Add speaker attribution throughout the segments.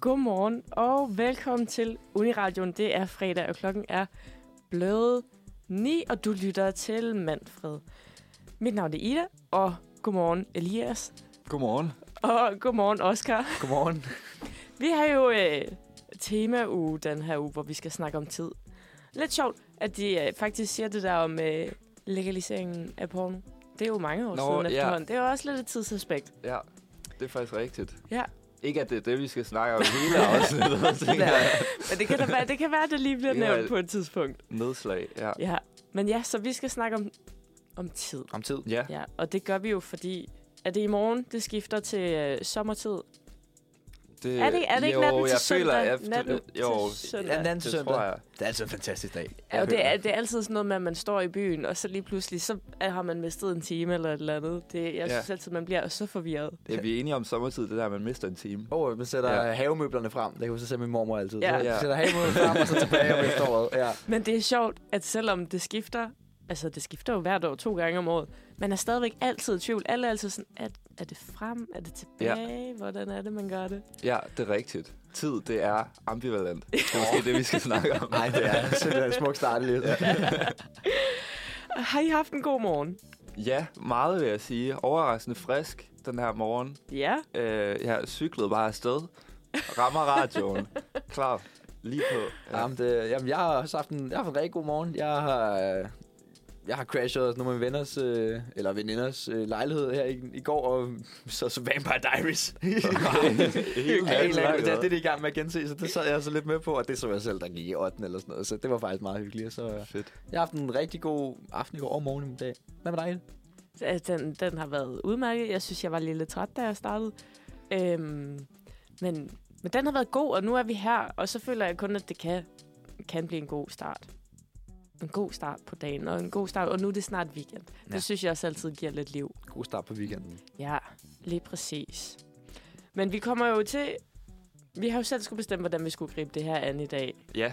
Speaker 1: Godmorgen og velkommen til Uniradion. Det er fredag, og klokken er blevet 9, og du lytter til Manfred. Mit navn er Ida, og godmorgen Elias,
Speaker 2: Godmorgen.
Speaker 1: og godmorgen Oscar.
Speaker 2: Godmorgen.
Speaker 1: Vi har jo øh, temauge den her uge, hvor vi skal snakke om tid. Lidt sjovt, at de øh, faktisk siger det der om øh, legaliseringen af porno. Det er jo mange år
Speaker 2: Nå,
Speaker 1: siden
Speaker 2: ja.
Speaker 1: efterhånden. Det er jo også lidt et tidsaspekt.
Speaker 2: ja, det er faktisk rigtigt.
Speaker 1: Ja.
Speaker 2: Ikke at det er det, vi skal snakke om hele afsnittet, tænker jeg.
Speaker 1: Men det kan, da være, det kan være, at det lige bliver
Speaker 2: Det kan
Speaker 1: nævnt
Speaker 2: være-
Speaker 1: på et tidspunkt.
Speaker 2: Nedslag, ja.
Speaker 1: Ja. Men ja, så vi skal snakke om, om tid.
Speaker 3: Om tid.
Speaker 2: Ja,
Speaker 1: Ja, og det gør vi jo, fordi er det i morgen, det skifter til øh, sommertid?
Speaker 2: det,
Speaker 1: Er det- er det ikke
Speaker 2: Øh, jo,
Speaker 1: natten til
Speaker 2: jeg
Speaker 1: søndag?
Speaker 2: Føler, efter,
Speaker 1: Natten
Speaker 2: jo,
Speaker 1: til søndag.
Speaker 3: Ja, den anden
Speaker 2: det
Speaker 3: søndag.
Speaker 2: tror jeg.
Speaker 3: Det er altså en fantastisk dag.
Speaker 1: Ja, og det er,
Speaker 2: hører.
Speaker 1: det er altid sådan noget med, at man står i byen, og så lige pludselig, så er- har man mistet en time eller et eller andet. Det, jeg
Speaker 2: Ja.
Speaker 1: synes altid, man bliver så forvirret.
Speaker 2: Ja, vi er enige om sommertid, det der, at man mister en time.
Speaker 3: Åh, oh, man sætter
Speaker 2: Ja.
Speaker 3: ja. havemøblerne frem. Det kan vi så se min mormor altid.
Speaker 1: Ja.
Speaker 3: Ja.
Speaker 2: Ja.
Speaker 3: Så sætter havemøblerne frem, og så tilbage om efteråret. Ja.
Speaker 1: Men det er sjovt, at selvom det skifter, altså det skifter jo hvert år to gange om året, man er stadigvæk altid i tvivl. Alle er altid sådan, er, er det frem? Er det tilbage? Ja. Hvordan er det, man gør det?
Speaker 2: Ja, det er rigtigt. Tid, det er ambivalent. Det er måske det, vi skal snakke om.
Speaker 3: Nej, det er simpelthen smukt start lidt. Ja.
Speaker 1: Og Har I haft en god morgen?
Speaker 2: Ja, meget vil jeg sige. Overraskende frisk den her morgen.
Speaker 1: Ja.
Speaker 2: Øh, jeg cyklede bare afsted. Rammer radioen. Klar. Lige på.
Speaker 3: Jamen, det, jamen, jeg har også haft en, jeg har haft en rigtig god morgen. Jeg har, øh, jeg har crashet nogle af mine venners, øh, eller veninders øh, lejlighed her i, i går, og så så Vampire Diaries.
Speaker 2: Helt
Speaker 3: Ja,
Speaker 2: anden
Speaker 3: eller andet,
Speaker 2: måde.
Speaker 3: det er det, de er i gang med at gense, så det sad jeg så lidt med på, og det så jeg selv, der gik i 8. eller sådan noget, så det var faktisk meget hyggeligt. og Så øh,
Speaker 2: Fedt.
Speaker 3: jeg har haft en rigtig god aften i går og morgen i dag. Hvad med dig? Ida?
Speaker 1: Altså, Den, den har været udmærket. Jeg synes, jeg var lidt lidt træt, da jeg startede. Øhm, men, men den har været god, og nu er vi her. Og så føler jeg kun, at det kan, kan blive en god start. En god start på dagen, og en god start. Og nu er det snart weekend. Ja.
Speaker 3: Ja.
Speaker 1: Det synes jeg også altid giver lidt liv.
Speaker 3: God start på weekenden.
Speaker 1: Ja, lige præcis. Men vi kommer jo til... Vi har jo selv skulle bestemme, hvordan vi skulle gribe det her an i dag.
Speaker 2: Ja,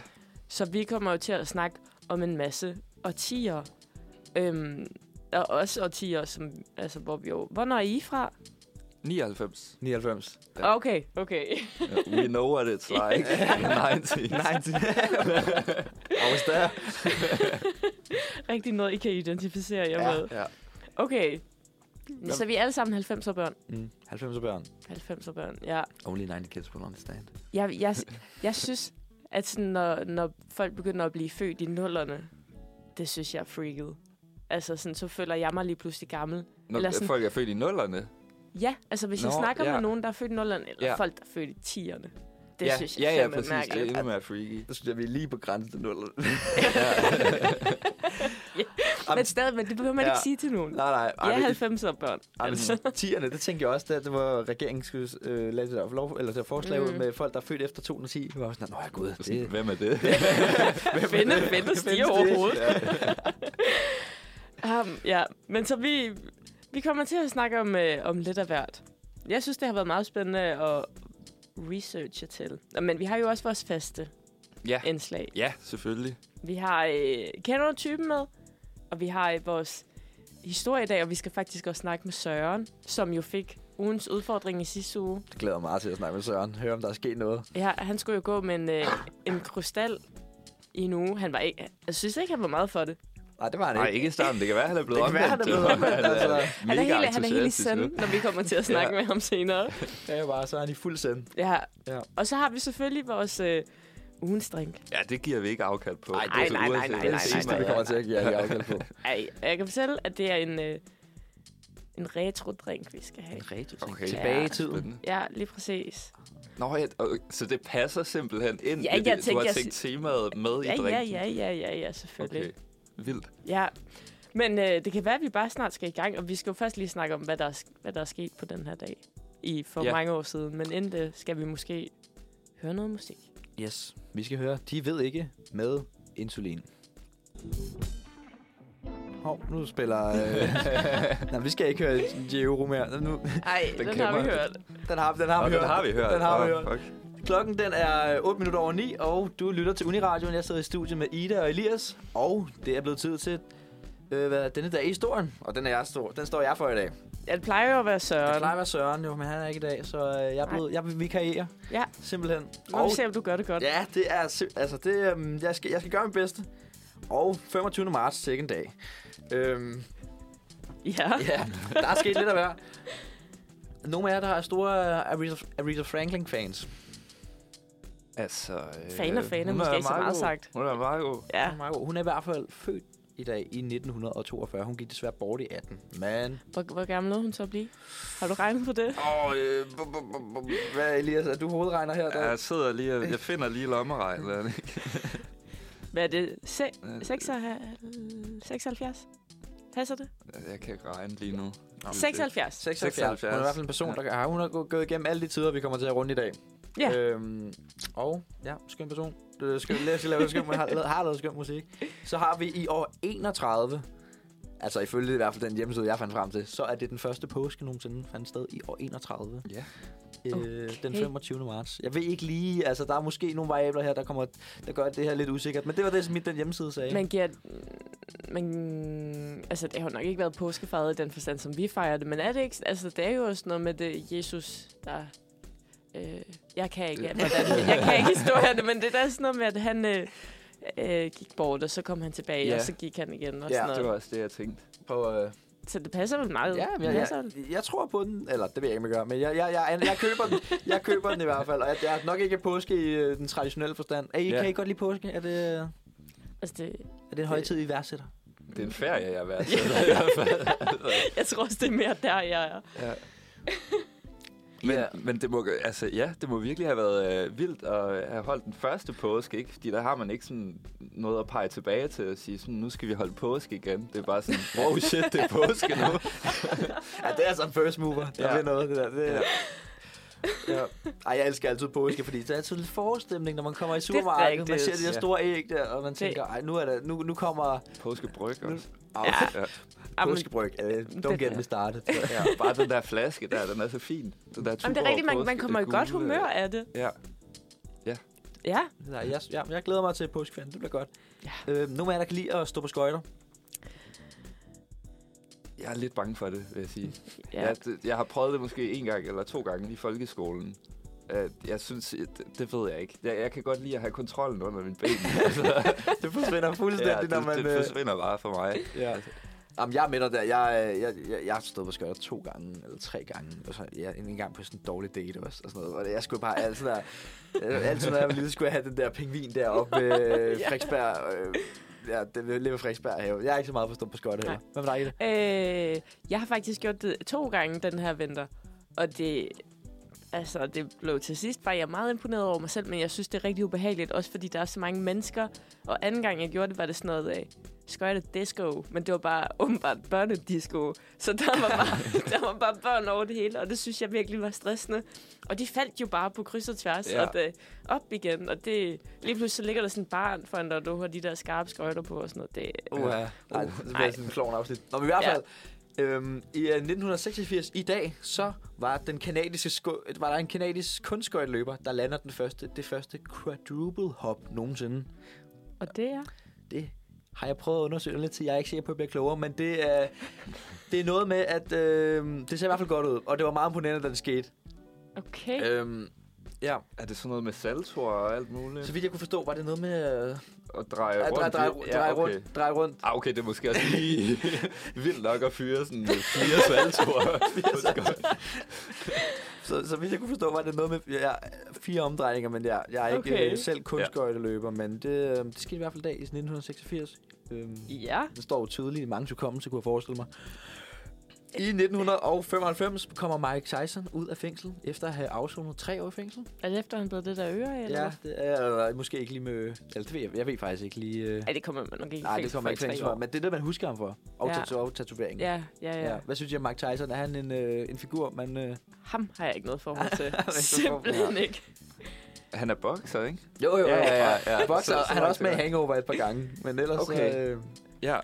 Speaker 1: Så vi kommer jo til at snakke om en masse årtier. Øhm, og også årtier, som, altså, hvor vi jo... Hvornår er I fra?
Speaker 2: 99.
Speaker 3: 99.
Speaker 1: Ja. Okay, okay.
Speaker 2: We know what it's like. 90.
Speaker 3: 90. Og hvis der
Speaker 1: Rigtig noget, I kan identificere jer
Speaker 3: Ja.
Speaker 1: med.
Speaker 2: Ja.
Speaker 1: Okay. Så vi er alle sammen 90'er børn.
Speaker 3: mm, 90 børn.
Speaker 1: 90'er børn, ja.
Speaker 3: Only 90 kids will understand.
Speaker 1: Jeg, jeg, jeg synes, at sådan, når, når folk begynder at blive født i nullerne, det synes jeg er freaket. Altså, sådan, så føler jeg mig lige pludselig gammel.
Speaker 2: Når
Speaker 1: Eller sådan-
Speaker 2: folk er født i nullerne.
Speaker 1: Ja, altså hvis Nå, jeg
Speaker 2: Nå,
Speaker 1: snakker ja.
Speaker 2: ja.
Speaker 1: med nogen, der er født i nullerne, eller ja.
Speaker 2: Ja.
Speaker 1: folk, der er født i 10'erne. Det
Speaker 2: ja,
Speaker 1: synes
Speaker 2: ja,
Speaker 1: jeg
Speaker 2: ja,
Speaker 1: fandme
Speaker 2: præcis. Det er
Speaker 1: mærkeligt.
Speaker 2: endnu mere freaky.
Speaker 3: Der synes jeg, vi er lige på grænsen til 0.
Speaker 1: Men stadig, men det behøver man ja.
Speaker 3: Ja.
Speaker 1: ikke sige til nogen.
Speaker 3: nej, nej.
Speaker 1: Jeg er
Speaker 3: men-
Speaker 1: 90'er børn. Altså.
Speaker 3: Ej, men tierne, det tænkte jeg også, da det var regeringen skulle øh, lave det der, lov, eller det der forslag ud
Speaker 1: Mm.
Speaker 3: med folk, der er født efter 2010. Det var sådan, nå ja gud, det,
Speaker 2: Sådan,
Speaker 3: det,
Speaker 2: Hvem er det?
Speaker 1: Finde, finde stiger overhovedet.
Speaker 2: Ja.
Speaker 1: Um, ja, men så vi, vi kommer til at snakke om, øh, om lidt af hvert. Jeg synes, det har været meget spændende at researche til. Nå, Men vi har jo også vores faste
Speaker 2: ja.
Speaker 1: indslag.
Speaker 2: Ja, selvfølgelig.
Speaker 1: Vi har øh, kender du typen med, og vi har øh, vores historie i dag, og vi skal faktisk også snakke med Søren, som jo fik ugens udfordring i sidste uge.
Speaker 3: det glæder jeg mig meget til at snakke med Søren. Høre, om der er sket noget.
Speaker 1: Ja, han skulle jo gå med en, øh, en krystal i en uge. Han var ikke, jeg synes ikke, han var meget for det.
Speaker 3: Nej, det var han
Speaker 2: Nej,
Speaker 3: ikke.
Speaker 2: ikke i starten. Det kan være, han er blevet
Speaker 3: Det kan være, han er blevet omvendt, altså.
Speaker 1: Han er, hele, han er helt i send, når vi kommer til at snakke ja. med ham senere.
Speaker 3: Det er jo bare, så er han i fuld send.
Speaker 1: Ja.
Speaker 3: Ja.
Speaker 1: Og så har vi selvfølgelig vores øh, ugens drink.
Speaker 2: Ja, det giver vi ikke afkald på.
Speaker 3: Ej,
Speaker 2: Det er
Speaker 1: nej, nej,
Speaker 2: uanset
Speaker 1: nej,
Speaker 3: Det er
Speaker 2: hvad
Speaker 3: det
Speaker 1: nej,
Speaker 3: sidste,
Speaker 1: nej,
Speaker 3: vi
Speaker 1: nej.
Speaker 3: kommer til at give jer i afkald på.
Speaker 1: Ej, jeg kan fortælle, at det er en, øh, en retro-drink, vi skal have.
Speaker 2: Okay.
Speaker 1: Tilbage i
Speaker 3: tiden.
Speaker 2: Spændende.
Speaker 1: Ja, lige præcis.
Speaker 2: Nå, ja, og- så det passer simpelthen ind
Speaker 1: Ja,
Speaker 2: i det.
Speaker 1: jeg
Speaker 2: du
Speaker 1: tænkte,
Speaker 2: har
Speaker 1: jeg
Speaker 2: tænkt temaet med i
Speaker 1: Ja, ja,
Speaker 2: drinken.
Speaker 1: ja, ja, ja, ja, selvfølgelig.
Speaker 2: Okay, vildt.
Speaker 1: Ja, men øh, det kan være, at vi bare snart skal i gang, og vi skal jo først lige snakke om, hvad der er, sk- hvad der er sket på den her dag i for ja.
Speaker 2: Ja.
Speaker 1: mange år siden. Men inden det skal vi måske høre noget musik.
Speaker 3: Yes, vi skal høre, de ved ikke med insulin. Hov, nu spiller... Øh... Nej, vi skal ikke høre Jero mere. Nu,
Speaker 1: Ej, den,
Speaker 2: Den
Speaker 1: den
Speaker 2: kan
Speaker 1: har vi
Speaker 2: man-
Speaker 1: hørt.
Speaker 3: den har, den har
Speaker 2: Nå,
Speaker 3: vi
Speaker 2: den
Speaker 3: hørt.
Speaker 2: har vi hørt.
Speaker 3: Den har vi
Speaker 2: Nå,
Speaker 3: hørt.
Speaker 2: fuck.
Speaker 3: Klokken den er øh, 8 minutter over 9, og du lytter til Uniradioen. Jeg sidder i studiet med Ida og Elias, og det er blevet tid til øh, hvad, denne dag i historien. Og den, er jeg stor, den står jeg for i dag.
Speaker 1: Ja, det plejer jo at være Søren.
Speaker 3: Det plejer at være Søren jo, men han er ikke i dag, så øh, jeg er blevet, jeg er vikarierer.
Speaker 1: Ja.
Speaker 3: Simpelthen.
Speaker 1: Nu må vi se, om du gør det godt.
Speaker 3: ja, det er sim- altså det, øhm, jeg, skal, jeg skal gøre mit bedste. Og 25. marts, second dag. Øhm,
Speaker 1: ja.
Speaker 3: ja, der er sket lidt af hver. Nogle af jer, der er store øh, Aretha, Aretha Franklin-fans.
Speaker 2: Altså, øh,
Speaker 1: Fan og fan er
Speaker 2: hun
Speaker 1: måske ikke så
Speaker 2: meget
Speaker 1: meget
Speaker 2: god.
Speaker 1: sagt.
Speaker 2: Hun er meget god.
Speaker 1: ja.
Speaker 3: Margot, hun er i hvert fald født i dag i 1942. Hun gik desværre bort i 18. Men...
Speaker 1: Hvor, hvor gammel lå hun så at blive? Har du regnet på det?
Speaker 3: Åh, oh, øh, bu- bu- bu- bu- hvad Elias, er du hovedregner her?
Speaker 2: Ja, jeg sidder lige og, jeg finder lige lommeregnet. er det ikke?
Speaker 1: Hvad er det? Se, 76? Passer det?
Speaker 2: Jeg kan ikke regne lige nu.
Speaker 1: 76.
Speaker 3: 76. Hun er i hvert fald en person, der ja. hun har gå- gået igennem alle de tider, vi kommer til at runde i dag.
Speaker 1: Ja.
Speaker 3: Øhm, og ja, skøn person. Det er skøn, lad os lave skøn, man har, lavet- har lavet skøn musik. Så har vi i år 31, altså ifølge i hvert fald den hjemmeside, jeg fandt frem til, så er det den første påske nogensinde fandt sted i år 31.
Speaker 2: Ja.
Speaker 3: Øh, den
Speaker 1: Okay.
Speaker 3: 25. marts. Jeg ved ikke lige, altså der er måske nogle variabler her, der, kommer, der gør det her lidt usikkert, men det var det, som mit, den hjemmeside sagde.
Speaker 1: Man giver... Men, altså, det har jo nok ikke været påskefejret i den forstand, som vi fejrer det, men er det ikke... Altså, det er jo også noget med det Jesus, der... Øh, jeg kan ikke, hvordan, jeg kan ikke historierne, men det er da sådan noget med, at han øh, øh, gik bort, og så kom han tilbage,
Speaker 2: Ja.
Speaker 1: og så gik han igen, og
Speaker 3: Ja,
Speaker 1: sådan noget.
Speaker 2: Det var også det, jeg tænkte.
Speaker 3: på, øh,
Speaker 1: Så det passer vel meget.
Speaker 3: Ja, men jeg,
Speaker 1: passer
Speaker 3: jeg, jeg tror på den. Eller, det ved jeg ikke, om jeg gør. Men jeg, jeg, jeg, jeg, køber den. Jeg køber den i hvert fald. Og jeg, jeg er nok ikke påske i øh, den traditionelle forstand. Er I,
Speaker 2: Ja.
Speaker 3: Kan I godt lide påske? Er det,
Speaker 1: Altså, det,
Speaker 3: er det en højtid, I værdsætter?
Speaker 2: Det er en ferie, jeg har været til. i hvert fald.
Speaker 1: jeg tror også, det er mere der, jeg er.
Speaker 2: ja. Men,
Speaker 3: Ja.
Speaker 2: ja. men det, må, altså, ja, det må virkelig have været øh, vildt at have holdt den første påske, ikke? fordi der har man ikke sådan noget at pege tilbage til og sige, sådan, nu skal vi holde påske igen. Det er bare sådan, wow shit, det er påske nu.
Speaker 3: Ja, det er altså en first mover. Der
Speaker 2: Ja.
Speaker 3: ja. noget, det der. Det, ja. Ja. Ej, jeg elsker altid påske, fordi der er altid lidt forestemning, når man kommer i supermarkedet. Man ser
Speaker 1: rigtigt.
Speaker 3: de der
Speaker 2: Ja.
Speaker 3: store æg der, og man tænker, ej, nu, er der, nu, nu kommer
Speaker 2: Påskebryg også.
Speaker 3: ja.
Speaker 1: Ah.
Speaker 2: Ja.
Speaker 1: Jamen,
Speaker 3: påskebryg. Øh, Don't
Speaker 1: Det-
Speaker 3: get me started.
Speaker 2: Ja, bare den der flaske der, den er så fin. Den der
Speaker 1: Jamen, det er
Speaker 2: Tuborg
Speaker 1: rigtigt, man, man
Speaker 2: påske-
Speaker 1: kommer i
Speaker 2: det
Speaker 1: godt
Speaker 2: gule-
Speaker 1: humør af det.
Speaker 2: Ja.
Speaker 1: Ja,
Speaker 3: Nej, jeg, jeg, jeg glæder mig til påskeferien. Det bliver godt. Ja. Øh, nogle af jer, der kan lide at stå på skøjter.
Speaker 2: Jeg er lidt bange for det, vil jeg sige.
Speaker 1: ja.
Speaker 2: Ja. Jeg, det- jeg har prøvet det måske en gang eller to gange i folkeskolen. Øh, Jeg synes, det, det ved jeg ikke. Jeg, jeg kan godt lide at have kontrollen under mine ben. Altså,
Speaker 3: Det forsvinder fuldstændig,
Speaker 2: det,
Speaker 3: når man... øh,
Speaker 1: øh-
Speaker 2: det forsvinder bare for mig.
Speaker 3: ja. Jamen, jeg er med dig der. Jeg, øh, jeg, jeg, jeg har stået på skøjter to gange, eller tre gange. Og så jeg, en gang på sådan en dårlig date også, og sådan noget. Og jeg skulle bare altid der... øh, altid, når jeg var lille, skulle jeg have den der pingvin deroppe ved
Speaker 1: Ja.
Speaker 3: Frederiksberg. Øh, ja, det ved- lige ved Frederiksberg have. Jeg er ikke så meget forstået på skøjter
Speaker 1: Nej.
Speaker 3: heller. Hvad med dig, Ida?
Speaker 1: Øh, jeg har faktisk gjort det to gange den her vinter, og det, altså, det blev til sidst, var jeg meget imponeret over mig selv, men jeg synes, det er rigtig ubehageligt, også fordi der er så mange mennesker, og anden gang jeg gjorde det, var det sådan noget af skøjte disco, men det var bare åbenbart børnedisco, så der var, bare, der var bare børn over det hele, og det synes jeg virkelig var stressende. Og de faldt jo bare på kryds og tværs,
Speaker 2: Ja.
Speaker 1: ja. og det, op igen, og det, lige pludselig så ligger der sådan et barn foran dig, og du har de der skarpe skøjter på og sådan noget. Det,
Speaker 3: Uha. Ja. Nej, så bliver
Speaker 1: nej.
Speaker 3: det sådan en klovn afsnit. Nå, men i hvert
Speaker 1: Ja.
Speaker 3: fald, øhm, i øh, 1986 i dag, så var, den kanadiske sko- var der en kanadisk kunstskøjteløber, der lander den første, det første quadruple hop nogensinde.
Speaker 1: og det er...
Speaker 3: Det har jeg prøvet at undersøge lidt til. Jeg er ikke sikker på, at jeg bliver klogere, men det er, det er noget med, at øh, det ser i hvert fald godt ud. Og det var meget imponerende, da det skete.
Speaker 1: Okay.
Speaker 2: Øh,
Speaker 3: Øhm, ja,
Speaker 2: Er det sådan noget med saltoer og alt muligt?
Speaker 3: så vidt jeg kunne forstå, var det noget med øh,
Speaker 2: Og dreje
Speaker 3: at
Speaker 2: rundt?
Speaker 3: dreje, dreje,
Speaker 2: i-
Speaker 3: dreje, rundt, dreje rundt.
Speaker 2: Ah, okay, det er måske også lige vildt nok at fyre sådan fire saltoer. på skøjter.
Speaker 3: Så, så hvis jeg kunne forstå, var det noget med ja, fire omdrejninger, men jeg, jeg er ikke
Speaker 1: Okay.
Speaker 3: øh, selv kun
Speaker 2: Ja.
Speaker 3: skøjteløber, men det, øh, det skete i hvert fald i dag i 1986. Øhm,
Speaker 1: Ja.
Speaker 3: det står jo tydeligt i mange hukommelse, kunne jeg forestille mig. I 1995 kommer Mike Tyson ud af fængsel, efter at have afsonet tre år i fængsel.
Speaker 1: Er det efter, han blev det der øre, eller hvad?
Speaker 3: det er øh, måske ikke lige med... Eller det ved jeg, jeg ved faktisk ikke lige... Øh,
Speaker 1: Ej, det kommer man nok ikke i
Speaker 3: nej, det
Speaker 1: fængsel
Speaker 3: kommer
Speaker 1: for
Speaker 3: ikke
Speaker 1: i
Speaker 3: fængsel
Speaker 1: tre
Speaker 3: for,
Speaker 1: år.
Speaker 3: men det er det, man husker ham for. Og,
Speaker 1: Ja.
Speaker 3: tatu- og tatoveringen.
Speaker 1: Ja, ja, ja,
Speaker 3: Ja. Hvad synes I om Mike Tyson? Er han en, øh, en figur, man... Øh...
Speaker 1: Ham har jeg ikke noget forhold til.
Speaker 3: noget
Speaker 1: Simpelthen ikke.
Speaker 2: Han er bokser, ikke?
Speaker 3: Jo, jo,
Speaker 2: Ja, ja, ja, ja.
Speaker 3: Boxer,
Speaker 2: Så- så
Speaker 3: han er også med i
Speaker 2: bokser.
Speaker 3: Hangover et par gange, men ellers...
Speaker 2: Okay.
Speaker 3: Øh,
Speaker 2: Ja.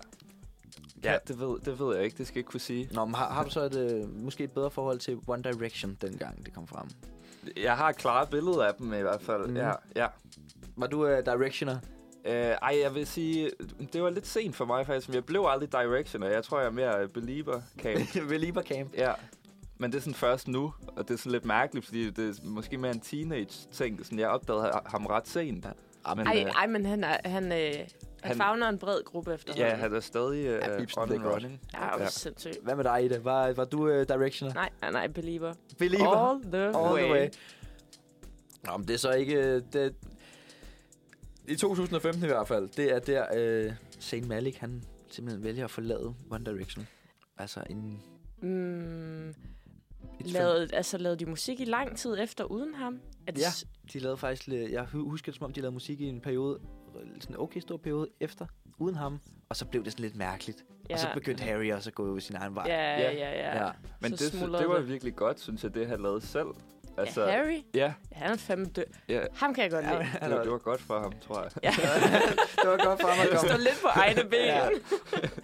Speaker 2: Ja, det ved, det ved jeg ikke. Det skal jeg ikke kunne sige.
Speaker 3: nå, men har, har du så et, øh, måske et bedre forhold til One Direction, dengang det kom frem?
Speaker 2: Jeg har klare billeder af dem i hvert fald.
Speaker 3: Mhm.
Speaker 2: Ja, ja.
Speaker 3: Var du øh, directioner?
Speaker 2: Øh, ej, jeg vil sige, det var lidt sent for mig faktisk, men jeg blev aldrig Direction, og jeg tror, jeg er mere øh, belieber camp.
Speaker 3: Belieber Camp.
Speaker 2: Ja. Men det er sådan først nu, og det er sådan lidt mærkeligt, fordi det er måske mere en teenage-ting. Sådan, jeg opdagede ha- ham ret sent.
Speaker 3: Ah,
Speaker 2: Men,
Speaker 1: Ej,
Speaker 2: øh,
Speaker 1: ej, men han, er, han, øh, han,
Speaker 2: Han-
Speaker 1: han fagner en bred gruppe efterhånden.
Speaker 2: ja, han er stadig øh,
Speaker 3: Ja, Ibsen,
Speaker 2: on
Speaker 3: det er
Speaker 2: and
Speaker 3: godt.
Speaker 2: running.
Speaker 1: Ja, det er
Speaker 2: Ja.
Speaker 1: ja. sindssygt.
Speaker 3: Hvad med dig, Ida? Var, var du uh, Directioner?
Speaker 1: Nej, nej, nej, believer.
Speaker 3: Belieber?
Speaker 1: All the
Speaker 3: All
Speaker 1: way.
Speaker 3: the way. Nå, men det er så ikke... øh, Det... I 2015 i hvert fald, det er der, øh, Zayn Malik, han simpelthen vælger at forlade One Direction. Altså en...
Speaker 1: Mm,
Speaker 3: Et
Speaker 1: lavede, altså, lavede de musik i lang tid efter uden ham? Er det
Speaker 3: Ja.
Speaker 1: s-
Speaker 3: De lavede faktisk, lidt- jeg hu- husker det som om, de lavede musik i en periode, øh, sådan en okay stor periode efter, uden ham. Og så blev det sådan lidt mærkeligt. Ja. Og så begyndte Harry også at gå sin egen vej.
Speaker 1: Ja,
Speaker 2: Ja.
Speaker 1: ja, ja. ja.
Speaker 3: ja.
Speaker 1: ja.
Speaker 2: Men
Speaker 1: Så
Speaker 2: det,
Speaker 1: smuldrede
Speaker 2: det var
Speaker 1: det.
Speaker 2: virkelig godt, synes jeg, det han lavede selv.
Speaker 1: Altså, ja Harry,
Speaker 2: Ja,
Speaker 1: han er fandme død.
Speaker 2: ja
Speaker 1: Ham kan jeg godt
Speaker 3: Ja,
Speaker 1: lide.
Speaker 2: det, var, det var godt for ham, tror jeg.
Speaker 1: Ja.
Speaker 3: det var godt for mig at
Speaker 1: Han
Speaker 3: komme.
Speaker 1: står lidt på egne ben.
Speaker 3: Ja.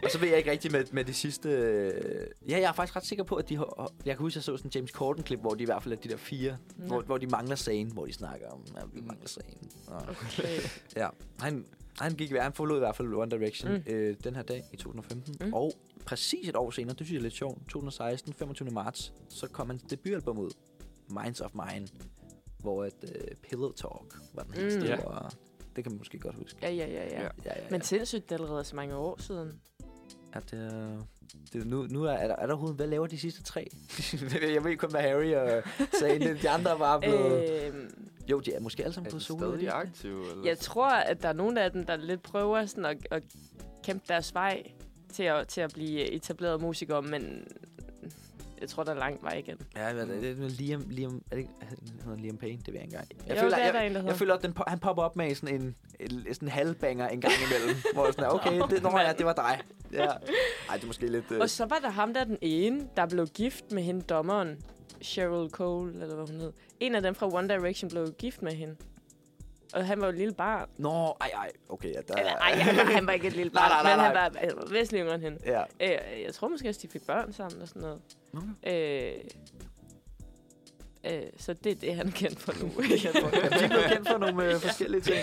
Speaker 3: Og så ved jeg ikke rigtigt med, med de sidste... øh, Ja, jeg er faktisk ret sikker på, at de har... Jeg kan huske, jeg så sådan en James Corden-klip, hvor de i hvert fald er de der fire,
Speaker 1: Nå, Mm.
Speaker 3: hvor, hvor de mangler sagen, hvor de snakker om, at vi mangler sagen. Og,
Speaker 1: Okay.
Speaker 3: ja, han, han, gik, han forlod i hvert fald One Direction mm.
Speaker 1: Mm.
Speaker 3: øh, den her dag i 2015. Mm.
Speaker 1: Mm.
Speaker 3: Og præcis et år senere, det synes jeg er lidt sjovt, 2016, 25. marts, så kom hans debutalbum ud, Minds of Mine, hvor at øh, Pillow Talk var den helt
Speaker 1: Mm.
Speaker 3: store.
Speaker 2: Ja.
Speaker 3: og Det kan man måske godt huske.
Speaker 1: Ja, ja, ja, ja.
Speaker 2: Ja.
Speaker 1: ja.
Speaker 3: Ja, ja, ja.
Speaker 1: Men sindssygt, det er allerede så mange år siden.
Speaker 3: Ja, det er, det er nu, nu er, er, der, er der overhovedet, hvad laver de sidste tre? jeg ved kun, hvad Harry og Sane, de andre var blevet... Øh.
Speaker 1: Øh,
Speaker 3: Jo, de er måske alle sammen
Speaker 2: Er
Speaker 3: blevet
Speaker 2: den
Speaker 3: solo. er de
Speaker 2: stadig
Speaker 3: ikke
Speaker 2: aktiv?
Speaker 3: det?
Speaker 2: Eller?
Speaker 1: jeg tror, at der er nogle af dem, der lidt prøver sådan at, at kæmpe deres vej til at, til at blive etableret musikere, men jeg tror, der er lang vej igen.
Speaker 3: Ja, hvad er
Speaker 1: Mm.
Speaker 3: det, det er Liam, Liam, er det, ikke- han hedder Liam Payne, det ved jeg ikke engang. Jeg
Speaker 1: Jo,
Speaker 3: føler,
Speaker 1: det er
Speaker 3: jeg,
Speaker 1: der en, der
Speaker 3: jeg
Speaker 1: hedder.
Speaker 3: føler, at den, po- han popper op med sådan en, en sådan en halvbanger en gang imellem, hvor jeg sådan er, okay, det, nå, ja, det var dig. Ja. Ej, det er måske lidt... Øh,
Speaker 1: Og så var der ham der, den ene, der blev gift med hende, dommeren. Cheryl Cole, eller hvad hun hed. En af dem fra One Direction blev gift med hende. Og han var jo et lille barn.
Speaker 3: nå, ej, ej, okay, ja, der
Speaker 1: Eller, ej, han var, han var ikke et lille
Speaker 3: Nej,
Speaker 1: barn,
Speaker 3: nej, nej,
Speaker 1: men han
Speaker 3: nej.
Speaker 1: var, han var væsentligt yngre end hende.
Speaker 3: Ja,
Speaker 1: Øh, jeg tror måske også, de fik børn sammen og sådan noget. Øh, øh, så det er det, han er kendt for nu.
Speaker 3: Jamen, de er blevet kendt for nogle øh, forskellige ting.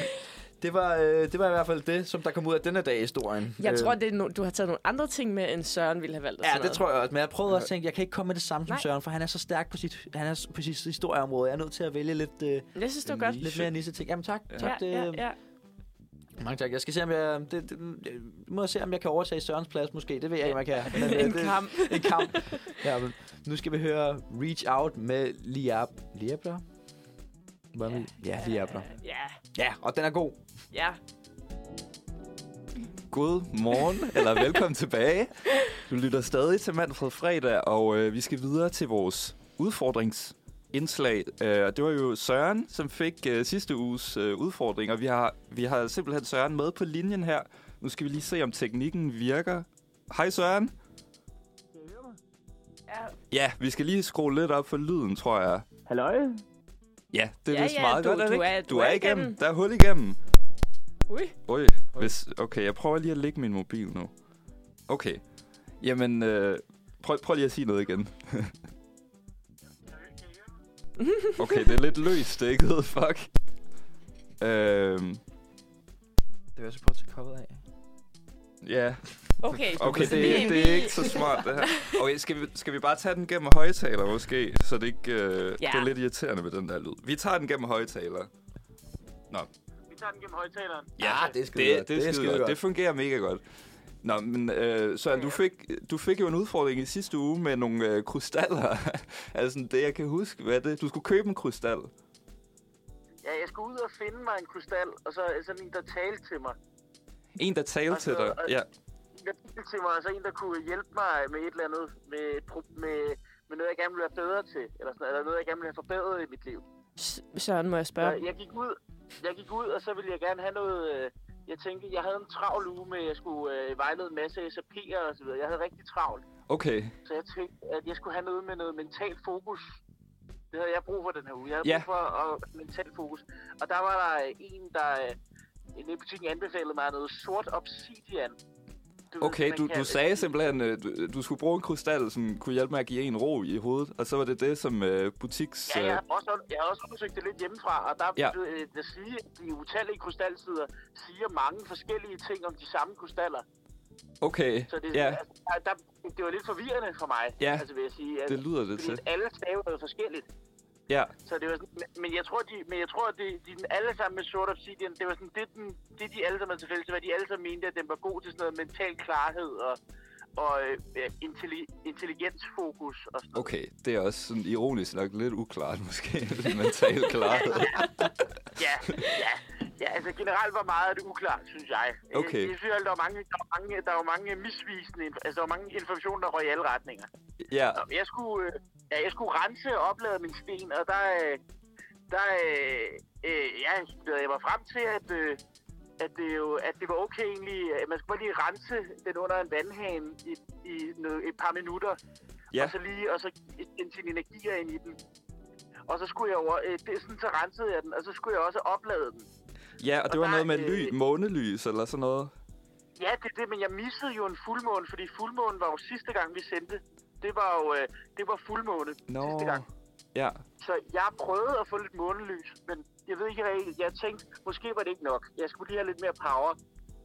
Speaker 3: Det var, øh, det var i hvert fald det, som der kom ud af denne dag i historien.
Speaker 1: jeg
Speaker 3: Øh,
Speaker 1: tror, det er no- du har taget nogle andre ting med, end Søren ville have valgt. og
Speaker 3: Ja,
Speaker 1: sådan
Speaker 3: det
Speaker 1: noget.
Speaker 3: tror jeg også. Men jeg prøvede også at tænke, jeg kan ikke komme med det samme som
Speaker 1: Nej.
Speaker 3: Søren, for han er så stærk på sit, han er s- på sit historieområde. Jeg er nødt til at vælge lidt, øh,
Speaker 1: Jeg synes, det var godt.
Speaker 3: lidt mere nisse ting. Jamen tak.
Speaker 2: Ja.
Speaker 3: tak øhm,
Speaker 1: Ja, ja, ja.
Speaker 3: Mange tak. Jeg skal se, om jeg, øh, det, det, det, må jeg se, om jeg kan overtage Sørens plads måske. Det ved jeg ikke, om jeg kan. Men, øh,
Speaker 1: En
Speaker 3: det,
Speaker 1: kamp.
Speaker 3: En kamp. Ja, men nu skal vi høre Reach Out med Liab. Liabler? Hvad ja, ja, Liabler.
Speaker 1: Ja,
Speaker 3: Ja, og den er god.
Speaker 1: ja.
Speaker 2: God morgen, eller velkommen tilbage. Du lytter stadig til Manfred Fredag, og øh, vi skal videre til vores udfordringsindslag. Øh, og det var jo Søren, som fik øh, sidste uges øh, udfordring, og vi har, vi har simpelthen Søren med på linjen her. Nu skal vi lige se, om teknikken virker. Hej Søren.
Speaker 1: Ja,
Speaker 2: Ja, vi skal lige skrue lidt op for lyden, tror jeg.
Speaker 4: Halløj?
Speaker 2: Ja, det er
Speaker 1: Ja,
Speaker 2: vist
Speaker 1: ja,
Speaker 2: meget
Speaker 1: du-
Speaker 2: godt, er det
Speaker 1: du
Speaker 2: ikke?
Speaker 1: er-
Speaker 2: du er igennem. Der er hul igennem.
Speaker 1: Ui.
Speaker 2: Oj, hvis, okay, jeg prøver lige at lægge min mobil nu. Okay. Jamen, øh, prøv, prøv lige at sige noget igen. okay, det er lidt løst dækket, fuck. Øhm,
Speaker 3: Det vil jeg så prøve at tage koppet af.
Speaker 2: ja,
Speaker 1: Okay,
Speaker 2: okay,
Speaker 1: så
Speaker 2: det, er-
Speaker 1: vi-
Speaker 2: det er ikke så smart, det her. Okay, skal vi, skal vi bare tage den gennem højtaler måske, så det ikke øh,
Speaker 1: Ja.
Speaker 2: det er lidt irriterende med den der lyd. Vi tager den gennem højtaler.
Speaker 4: Vi tager den gennem højtaleren.
Speaker 3: Ah, det er skide
Speaker 2: det, det,
Speaker 3: godt. Det er
Speaker 2: er skide
Speaker 3: skide
Speaker 2: godt.
Speaker 3: godt.
Speaker 2: Det fungerer mega godt. Nå, men øh, Søren, du fik, du fik jo en udfordring i sidste uge med nogle øh, krystaller. altså sådan det, jeg kan huske. Hvad er det? Du skulle købe en krystal.
Speaker 4: Ja, jeg skulle ud og finde mig en krystal, og så sådan en, der talte til mig.
Speaker 2: En, der talte til dig.
Speaker 4: Altså, og-
Speaker 2: Ja.
Speaker 4: En, der talte til mig, og så en, der kunne hjælpe mig med et eller andet, med, et pro- med, med noget, jeg gerne ville være bedre til, eller, sådan, eller noget, jeg gerne ville have forbedret i mit liv.
Speaker 1: S- Søren, må jeg
Speaker 4: Så
Speaker 1: spørge?
Speaker 4: jeg gik ud, jeg gik ud, og så ville jeg gerne have noget... Øh, jeg tænkte, jeg havde en travl uge med, at jeg skulle øh, vejlede en masse SAP'er og så videre. Jeg havde rigtig travlt,
Speaker 2: Okay.
Speaker 4: så jeg tænkte, at jeg skulle have noget med noget mentalt fokus. Det havde jeg brug for den her uge. Jeg havde
Speaker 2: Ja.
Speaker 4: ja. brug for at mental fokus. Og der var der øh, en, der øh, inde i butikken anbefalede mig noget sort obsidian. Du, ved,
Speaker 2: Okay,
Speaker 4: man
Speaker 2: du,
Speaker 4: kan-
Speaker 2: du sagde simpelthen, øh, du, du skulle bruge en krystal, som kunne hjælpe med at give en ro i hovedet, og så var det det, som øh, butiks...
Speaker 4: Ja, jeg
Speaker 2: øh,
Speaker 4: har, også, jeg har også undersøgt det lidt hjemmefra, og der
Speaker 2: Ja.
Speaker 4: ja. øh, det sige, de utallige krystalsider siger mange forskellige ting om de samme krystaller.
Speaker 2: Okay,
Speaker 4: Så det,
Speaker 2: ja,
Speaker 4: altså, der, der, det var lidt forvirrende for mig,
Speaker 2: Ja,
Speaker 4: altså vil jeg sige. Altså,
Speaker 2: det lyder det
Speaker 4: fordi
Speaker 2: til.
Speaker 4: at alle staver noget forskelligt.
Speaker 2: Ja,
Speaker 4: Så det var sådan, men- men jeg tror, de, men jeg tror, de, de den alle sammen med Sword Obsidian, det var sådan, det, den, det de alle sammen havde til fælles, det var, at de alle sammen mente, at den var god til sådan noget mental klarhed og, og øh, ja, intelli, intelligensfokus og sådan noget.
Speaker 2: okay. Det er også sådan ironisk nok lidt uklart måske, den mentale klarhed.
Speaker 4: Ja, ja. Ja, altså generelt var meget uklart, synes jeg.
Speaker 2: Okay.
Speaker 4: Jeg, jeg synes, der var mange, der var mange, der var mange misvisende, inf- altså der var mange informationer, der røg i alle retninger.
Speaker 2: Ja,
Speaker 4: Nå, men jeg skulle, øh, ja, jeg skulle rense og oplade min sten, og der, øh, der øh, øh, ja, lavede jeg var frem til, at, øh, at, det jo, at det var okay egentlig, at man skulle bare lige rense den under en vandhane i, i noget, et par minutter,
Speaker 2: ja,
Speaker 4: og så lige, og så sende sine energier ind i den. Og så skulle jeg over, øh, det, sådan, så rensede jeg den, og så skulle jeg også oplade den.
Speaker 2: ja, og det
Speaker 4: og
Speaker 2: var
Speaker 4: der-
Speaker 2: noget med
Speaker 4: øh,
Speaker 2: ly, månelys eller sådan noget.
Speaker 4: Ja, det er det, men jeg missede jo en fuldmåne, fordi fuldmånen var jo sidste gang, vi sendte. Det var jo øh, det var fuldmåne
Speaker 2: Nå,
Speaker 4: sidste gang.
Speaker 2: ja,
Speaker 4: Så jeg prøvede at få lidt månelys, men jeg ved ikke rigtigt. Jeg tænkte, måske var det ikke nok. Jeg skulle lige have lidt mere power.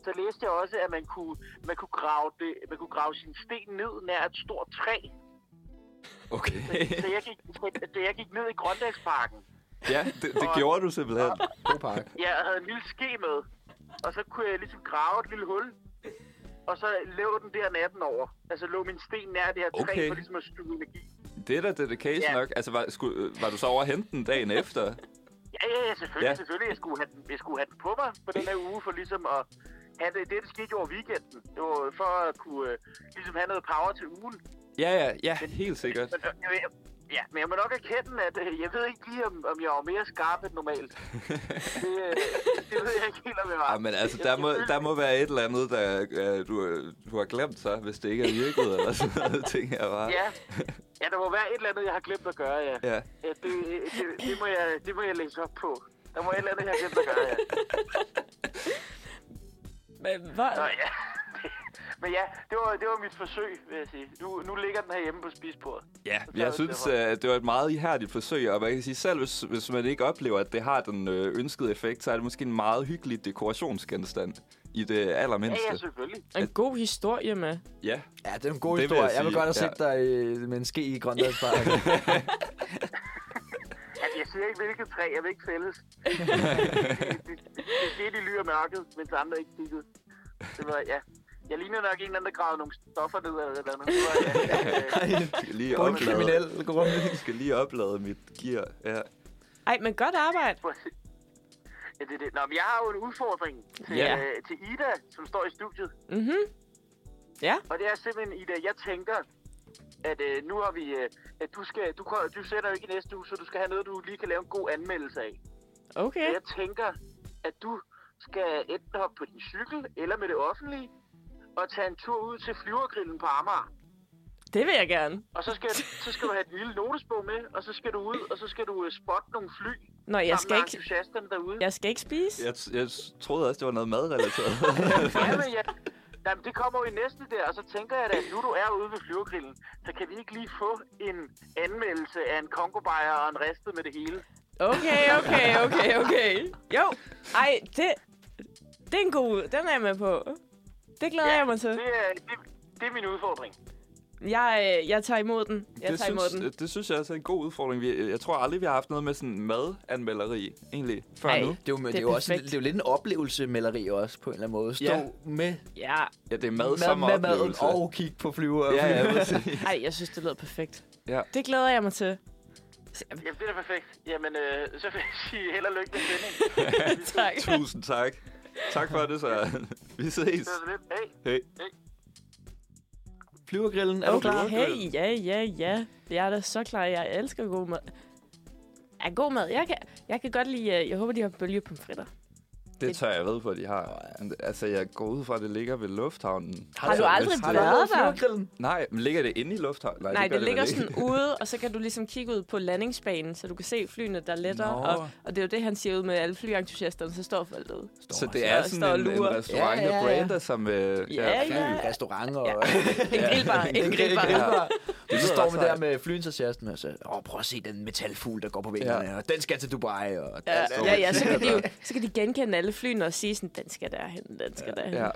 Speaker 4: Så læste jeg også, at man kunne, man kunne, grave, det, man kunne grave sin sten ned nær et stort træ.
Speaker 2: okay.
Speaker 4: Så jeg gik, så jeg gik ned i Grøndalsparken.
Speaker 2: Ja, det, det
Speaker 4: Og-
Speaker 2: gjorde du simpelthen.
Speaker 3: God park.
Speaker 4: Jeg havde en lille ske med, og så kunne jeg ligesom grave et lille hul, og så lå den der natten over. Altså lå min sten nær det her træ
Speaker 2: Okay.
Speaker 4: for ligesom at suge energi.
Speaker 2: Det er da dedication
Speaker 4: Ja.
Speaker 2: nok. Altså, var, skulle, øh, var du så over at hente den dagen efter?
Speaker 4: Ja, ja, ja, selvfølgelig,
Speaker 2: Ja.
Speaker 4: ja. selvfølgelig. Jeg skulle, have den, jeg skulle have den på mig på den her uge for ligesom at have det. Det, det skete jo over weekenden. Det var jo for at kunne øh, ligesom have noget power til ugen.
Speaker 2: Ja, ja, ja, helt sikkert.
Speaker 4: Men, øh, jeg, ved- ja, men jeg må nok erkende, at øh, jeg ved ikke lige, om, om jeg var mere skarp end normalt. det, øh, det ved jeg ikke helt, om jeg var.
Speaker 2: Ja, men altså,
Speaker 4: Jeg-
Speaker 2: der
Speaker 4: jeg
Speaker 2: må,
Speaker 4: følte-
Speaker 2: der må være et eller andet, der øh, du, øh, du har glemt så, hvis det ikke er virket, eller sådan noget, ting jeg bare.
Speaker 4: Ja. ja, der må være et eller andet, jeg har glemt at gøre, ja.
Speaker 2: Ja.
Speaker 4: ja det, øh, det, det, må jeg, det må jeg læse op på. Der må et eller andet, jeg har glemt at gøre, ja.
Speaker 1: Men, hvor,
Speaker 4: Nå, ja. Men ja, det var, det var mit forsøg, vil jeg sige. Nu, nu ligger den herhjemme på spisbordet.
Speaker 2: ja,
Speaker 4: Så tager
Speaker 2: jeg
Speaker 4: vi
Speaker 2: synes,
Speaker 4: derfra.
Speaker 2: øh, det var et meget ihærdigt forsøg, og man kan sige, selv hvis, hvis man ikke oplever, at det har den øh, ønskede effekt, så er det måske en meget hyggelig dekorationsgenstand i det
Speaker 4: Ja, ja,
Speaker 2: allermindste.
Speaker 4: selvfølgelig.
Speaker 1: en god historie med.
Speaker 2: Ja,
Speaker 3: Ja, det er en god
Speaker 2: Det vil
Speaker 3: historie.
Speaker 2: jeg
Speaker 3: Jeg, vil
Speaker 2: sige,
Speaker 3: godt have
Speaker 2: ja.
Speaker 3: set dig øh, med en ske i Grøndalspark.
Speaker 4: Altså, jeg siger ikke, hvilket træ. Jeg vil ikke fælles. det, det, det skete i ly af mørket, mens andre ikke kiggede. Det var, ja. Jeg ligner nok en eller anden, der gravede nogle stoffer ned eller et eller andet. Det var, ja, øh,
Speaker 2: jeg skal lige
Speaker 3: Kun kriminel.
Speaker 2: oplade, jeg skal lige oplade mit gear. Ja.
Speaker 1: Ej, men godt arbejde.
Speaker 4: ja, det, er det. Nå, men jeg har jo en udfordring til,
Speaker 1: Ja.
Speaker 4: øh, til Ida, som står i studiet.
Speaker 1: Mhm. Ja,
Speaker 4: Og det er simpelthen, Ida, jeg tænker, at øh, nu har vi... Øh, at du, skal, du, kan- du sætter jo ikke i næste uge, så du skal have noget, du lige kan lave en god anmeldelse af.
Speaker 1: okay.
Speaker 4: Jeg tænker, at du skal enten hoppe på din cykel eller med det offentlige, og tage en tur ud til flyvergrillen på Amager.
Speaker 1: Det vil jeg gerne.
Speaker 4: Og så skal, så skal du have et lille notesbog med, og så skal du ud, og så skal du øh, spotte nogle fly.
Speaker 1: Nå, jeg skal ikke,
Speaker 4: entusiasterne derude.
Speaker 1: jeg skal ikke spise.
Speaker 2: Jeg, jeg troede også, det var noget madrelateret.
Speaker 4: Ja, men ja. Jamen, det kommer jo i næste der, og så tænker jeg da, at nu du er ude ved flyvergrillen, så kan vi ikke lige få en anmeldelse af en kongobajer og en ristet med det hele.
Speaker 1: Okay, okay, okay, okay. Jo, ej, det, det er en god Den er jeg med på. Det glæder ja, jeg mig til.
Speaker 4: Det er, det, det er min udfordring.
Speaker 1: Jeg, øh, jeg tager imod den. Jeg
Speaker 2: det,
Speaker 1: tager imod
Speaker 2: synes,
Speaker 1: den.
Speaker 2: det synes jeg også er en god udfordring. Vi, jeg tror aldrig, vi har haft noget med sådan madanmelderi, egentlig, før
Speaker 1: Ej.
Speaker 2: nu.
Speaker 3: Det er jo, det er jo også, det er jo lidt en oplevelsemaleri også, på en eller anden måde. Stå
Speaker 2: Ja.
Speaker 3: med,
Speaker 1: Ja,
Speaker 2: Ja, det er mad,
Speaker 3: mad,
Speaker 2: som
Speaker 3: med maden
Speaker 2: oplevelse.
Speaker 3: og kigge på flyver.
Speaker 2: Ja, ja, præcis.
Speaker 1: ej, jeg synes, det lyder perfekt.
Speaker 2: Ja.
Speaker 1: Det glæder jeg mig til.
Speaker 4: Jamen, det er da perfekt. Jamen, øh, så vil jeg sige held og lykke med sendingen.
Speaker 1: Tak.
Speaker 2: Tusind tak. Tak for det, så. Vi ses.
Speaker 4: Det var så lidt. Hey.
Speaker 2: Hey.
Speaker 3: Flyvergrillen, er du klar?
Speaker 1: Okay, ja, ja, ja. Jeg er da så klar. Jeg elsker god mad. Ja, god mad. Jeg kan, jeg kan godt lide... øh, Jeg håber, de har bølgepomfritter.
Speaker 2: Det tør jeg ved på, at de har. Men, Altså, jeg går ud fra, at det ligger ved lufthavnen. Altså,
Speaker 1: Har du aldrig
Speaker 2: Hvis-
Speaker 3: Har
Speaker 1: Hvad
Speaker 3: du været
Speaker 1: der?
Speaker 3: flyvergrillen?
Speaker 2: Nej, men ligger det inde i lufthavnen?
Speaker 1: Nej,
Speaker 2: gør
Speaker 1: det ligger
Speaker 2: vel ikke.
Speaker 1: sådan ude, og så kan du ligesom kigge ud på landingsbanen, så du kan se flyene, der letter.
Speaker 3: Nå.
Speaker 1: Og, og det er jo det, han siger ud med alle flyentusiasterne, så står folk derude.
Speaker 2: Så
Speaker 3: Står-
Speaker 2: det
Speaker 1: står- står
Speaker 2: er
Speaker 1: og
Speaker 2: sådan en, en
Speaker 1: lurer.
Speaker 2: restaurant,
Speaker 3: Ja, ja,
Speaker 2: der
Speaker 3: ja.
Speaker 2: brander som... Øh,
Speaker 1: Ja,
Speaker 3: Fly,
Speaker 1: ja.
Speaker 3: restaurant og...
Speaker 1: En grillbar, en grillbar.
Speaker 3: Det
Speaker 2: lyder
Speaker 3: så står
Speaker 2: ret
Speaker 3: man der
Speaker 2: sejt.
Speaker 3: med flyentusiasten og så, åh, prøv at se den metalfugl, der går på vingerne,
Speaker 2: Ja.
Speaker 3: og den skal til Dubai, og
Speaker 1: Ja,
Speaker 3: den-
Speaker 1: ja, ja, så kan, de jo, så kan de genkende alle flyene og sige sådan, den skal derhen, den skal derhen.
Speaker 2: Ja.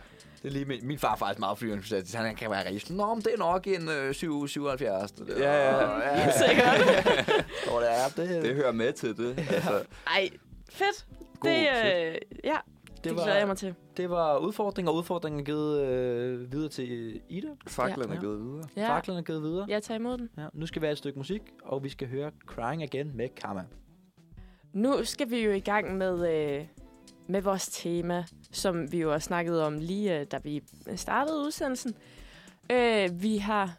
Speaker 3: Det er lige min, min far er faktisk meget flyentusiast, han kan være rigtig sådan, nå, men det er nok en øh, 7, 77.
Speaker 2: Ja, ja.
Speaker 3: Og, ja,
Speaker 1: Sikkert.
Speaker 3: og det er, det,
Speaker 2: Det
Speaker 3: det,
Speaker 2: hører med til det. Altså,
Speaker 1: Ej, fedt.
Speaker 3: God,
Speaker 1: det, øh,
Speaker 3: fedt.
Speaker 1: ja, det, det
Speaker 3: var-
Speaker 1: glæder jeg mig til.
Speaker 3: det var udfordringer, og udfordringen er givet øh, videre til Ida.
Speaker 2: faklerne
Speaker 3: Ja.
Speaker 2: er gået videre.
Speaker 1: Ja,
Speaker 3: Faklerne er givet videre.
Speaker 1: jeg tager imod den.
Speaker 3: Ja, nu skal vi have et stykke musik, og vi skal høre Crying Again med Karma.
Speaker 1: Nu skal vi jo i gang med, øh, med vores tema, som vi jo har snakket om lige, øh, da vi startede udsendelsen. Øh, vi har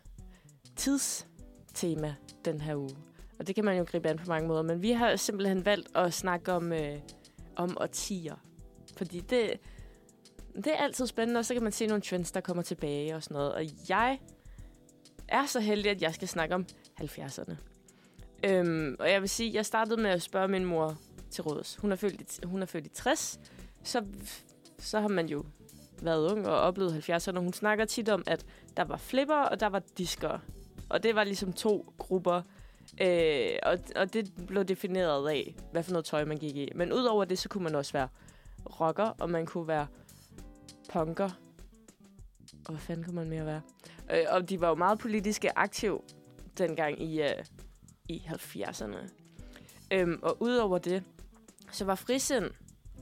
Speaker 1: tidstema den her uge, og det kan man jo gribe an på mange måder, men vi har simpelthen valgt at snakke om, øh, om årtier, fordi det, det er altid spændende, og så kan man se nogle trends, der kommer tilbage og sådan noget, og jeg er så heldig, at jeg skal snakke om 70'erne. Øhm, og jeg vil sige, jeg startede med at spørge min mor til råds. Hun er født i, hun er født i 60, så, så har man jo været ung og oplevet 70'erne. Hun snakker tit om, at der var flipper, og der var diskere. Og det var ligesom to grupper. Øh, og, og det blev defineret af, hvad for noget tøj man gik i. Men udover det, så kunne man også være rocker, og man kunne være punker. Og hvad fanden kunne man mere være? Øh, og de var jo meget politiske aktive dengang i... Øh, i 70'erne. Øhm, og udover det, så var frisind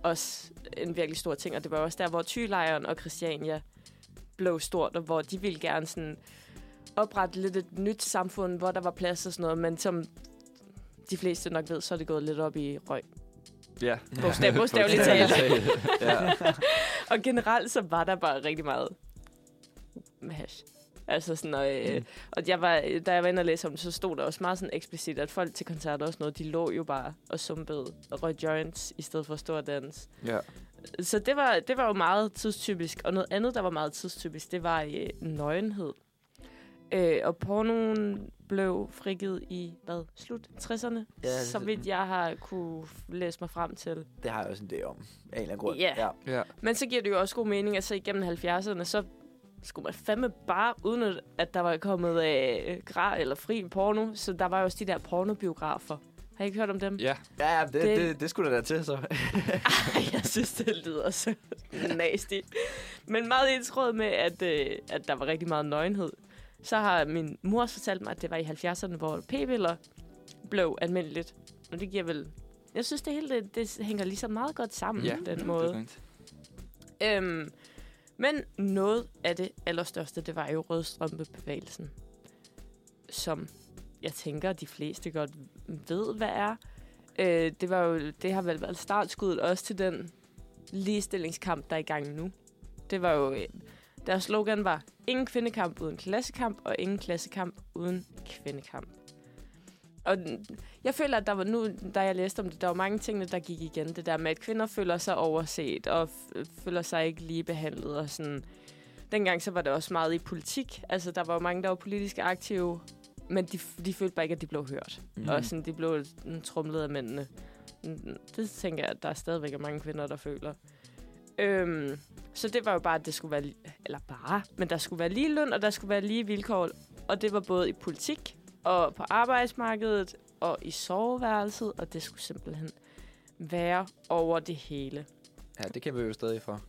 Speaker 1: også en virkelig stor ting, og det var også der, hvor Thylejren og Christiania blev stort, og hvor de ville gerne sådan oprette lidt et nyt samfund, hvor der var plads og sådan noget, men som de fleste nok ved, så er det gået lidt op i røg.
Speaker 2: Ja.
Speaker 1: Bogstav, bogstaveligt talt.
Speaker 2: ja.
Speaker 1: Og generelt så var der bare rigtig meget hash. Altså sådan, og, øh, mm. og jeg var, da jeg var inde og læse om det, så stod der også meget sådan eksplicit, at folk til koncerter og sådan noget, de lå jo bare og sumpede og røg joints i stedet for at stå og danse.
Speaker 2: ja.
Speaker 1: Så det var, det var jo meget tidstypisk. Og noget andet, der var meget tidstypisk, det var øh, nøgenhed. Øh, og pornoen blev frigivet i, hvad, slut 60'erne?
Speaker 3: Ja,
Speaker 1: Ja,
Speaker 3: det-
Speaker 1: så vidt jeg har kunne læse mig frem til.
Speaker 3: Det har jeg også en idé om, af en eller anden grund.
Speaker 1: Ja.
Speaker 3: Ja.
Speaker 2: ja.
Speaker 1: Men så giver det jo også god mening, at så igennem 70'erne, så skulle man fandme bare udnytte, at der var kommet øh, gra eller fri porno. Så der var jo også de der pornobiografer. Har I ikke hørt om dem?
Speaker 2: ja.
Speaker 3: Ja, ja, det,
Speaker 1: Det-
Speaker 3: det, det, det skulle da være til, så.
Speaker 1: Ej, jeg synes, det lyder så nasty. Men meget i tråd med, at, øh, at der var rigtig meget nøgenhed. Så har min mor også fortalt mig, at det var i 70'erne, hvor p-piller blev almindeligt. Og det giver vel... Jeg synes, det hele det, det hænger ligesom meget godt sammen,
Speaker 2: ja.
Speaker 1: den måde.
Speaker 2: Det er rigtigt.
Speaker 1: Øhm, men noget af det allerstørste, det var jo rødstrømpebevægelsen, som jeg tænker, de fleste godt ved, hvad er. Øh, det, var jo, det har vel været startskuddet også til den ligestillingskamp, der er i gang nu. Det var jo... Øh, deres slogan var, ingen kvindekamp uden klassekamp, og ingen klassekamp uden kvindekamp. Og den- jeg føler, at der var nu, da jeg læste om det, der var mange ting, der gik igen. Det der med, at kvinder føler sig overset, og f- føler sig ikke lige behandlet, og sådan... Dengang så var det også meget i politik. Altså, der var jo mange, der var politisk aktive, men de, f- de følte bare ikke, at de blev hørt.
Speaker 3: Mhm.
Speaker 1: Mm. Og sådan, de blev mm, trumlet af mændene. Mm, Det tænker jeg, at der stadigvæk er mange kvinder, der føler. Øhm, så det var jo bare, at det skulle være... li- Eller bare, men der skulle være lige løn, og der skulle være lige vilkår. Og det var både i politik, og på arbejdsmarkedet, og i soveværelset, og det skulle simpelthen være over det hele.
Speaker 3: Ja, det kan vi jo stadig for.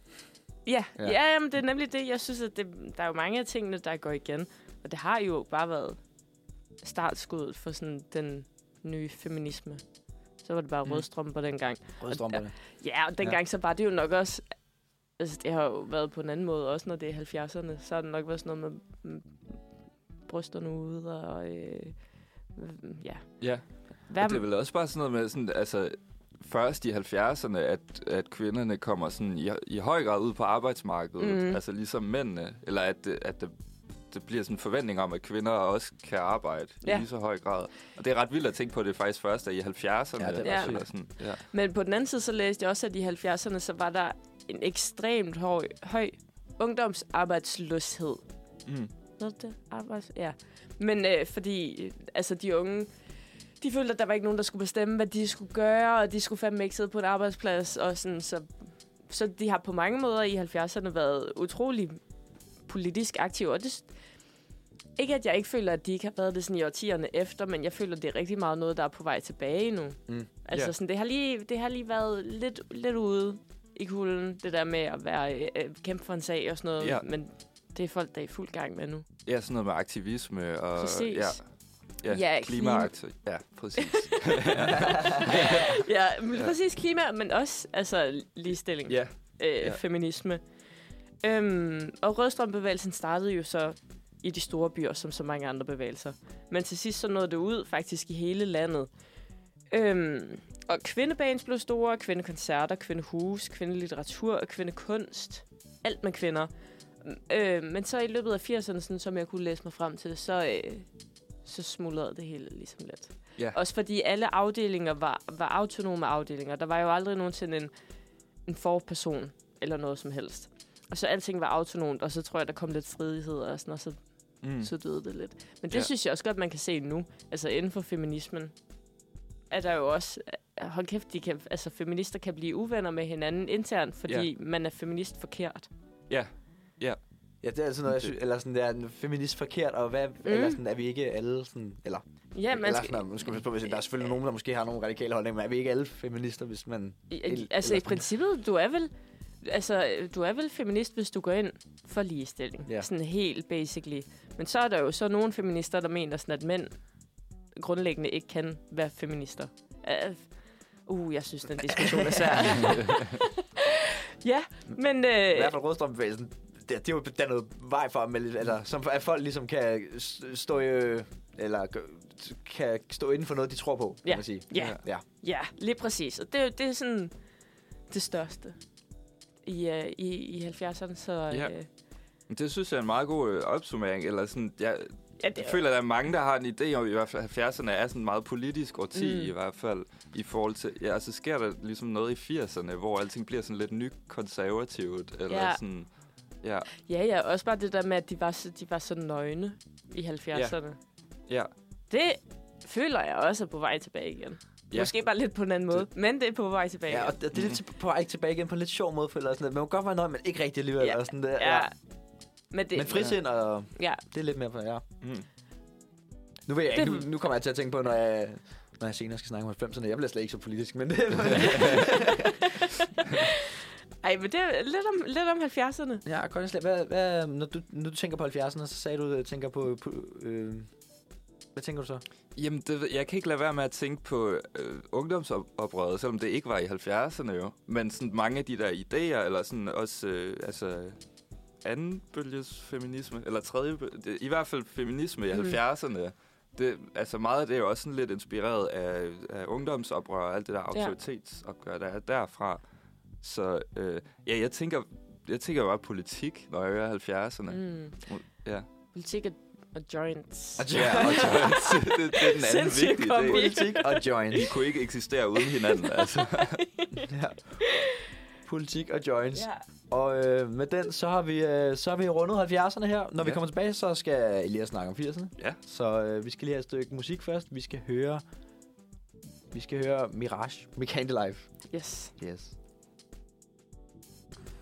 Speaker 1: Ja, ja.
Speaker 3: Ja.
Speaker 1: ja jamen, det er nemlig det. Jeg synes, at det, der er jo mange af tingene, der går igen. Og det har jo bare været startskuddet for sådan den nye feminisme. Så var det bare mm.
Speaker 3: Mm.
Speaker 1: rødstrømper dengang.
Speaker 3: Rødstrømperne.
Speaker 1: Ja, og dengang ja. så var det jo nok også... Altså, det har jo været på en anden måde, også når det er 70'erne. Så har det nok været sådan noget med mm, brysterne ude og... Øh, mm, ja.
Speaker 2: Ja.
Speaker 1: Hvad,
Speaker 2: Og det er vel også bare sådan noget med, sådan, altså, først i 70'erne, at, at kvinderne kommer sådan i, i høj grad ud på arbejdsmarkedet,
Speaker 1: Mhm.
Speaker 2: mm. altså ligesom mændene, eller at, at der, det bliver sådan en forventning om, at kvinder også kan arbejde ja.
Speaker 1: Ja.
Speaker 2: i lige så høj grad. Og det er ret vildt at tænke på, at det faktisk først er i 70'erne.
Speaker 3: Ja, det er
Speaker 1: ret
Speaker 2: eller
Speaker 3: sygt.
Speaker 2: sådan. Ja.
Speaker 1: Men på den anden side, så læste jeg også, at i 70'erne, så var der en ekstremt høj, høj ungdomsarbejdsløshed.
Speaker 2: Mm.
Speaker 1: Hvad er det? Arbejds... Ja. Men øh, fordi, øh, altså, de unge, de følte, at der var ikke nogen, der skulle bestemme, hvad de skulle gøre, og de skulle fandme ikke sidde på en arbejdsplads, og sådan, så, så de har på mange måder i 70'erne været utrolig politisk aktive, og det, s- ikke at jeg ikke føler, at de ikke har været det sådan i årtierne efter, men jeg føler, det er rigtig meget noget, der er på vej tilbage nu.
Speaker 3: Mm.
Speaker 1: Altså,
Speaker 2: Ja.
Speaker 1: sådan, det, har lige, det har lige været lidt, lidt ude i kulden, det der med at være, øh, kæmpe for en sag og sådan noget,
Speaker 2: Ja.
Speaker 1: men det er folk, der er i fuld gang med nu.
Speaker 2: ja, sådan noget med aktivisme og...
Speaker 1: Præcis.
Speaker 2: Ja, ja,
Speaker 1: Ja,
Speaker 2: ja
Speaker 1: klima.
Speaker 2: klimaaktiv. Ja, præcis.
Speaker 1: ja, men præcis klima, men også altså, ligestilling,
Speaker 2: ja.
Speaker 1: øh,
Speaker 2: ja.
Speaker 1: feminisme. Øhm, og rødstrømbevægelsen startede jo så i de store byer, som så mange andre bevægelser. Men til sidst så nåede det ud faktisk i hele landet. Øhm, og kvindebanes blev store, kvindekoncerter, kvindehus, kvindelitteratur og kvindekunst. Alt med kvinder. Øh, men så i løbet af 80'erne, sådan, som jeg kunne læse mig frem til, så, øh, så smuldrede det hele ligesom lidt.
Speaker 2: Ja.
Speaker 1: Også fordi alle afdelinger var, var autonome afdelinger. Der var jo aldrig nogensinde en, en forperson eller noget som helst. Og så alting var autonomt, og så tror jeg, der kom lidt stridighed og sådan, og så,
Speaker 2: Mm.
Speaker 1: mm. så døde det lidt. Men det
Speaker 2: Ja.
Speaker 1: ja. synes jeg også godt, man kan se nu. Altså inden for feminismen er der jo også... øh, Hold kæft, de kan, altså, feminister kan blive uvenner med hinanden internt, fordi ja. man er feminist forkert.
Speaker 3: Ja, det er sådan noget, jeg synes, eller sådan, det er en feminist forkert, og hvad, mm. eller sådan, er vi ikke alle sådan, eller,
Speaker 1: Ja, man
Speaker 3: eller
Speaker 1: skal,
Speaker 3: sådan, noget, man skal passe på, hvis der er selvfølgelig nogen, der måske har nogle radikale holdninger, men er vi ikke alle feminister, hvis man,
Speaker 1: I-
Speaker 3: Eller-
Speaker 1: altså i
Speaker 3: eller sådan.
Speaker 1: princippet, du er vel altså, du er vel feminist, hvis du går ind for ligestilling.
Speaker 3: Ja.
Speaker 1: Sådan helt basically. Men så er der jo så nogle feminister, der mener sådan, at mænd grundlæggende ikke kan være feminister. Øh, Uh, jeg synes, den diskussion er svær. ja, men...
Speaker 3: i
Speaker 1: Øh,
Speaker 3: hvert fald rødstrømbevægelsen, det, det er jo der er noget vej for, at man- eller, som, at folk ligesom kan s- stå i, øh, eller gø- kan stå inden for noget, de tror på, kan
Speaker 1: Ja.
Speaker 3: man sige.
Speaker 1: Ja.
Speaker 3: ja.
Speaker 1: ja, lige præcis. Og det, er jo- det er sådan det største i, øh, i, i 70'erne. Så,
Speaker 2: Ja.
Speaker 1: øh,
Speaker 2: Men Det synes jeg er en meget god øh, opsummering. Eller sådan, jeg,
Speaker 1: ja,
Speaker 2: jeg
Speaker 1: det,
Speaker 2: føler, at der er mange, der har en idé om, i hvert fald 70'erne er sådan meget politisk årti
Speaker 1: Mm.
Speaker 2: mm. i hvert fald. I forhold til, ja, og så sker der ligesom noget i 80'erne, hvor alting bliver sådan lidt nykonservativt. Eller
Speaker 1: Ja.
Speaker 2: sådan, ja,
Speaker 1: Ja, ja, også bare det der med, at de var så, de var så nøgne i 70'erne.
Speaker 2: ja.
Speaker 1: Det føler jeg også er på vej tilbage igen. Ja.
Speaker 2: Ja.
Speaker 1: Måske bare lidt på en anden måde, men det er på vej tilbage
Speaker 3: Ja,
Speaker 1: igen.
Speaker 3: og det, det er lidt til- på vej tilbage igen på en lidt sjov måde, føler jeg sådan lidt. Man må godt være nøje, men ikke rigtig alligevel.
Speaker 1: Ja.
Speaker 3: Ja. Og sådan der.
Speaker 1: ja. Men, det,
Speaker 3: Men frisind, og
Speaker 1: Ja,
Speaker 3: det er lidt mere på, ja.
Speaker 2: Mm.
Speaker 3: Nu, ved jeg
Speaker 1: Det-
Speaker 3: ikke, nu, nu kommer jeg til at tænke på, når jeg, når jeg senere skal snakke om 90'erne. Jeg bliver slet ikke så politisk, men det
Speaker 1: Ej, men det er lidt om, lidt om 70'erne.
Speaker 3: Ja, Conny Slip, hvad, hvad, når, du, når du tænker på 70'erne, så sagde du, at du tænker på... på øh, hvad tænker du så?
Speaker 2: Jamen, det, ved- jeg kan ikke lade være med at tænke på øh, ungdomsoprøret, selvom det ikke var i 70'erne jo. Men sådan mange af de der idéer, eller sådan også øh, altså, anden bølges feminisme, eller tredje bølge, det, i hvert fald feminisme i
Speaker 1: Mm.
Speaker 2: mm. 70'erne. Det, altså meget af det er jo også sådan lidt inspireret af, af ungdomsoprør og alt det der
Speaker 1: Ja.
Speaker 2: autoritetsopgør, der er derfra. Så øh, ja, jeg tænker, jeg tænker bare politik, når jeg hører 70'erne. Mm.
Speaker 1: Mm.
Speaker 2: Ja.
Speaker 1: Politik og- og joints.
Speaker 2: ja, og det, det, det er den anden
Speaker 1: Sindssyg
Speaker 2: vigtige
Speaker 1: kombi.
Speaker 2: del.
Speaker 3: Politik og joints.
Speaker 2: De kunne ikke eksistere uden hinanden, altså.
Speaker 3: ja. Politik og joints.
Speaker 1: Ja.
Speaker 3: Og øh, med den, så har vi, øh, så har vi rundet 70'erne her. Når ja. vi
Speaker 2: Ja.
Speaker 3: kommer tilbage, så skal Elias snakke om 80'erne.
Speaker 2: Ja.
Speaker 3: Så øh, vi skal lige have et stykke musik først. Vi skal høre... Vi skal høre Mirage med Candlelife.
Speaker 1: Yes.
Speaker 3: Yes.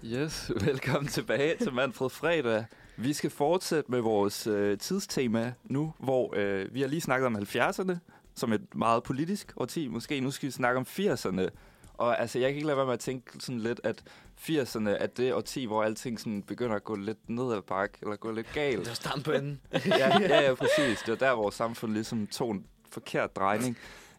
Speaker 2: Yes, velkommen tilbage til Manfred Fredag. Vi skal fortsætte med vores øh, tidstema nu, hvor øh, vi har lige snakket om 70'erne, som et meget politisk årti måske. Nu skal vi snakke om 80'erne. Og altså, jeg kan ikke lade være med at tænke sådan lidt, at 80'erne er det årti, hvor alting sådan begynder at gå lidt ned ad bakke, eller gå lidt
Speaker 3: Det
Speaker 2: galt.
Speaker 3: var stampe på enden.
Speaker 2: ja, ja, ja, præcis. Det var der, vores samfund ligesom tog en forkert drejning.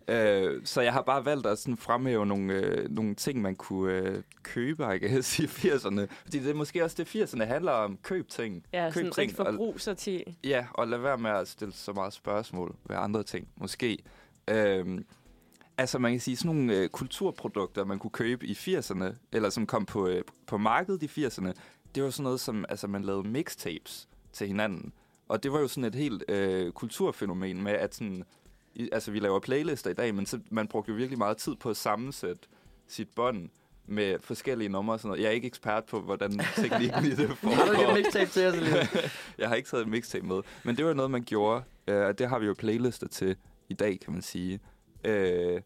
Speaker 2: Øh, så jeg har bare valgt at sådan fremhæve nogle, øh, nogle ting, man kunne øh, købe, jeg kan sige, i 80'erne. Fordi det er måske også det, 80'erne handler om. Køb ting.
Speaker 1: Ja,
Speaker 2: køb
Speaker 1: sådan rigtig
Speaker 2: og,
Speaker 1: forbrugsarti.
Speaker 2: ja, og lad være med at stille så meget spørgsmål ved andre ting, måske. Øhm, altså, man kan sige, sådan nogle øh, kulturprodukter, man kunne købe i 80'erne, eller som kom på, øh, på markedet i 80'erne, det var sådan noget som, altså, man lavede mixtapes til hinanden. Og Og det var jo sådan et helt øh, kulturfænomen med, at sådan, i, altså vi laver playlister i dag, men så, man brugte jo virkelig meget tid på at sammensætte sit bånd med forskellige numre og sådan noget. Jeg er ikke ekspert på, hvordan teknikken i det
Speaker 3: Har du ikke et
Speaker 2: foregår.
Speaker 3: mixtape til os lige?
Speaker 2: jeg har ikke taget et mixtape med. Men det var noget, man gjorde, øh, og det har vi jo playlister til i dag, kan man sige. Øh,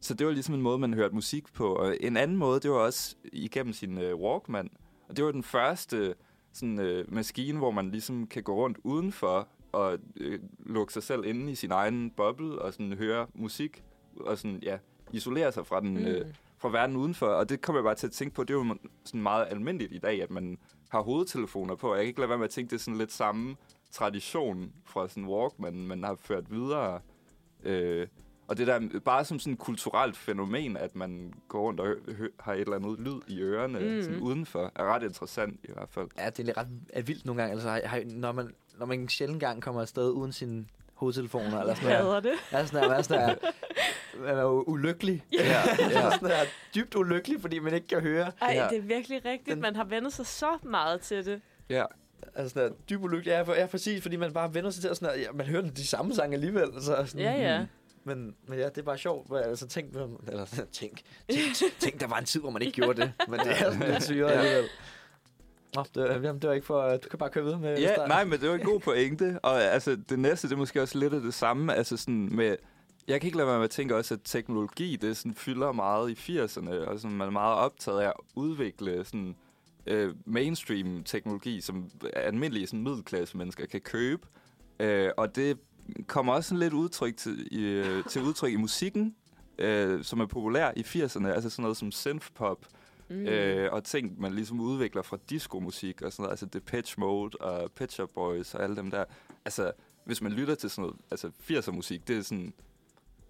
Speaker 2: så det var ligesom en måde, man hørte musik på. Og en anden måde, det var også igennem sin øh, Walkman. Og det var den første sådan, øh, maskine, hvor man ligesom kan gå rundt udenfor og øh, lukke sig selv inde i sin egen boble og sådan høre musik og sådan, ja, isolere sig fra den... Mm. Øh, fra verden udenfor, og det kommer jeg bare til at tænke på, det er jo sådan meget almindeligt i dag, at man har hovedtelefoner på, og jeg kan ikke lade være med at tænke, det er sådan lidt samme tradition fra sådan Walkman, man har ført videre. Øh, og det der bare som sådan et kulturelt fænomen, at man går rundt og hø- hø- har et eller andet lyd i ørerne mm. sådan udenfor, er ret interessant i hvert fald.
Speaker 3: Ja, det er ret er vildt nogle gange. Altså, har, har, når, man, når man en sjældent gang kommer afsted uden sin hovedtelefoner eller sådan
Speaker 1: Jeg
Speaker 3: noget.
Speaker 1: hader det.
Speaker 3: Jeg er sådan her, man er sådan her, man er jo ulykkelig.
Speaker 2: Ja,
Speaker 3: Ja. sådan her, dybt ulykkelig, fordi man ikke kan høre.
Speaker 1: Ej,
Speaker 2: Ja.
Speaker 1: det er virkelig rigtigt.
Speaker 3: Den-
Speaker 1: Man har vendt sig så meget til det.
Speaker 2: ja.
Speaker 3: Altså sådan her, dybt ulykkelig. Ja, for, ja, præcis, fordi man bare vender sig til, at sådan her, ja, man hører de samme sange alligevel. Så sådan,
Speaker 1: Ja, ja.
Speaker 3: Men, men ja, det er bare sjovt. hvor- Altså, tænk, hvad- eller, tænk, tænk, tænk, der var en tid, hvor man ikke gjorde det. Men det er sådan lidt syret
Speaker 2: Ja.
Speaker 3: alligevel. Nå, det, var- jamen, det var ikke for... øh, Du kan bare køre videre med...
Speaker 2: Ja,
Speaker 3: stregen.
Speaker 2: nej, men det var en god pointe. Og altså, det næste, det er måske også lidt af det samme. Altså sådan med, jeg kan ikke lade være med at tænke også, at teknologi, det sådan fylder meget i 80'erne, og sådan, man er meget optaget af at udvikle sådan, øh, mainstream teknologi, som almindelige sådan, middelklasse mennesker kan købe. Øh, og det kommer også sådan lidt udtryk til, i, øh, til udtryk i musikken, øh, som er populær i 80'erne, altså sådan noget som synthpop,
Speaker 1: Mm.
Speaker 2: øh, og ting, man ligesom udvikler fra discomusik og sådan noget, altså Depeche Mode og Pet Shop Boys og alle dem der. Altså, hvis man lytter til sådan noget, altså 80'er musik, det er sådan,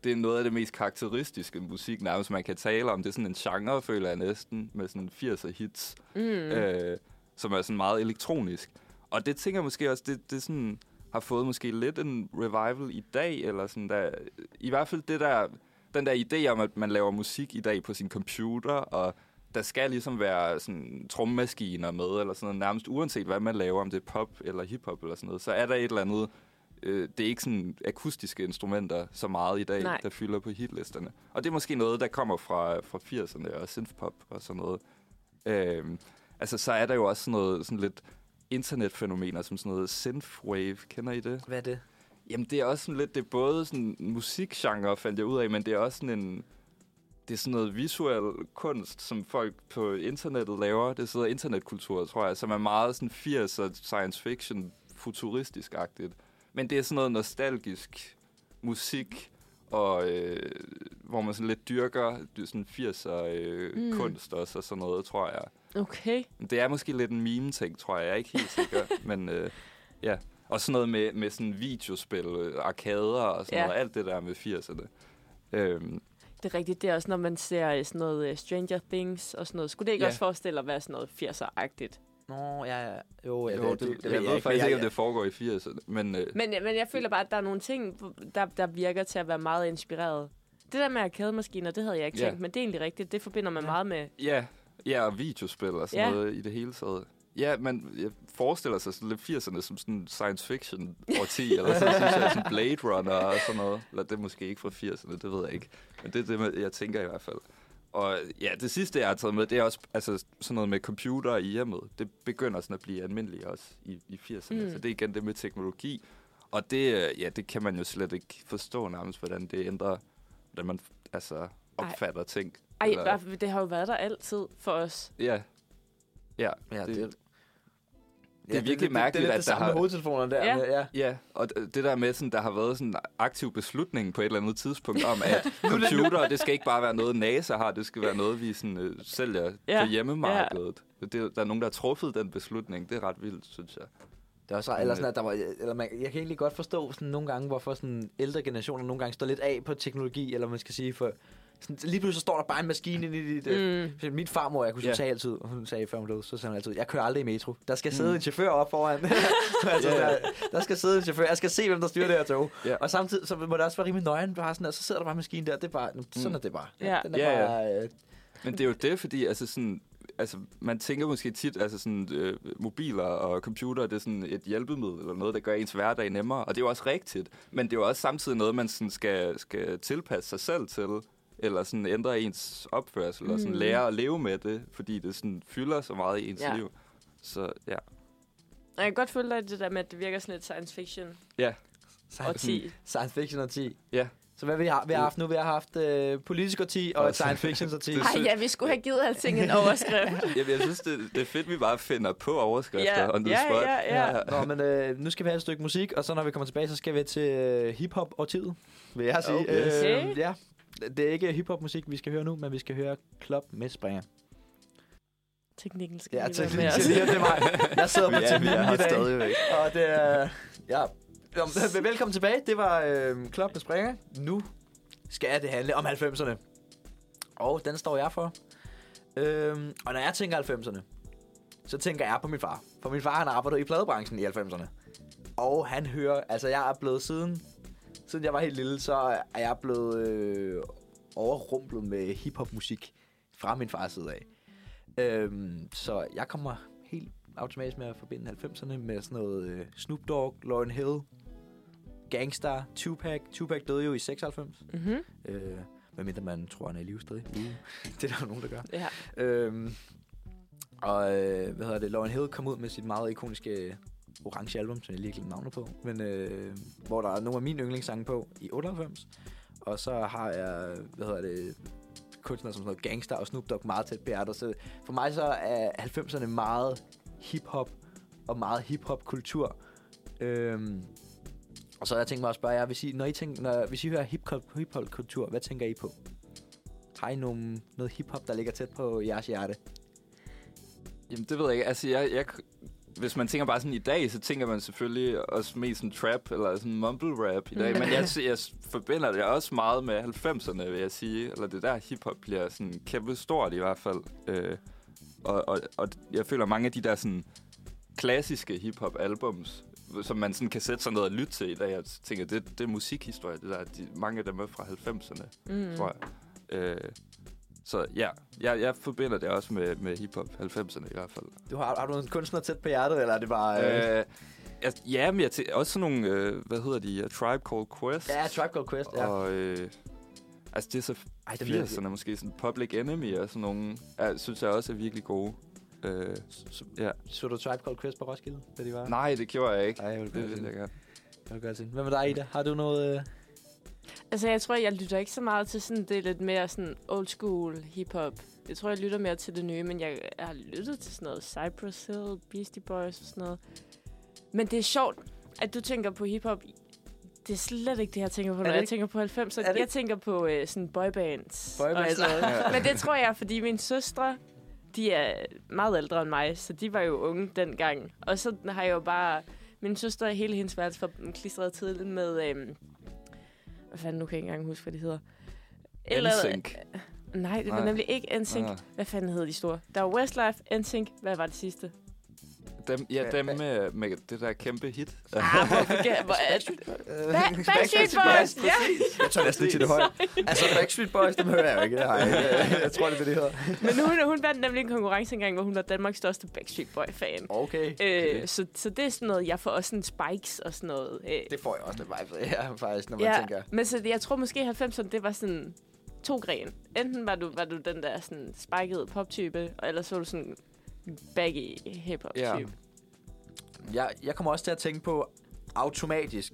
Speaker 2: det er noget af det mest karakteristiske musik, nærmest man kan tale om. Det er sådan en genre, føler jeg næsten, med sådan 80'er hits, mm. øh, som er sådan meget elektronisk. Og det tænker jeg måske også, det, det sådan har fået måske lidt en revival i dag, eller sådan der, i hvert fald det der, den der idé om, at man laver musik i dag på sin computer, og der skal ligesom være sådan trommemaskiner med, eller sådan noget, nærmest uanset hvad man laver, om det er pop eller hiphop eller sådan noget, så er der et eller andet, øh, det er ikke sådan akustiske instrumenter så meget i dag,
Speaker 1: Nej.
Speaker 2: der fylder på hitlisterne. Og det er måske noget, der kommer fra, fra 80'erne og synthpop og sådan noget. Øhm, altså, så er der jo også sådan noget sådan lidt internetfænomener, som sådan noget synthwave. Kender I det?
Speaker 3: Hvad er det?
Speaker 2: Jamen, det er også sådan lidt, det er både sådan en musikgenre, fandt jeg ud af, men det er også sådan en, det er sådan noget visuel kunst, som folk på internettet laver. Det er sådan noget internetkultur, tror jeg, som er meget sådan 80'er science fiction, futuristisk-agtigt. Men det er sådan noget nostalgisk musik, og øh, hvor man sådan lidt dyrker det er sådan 80'er øh,
Speaker 1: Mm.
Speaker 2: mm. kunst også, og sådan noget, tror jeg.
Speaker 1: Okay.
Speaker 2: Men Det er måske lidt en meme-ting, tror jeg. Jeg er ikke helt sikker, men øh, ja. Og sådan noget med, med sådan videospil, øh, arkader og sådan
Speaker 1: Ja.
Speaker 2: ja. noget. Alt det der med 80'erne. Øhm,
Speaker 1: Det er rigtigt. Det er også, når man ser øh, sådan noget øh, Stranger Things og sådan noget. Skulle det ikke
Speaker 2: Ja.
Speaker 1: også forestille at være sådan noget 80'er-agtigt?
Speaker 3: Nå, ja, ja. Jo, ja,
Speaker 2: jo, det, det, det, jeg ved faktisk ikke, om det foregår i 80'erne. Men øh,
Speaker 1: Men, men jeg føler bare, at der er nogle ting, der, der virker til at være meget inspireret. Det der med arkademaskiner, det havde jeg ikke
Speaker 2: Ja.
Speaker 1: tænkt, men det er egentlig rigtigt. Det forbinder man meget med.
Speaker 2: ja, ja, og videospil og sådan
Speaker 1: Ja.
Speaker 2: ja. noget i det hele taget. Ja, man jeg forestiller sig sådan lidt 80'erne som sådan en science fiction årti, eller sådan, synes jeg, sådan Blade Runner og sådan noget. Eller det er måske ikke fra 80'erne, det ved jeg ikke. Men det er det, jeg tænker i hvert fald. Og ja, det sidste, jeg har taget med, det er også altså, sådan noget med computer og hjemmet. Det begynder sådan at blive almindeligt også i, i 80'erne.
Speaker 1: Mm.
Speaker 2: Mm. Så det er igen det med teknologi. Og det, øh, ja, det kan man jo slet ikke forstå nærmest, hvordan det ændrer, hvordan man altså, opfatter Ej. ting.
Speaker 1: Ej,
Speaker 2: Eller-
Speaker 1: Eller... det har jo været der altid for os.
Speaker 2: Ja. Ja,
Speaker 3: Ja, det,
Speaker 2: det-
Speaker 3: det,
Speaker 2: virkelig mærkeligt,
Speaker 3: det, det,
Speaker 2: at
Speaker 3: det,
Speaker 2: der
Speaker 3: det samme
Speaker 2: har-
Speaker 3: med hovedtelefonerne der.
Speaker 1: Ja.
Speaker 3: Ja. Med, ja.
Speaker 2: ja. Og d- det der med, sådan, der har været sådan en aktiv beslutning på et eller andet tidspunkt om, at computer, det skal ikke bare være noget, NASA har, det skal være noget, vi sådan, øh, sælger
Speaker 1: Ja,
Speaker 2: ja. på hjemmemarkedet. Ja. Det, der er nogen, der har truffet den beslutning. Det er ret vildt, synes jeg.
Speaker 3: Det er også ret,
Speaker 2: Men,
Speaker 3: eller sådan,
Speaker 2: øh,
Speaker 3: at der var, eller man, jeg kan egentlig godt forstå sådan nogle gange, hvorfor sådan ældre generationer nogle gange står lidt af på teknologi, eller man skal sige, for sådan, lige pludselig så står der bare en maskine inde i dit... Mm.
Speaker 1: Mm.
Speaker 3: Min farmor, jeg kunne yeah.
Speaker 2: Ja.
Speaker 3: sige altid, og hun sagde før hun døde, så sagde hun altid, jeg kører aldrig i metro. Der skal sidde mm. en chauffør op foran. altså,
Speaker 2: Ja.
Speaker 3: der, der, skal sidde en chauffør. Jeg skal se, hvem der styrer det her tog.
Speaker 2: Ja.
Speaker 3: Og samtidig så må det også være rimelig nøgen. Bare sådan, og så sidder der bare en maskine der. Det er bare, sådan
Speaker 2: Mm.
Speaker 3: er det bare.
Speaker 1: Ja.
Speaker 3: Den er
Speaker 2: Ja, ja.
Speaker 3: bare øh,
Speaker 2: Men det er jo det, fordi altså sådan, altså, man tænker måske tit, altså sådan, øh, mobiler og computer, det er sådan et hjælpemiddel eller noget, der gør ens hverdag nemmere. Og det er jo også rigtigt, men det er jo også samtidig noget, man sådan skal, skal tilpasse sig selv til, eller sådan ændre ens opførsel, mm. og sådan lære at leve med det, fordi det sådan fylder så meget i ens
Speaker 1: Ja.
Speaker 2: ja. liv. Så ja.
Speaker 1: Jeg kan godt følge dig i det der med, at det virker sådan lidt science fiction
Speaker 2: Ja,
Speaker 1: og
Speaker 3: Science,
Speaker 1: 10.
Speaker 3: science fiction og 10.
Speaker 2: ja.
Speaker 3: Så hvad vi har, vi har haft nu? Vi har haft øh, politisk og 10 og et
Speaker 2: Altså,
Speaker 3: science fiction og 10.
Speaker 2: det-
Speaker 5: Ej, ja, vi skulle have givet alting en overskrift.
Speaker 2: Jamen, jeg synes, det, det er fedt, vi bare finder på overskrifter
Speaker 1: Ja,
Speaker 2: og nyde
Speaker 1: ja,
Speaker 2: spot.
Speaker 1: ja, ja.
Speaker 3: Nå, men øh, nu skal vi have et stykke musik, og så når vi kommer tilbage, så skal vi til øh, hiphop og tid, vil jeg sige.
Speaker 1: Okay.
Speaker 3: Øh, ja, det er ikke hiphop musik, vi skal høre nu, men vi skal høre Club med Springer.
Speaker 1: Teknikken skal
Speaker 3: Ja,
Speaker 1: lige være
Speaker 3: til
Speaker 1: med
Speaker 3: lige
Speaker 1: os.
Speaker 3: det er mig. Jeg sidder på
Speaker 2: Vi er- vi
Speaker 3: teknikken
Speaker 2: er her
Speaker 3: i dag.
Speaker 2: stadigvæk.
Speaker 3: Og det er... Ja. Nå, men Velkommen tilbage. Det var øh, Club med Springer. Nu skal det handle om 90'erne. Og den står jeg for. Øhm, og når jeg tænker 90'erne, så tænker jeg på min far. For min far, han arbejdede i pladebranchen i 90'erne. Og han hører... Altså, jeg er blevet siden... Siden jeg var helt lille, så er jeg blevet øh, overrumplet med hiphop-musik fra min fars side af. Øhm, så jeg kommer helt automatisk med at forbinde 90'erne med sådan noget øh, Snoop Dogg, Lauryn Hill, Gangstar, Tupac. Tupac døde jo i 96.
Speaker 1: Mhm.
Speaker 3: Øh, medmindre man tror, han er i live stadig. det er der jo nogen, der gør.
Speaker 1: Ja.
Speaker 3: Øhm, og øh, hvad hedder det? Lauryn Hill kom ud med sit meget ikoniske øh, orange album, som jeg lige har glemt navnet på. Men øh, hvor der er nogle af mine yndlingssange på i 98. Og så har jeg, hvad hedder det, kunstnere som sådan noget Gangster og Snoop Dogg meget tæt på hjertet. Så for mig så er 90'erne meget hip-hop og meget hip-hop-kultur. Øhm, og så har jeg tænkt mig at spørge jer, hvis I, når I, tænker, når, hvis I hører hip-hop- hip-hop-kultur, hvad tænker I på? Har I nogen, noget hip-hop, der ligger tæt på jeres hjerte?
Speaker 2: Jamen, det ved jeg ikke. Altså, jeg, jeg, hvis man tænker bare sådan i dag, så tænker man selvfølgelig også mest sådan trap eller sådan mumble rap i dag. Men jeg, jeg forbinder det også meget med 90'erne, vil jeg sige. Eller det der hiphop bliver sådan kæmpe stort i hvert fald. Øh, og, og, og jeg føler mange af de der sådan klassiske hiphop albums som man sådan kan sætte sig ned og lytte til i dag. Jeg tænker, det, det er musikhistorie, det der. De, mange af dem er fra 90'erne, mm. tror jeg. Øh, så ja, jeg, jeg forbinder det også med, med hiphop, 90'erne i hvert fald.
Speaker 3: Du har, har du en kunstner tæt på hjertet, eller er det bare... Øh,
Speaker 2: Øh, altså, ja, men jeg tæ- også sådan nogle, øh, hvad hedder de, A Tribe Called Quest.
Speaker 3: ja, Tribe Called Quest, ja.
Speaker 2: Og, øh, altså, det er så
Speaker 3: Ej,
Speaker 2: Ej,
Speaker 3: dem vil jeg-
Speaker 2: 80'erne måske, sådan Public Enemy og sådan nogle, er, synes jeg også er virkelig gode. Øh,
Speaker 3: Så,
Speaker 2: ja.
Speaker 3: så du Tribe Called Quest på Roskilde, da de var?
Speaker 2: Nej, det gjorde jeg ikke.
Speaker 3: Ej, jeg vil
Speaker 2: Det
Speaker 3: gøre
Speaker 2: ville
Speaker 3: det.
Speaker 2: jeg gerne.
Speaker 3: Jeg vil gøre det. Hvad med dig, Ida? Har du noget... Øh...
Speaker 1: Altså, jeg tror, jeg lytter ikke så meget til sådan det lidt mere sådan old school hip-hop. Jeg tror, jeg lytter mere til det nye, men jeg, jeg har lyttet til sådan noget Cypress Hill, Beastie Boys og sådan noget. Men det er sjovt, at du tænker på hip-hop. Det er slet ikke det, jeg tænker på, når
Speaker 3: det
Speaker 1: jeg
Speaker 3: ikke-
Speaker 1: tænker på 90'er.
Speaker 3: Er det
Speaker 1: Jeg
Speaker 3: ikke-
Speaker 1: tænker på øh, sådan boybands.
Speaker 3: Boybands.
Speaker 1: Og sådan noget. men det tror jeg, er, fordi mine søstre, de er meget ældre end mig, så de var jo unge dengang. Og så har jeg jo bare... Min søster og hele hendes værelse for klistret til med... Øhm, hvad fanden, nu kan jeg ikke engang huske, hvad de hedder.
Speaker 2: NSYNC.
Speaker 1: Nej, det var
Speaker 2: Nej.
Speaker 1: nemlig ikke NSYNC.
Speaker 2: Ah.
Speaker 1: Hvad fanden hed de store? Der var Westlife, NSYNC. Hvad var det sidste?
Speaker 2: Dem, ja,
Speaker 3: Hva-
Speaker 2: dem med, med det der kæmpe hit.
Speaker 1: Ah, hvor forge- hvor er det? Ba- Backstreet
Speaker 3: Backstreet
Speaker 1: Boys!
Speaker 3: Boys,
Speaker 1: Ja.
Speaker 3: Jeg tør næsten ikke til det højt. Altså, Backstreet Boys, dem hører jeg jo ikke. Jeg, jeg, jeg tror, det er det, det hedder.
Speaker 1: Men hun, hun vandt nemlig en konkurrence engang, hvor hun var Danmarks største Backstreet Boy-fan.
Speaker 3: Okay.
Speaker 1: Øh, så, så det er sådan noget, jeg får også sådan spikes og sådan noget. Øh,
Speaker 3: Det får jeg også lidt vibe af, ja, faktisk, når man
Speaker 1: ja,
Speaker 3: tænker...
Speaker 1: men så det- jeg tror måske 90'erne, det var sådan to gren. Enten var du, var du den der sådan spikede poptype, og ellers var du sådan baggy hip-hop-type.
Speaker 3: Jeg, jeg kommer også til at tænke på automatisk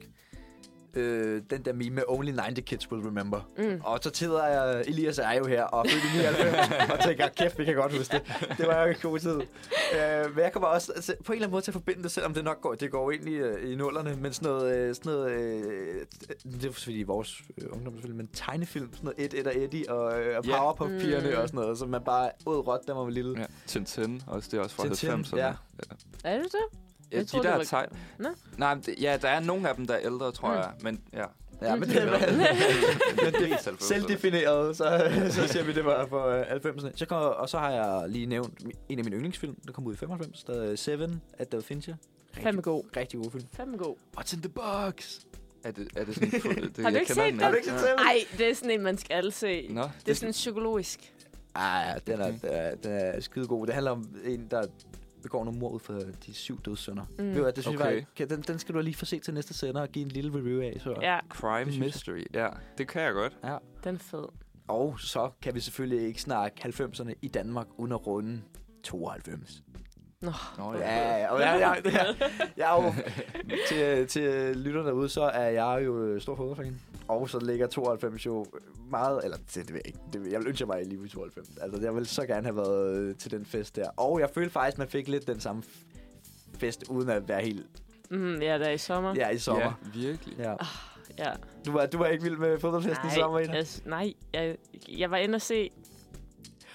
Speaker 3: øh, den der meme med Only 90 Kids Will Remember. Mm. Og så tider jeg, Elias er jo her, og født i 99, og tænker, kæft, vi kan godt huske det. Det var jo en god tid. Øh, men jeg kommer også altså, på en eller anden måde til at forbinde det, selvom det nok går, det går egentlig øh, i nullerne, men sådan noget, øh, sådan noget øh, det er selvfølgelig i vores øh, ungdom selvfølgelig, men tegnefilm, sådan noget 1 og Eddie og, øh, og
Speaker 2: Ja.
Speaker 3: Powerpuff-pigerne og sådan noget, så man bare åd råt, der var man lille.
Speaker 2: Ja. Tintin også, det er også fra
Speaker 3: Tintin,
Speaker 2: 90'erne.
Speaker 3: ja.
Speaker 1: Er det det? Jeg
Speaker 2: Ja, de
Speaker 1: troede,
Speaker 2: der
Speaker 1: det var-
Speaker 2: tegn...
Speaker 1: Nå.
Speaker 2: Nej, men det, ja, der er nogle af dem, der er ældre, tror
Speaker 1: Mm.
Speaker 2: mm. jeg. Men ja.
Speaker 3: Ja, men det er
Speaker 2: men det er
Speaker 3: selvdefineret, så, så siger vi, det var for øh, 90'erne. Så kommer, og så har jeg lige nævnt en af mine yndlingsfilm, der kom ud i 95, der er Seven af David Fincher.
Speaker 1: Fandme god.
Speaker 3: Rigtig god film.
Speaker 1: Fandme god.
Speaker 3: What's in the box?
Speaker 2: Er det, er det sådan... Det,
Speaker 1: Har du ikke set den?
Speaker 3: Har du ikke set Seven?
Speaker 1: Ej, det er sådan en, man skal alle se.
Speaker 2: Nå,
Speaker 1: Det er sådan psykologisk.
Speaker 3: Ah, den er, den er, den er skidegod. Det handler om en, der begår nogle mord ud for de syv dødssynder. Mm. Ved du, hvad, det synes okay.
Speaker 2: Okay.
Speaker 3: jeg, var- kan- den, den skal du lige få set til næste sender og give en lille review af. Så.
Speaker 1: Ja,
Speaker 2: Crime
Speaker 3: Det synes jeg.
Speaker 2: mystery. Ja, det kan jeg godt.
Speaker 3: ja.
Speaker 1: den er fed.
Speaker 3: Og så kan vi selvfølgelig ikke snakke 90'erne i Danmark under runden 92.
Speaker 2: Nå,
Speaker 3: Ja, ja, og jeg, jeg, jeg, jeg er jo, til, til lytterne derude, så er jeg jo øh, stor fodboldfan. Og så ligger 92 jo meget, eller det, det ved jeg ikke, det, ved- jeg ønsker mig i live i 92. Altså, jeg ville så gerne have været øh, til den fest der. Og jeg følte faktisk, man fik lidt den samme f- fest, uden at være helt
Speaker 1: Mm, ja, der er i sommer.
Speaker 3: ja, i sommer.
Speaker 2: Ja, virkelig.
Speaker 3: Ja. Ja.
Speaker 1: ja.
Speaker 3: Du, var, du var ikke vild med fodboldfesten i sommer, Ina?
Speaker 1: jeg, altså, nej jeg, jeg var inde og se...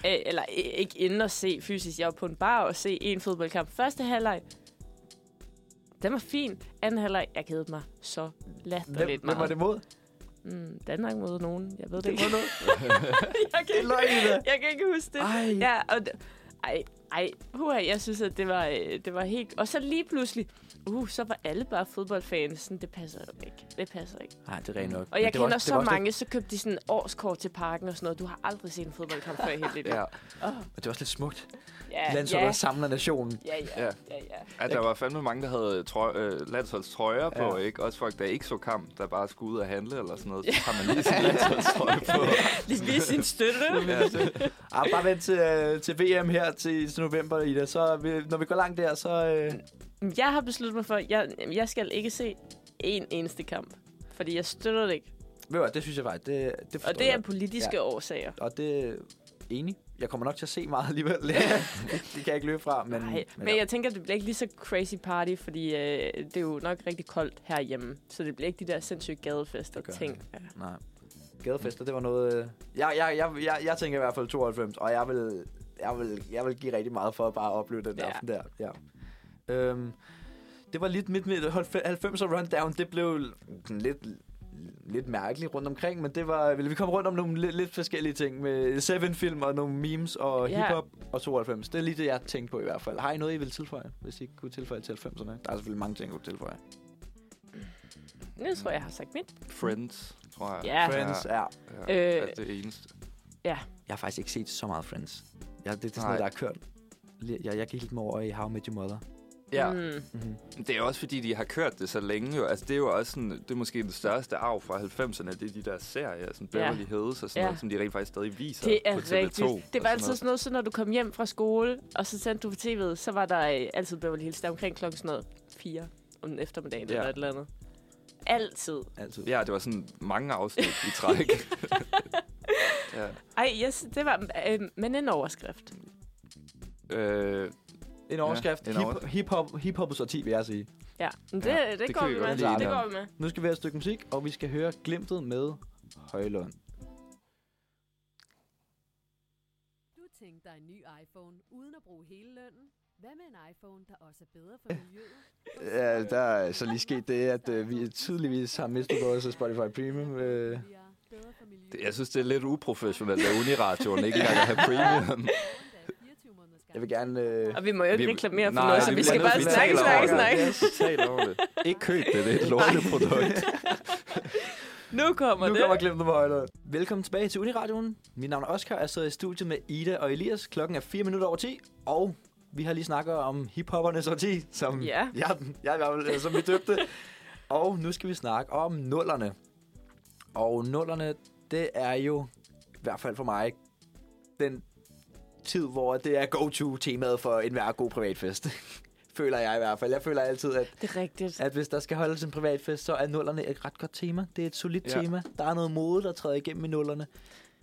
Speaker 1: Øh, eller øh, ikke inde og se fysisk. Jeg var på en bar og se en fodboldkamp. Første halvleg, den var fin. Anden halvleg, jeg kedede mig så
Speaker 3: Hvem,
Speaker 1: latterligt
Speaker 3: hvem var
Speaker 1: meget.
Speaker 3: det mod?
Speaker 1: Mm, Danmark mod nogen. Jeg ved det
Speaker 3: Det
Speaker 1: ikke.
Speaker 3: var noget.
Speaker 1: jeg, kan
Speaker 3: Det er
Speaker 1: ikke,
Speaker 3: løgn, Ida.
Speaker 1: jeg kan ikke huske det.
Speaker 3: Ej.
Speaker 1: Ja, og d- ej, ej, huha, jeg synes, at det var, øh, det var helt... Og så lige pludselig, uh, så var alle bare fodboldfans. Sådan, det passer jo ikke. Det passer ikke.
Speaker 3: Nej, det er rent nok.
Speaker 1: Og jeg
Speaker 3: det var
Speaker 1: kender
Speaker 3: også- det
Speaker 1: så
Speaker 3: var også lidt-
Speaker 1: mange, så købte de sådan årskort til parken og sådan noget. Du har aldrig set en fodboldkamp før i hele dit liv.
Speaker 3: Ja. Men det var også lidt smukt.
Speaker 1: Ja,
Speaker 3: Landsholdet der samler nationen.
Speaker 1: ja, ja,
Speaker 2: Ja.
Speaker 1: ja, ja.
Speaker 2: Ja, Altså, der var fandme mange, der havde trøj, øh, landsholdstrøjer på,
Speaker 3: Ja.
Speaker 2: ikke? Også folk, der ikke så kamp, der bare skulle ud og handle eller sådan noget. Så har man lige sin landsholdstrøje på.
Speaker 1: Lige vise sin støtte.
Speaker 3: Ah, bare vent til, øh, til VM her til, til november, Ida. Så vi, når vi går langt der, så... Øh,
Speaker 1: Jeg har besluttet mig for, at jeg, jeg skal ikke se en eneste kamp. Fordi jeg støtter det ikke.
Speaker 3: ved du hvad, det synes jeg faktisk, det, det forstår
Speaker 1: Og det er
Speaker 3: jeg.
Speaker 1: politiske ja. årsager.
Speaker 3: Og det er enig. Jeg kommer nok til at se meget alligevel. det kan jeg ikke løbe fra, men...
Speaker 1: Nej, men,
Speaker 3: ja.
Speaker 1: jeg tænker, det bliver ikke lige så crazy party, fordi øh, det er jo nok rigtig koldt herhjemme. Så det bliver ikke de der sindssyge gadefester
Speaker 3: Det gør
Speaker 1: ting. Ja.
Speaker 3: Nej. Gadefester, det var noget... Øh, jeg, jeg, jeg, jeg, jeg tænker i hvert fald 92, og jeg vil, jeg vil, jeg vil give rigtig meget for at bare opleve den
Speaker 1: Ja.
Speaker 3: ja. aften der. Ja. Øhm, det var lidt mit, mit 90'er rundown. Det blev sådan lidt, lidt mærkeligt rundt omkring, men det var, vi kom rundt om nogle lidt, lidt forskellige ting med seven film og nogle memes og
Speaker 1: Ja.
Speaker 3: ja. hiphop og 92. Det er lige det, jeg tænkte på i hvert fald. Har I noget, I vil tilføje, hvis I ikke kunne tilføje til 90'erne? Der er selvfølgelig mange ting, jeg kunne tilføje.
Speaker 1: Nu tror jeg, jeg har sagt mit.
Speaker 2: Friends, tror jeg.
Speaker 1: Ja.
Speaker 3: Friends, ja.
Speaker 2: ja,
Speaker 1: Øh.
Speaker 2: øh. er det eneste.
Speaker 3: Jeg har faktisk ikke set så meget Friends. Jeg, det, det er sådan
Speaker 2: Nej.
Speaker 3: noget, der har kørt. Lige- Jeg, jeg gik lidt med over i How I Met Your Mother.
Speaker 2: Ja,
Speaker 1: Mm.
Speaker 3: Mm-hmm.
Speaker 2: det er også fordi, de har kørt det så længe jo. Altså, det er jo også sådan, det er måske den største arv fra 90'erne, det er de der serier, sådan
Speaker 1: Ja.
Speaker 2: Beverly Hills og sådan
Speaker 1: Ja.
Speaker 2: ja. noget, som de rent faktisk stadig viser
Speaker 1: Det
Speaker 2: på
Speaker 1: er
Speaker 2: TV2.
Speaker 1: rigtigt. Det var
Speaker 2: og
Speaker 1: altid sådan noget, så når du kom hjem fra skole, og så tændte du på tv'et, så var der øh, altid Beverly Hills. Der omkring klokken sådan noget 4 om eftermiddagen
Speaker 2: Ja.
Speaker 1: eller et eller andet. Altid.
Speaker 3: Altid.
Speaker 2: Ja, det var sådan mange afsnit i træk. ja.
Speaker 1: Ej, yes, det var... Øh, men en overskrift.
Speaker 2: Øh,
Speaker 3: En overskrift.
Speaker 2: en
Speaker 3: Ja, hip,
Speaker 2: overskrift.
Speaker 3: hip-hop, hip-hop og 10, vil jeg sige.
Speaker 1: Ja, men det,
Speaker 2: Ja,
Speaker 1: det,
Speaker 2: det
Speaker 1: går
Speaker 2: kan
Speaker 1: vi
Speaker 2: vi
Speaker 1: med.
Speaker 2: godt
Speaker 3: lide.
Speaker 1: Det går vi med.
Speaker 3: Nu skal vi have et stykke musik, og vi skal høre Glimtet med Højlund.
Speaker 6: Du tænkte dig en ny iPhone uden at bruge hele lønnen? Hvad med en iPhone, der også er bedre for miljøet?
Speaker 3: Ja, der er så lige sket det, at øh, vi tydeligvis har mistet både Spotify Premium. Øh.
Speaker 6: Vi er bedre for miljøet.
Speaker 2: det- jeg synes, det er lidt uprofessionelt af Uniradioen ikke engang at have premium.
Speaker 6: Endda 24 måneders
Speaker 3: Jeg vil gerne øh,
Speaker 1: Og vi må jo ikke
Speaker 2: Vi-
Speaker 1: reklamere for
Speaker 2: Nej,
Speaker 1: noget, så
Speaker 2: vi
Speaker 1: vi
Speaker 2: bliver
Speaker 1: skal
Speaker 2: nødt
Speaker 1: bare
Speaker 2: til at
Speaker 1: snakke,
Speaker 2: tale
Speaker 1: snakke,
Speaker 2: over det.
Speaker 1: snakke.
Speaker 2: Total over det. Ikke køb det, det er et lorteprodukt.
Speaker 1: Nu kommer
Speaker 3: nu
Speaker 1: det.
Speaker 3: kommer Glimtet med Højlund. Velkommen tilbage til Uniradioen. Mit navn er Oscar, jeg sidder i studiet med Ida og Elias. Klokken er 4 minutter over 10, og vi har lige snakket om hiphoppernes årti, som
Speaker 1: Ja.
Speaker 3: jeg, jeg, i hvert fald, øh, som vi døbte. og nu skal vi snakke om nullerne. Og nullerne, det er jo, i hvert fald for mig, den tid, hvor det er go-to-temaet for enhver god privatfest. føler jeg i hvert fald. Jeg føler altid, at
Speaker 1: Det er rigtigt.
Speaker 3: at hvis der skal holdes en privatfest, så er nullerne et ret godt tema. Det er et solidt ja.
Speaker 2: Ja.
Speaker 3: tema. Der er noget mode, der træder igennem i nullerne.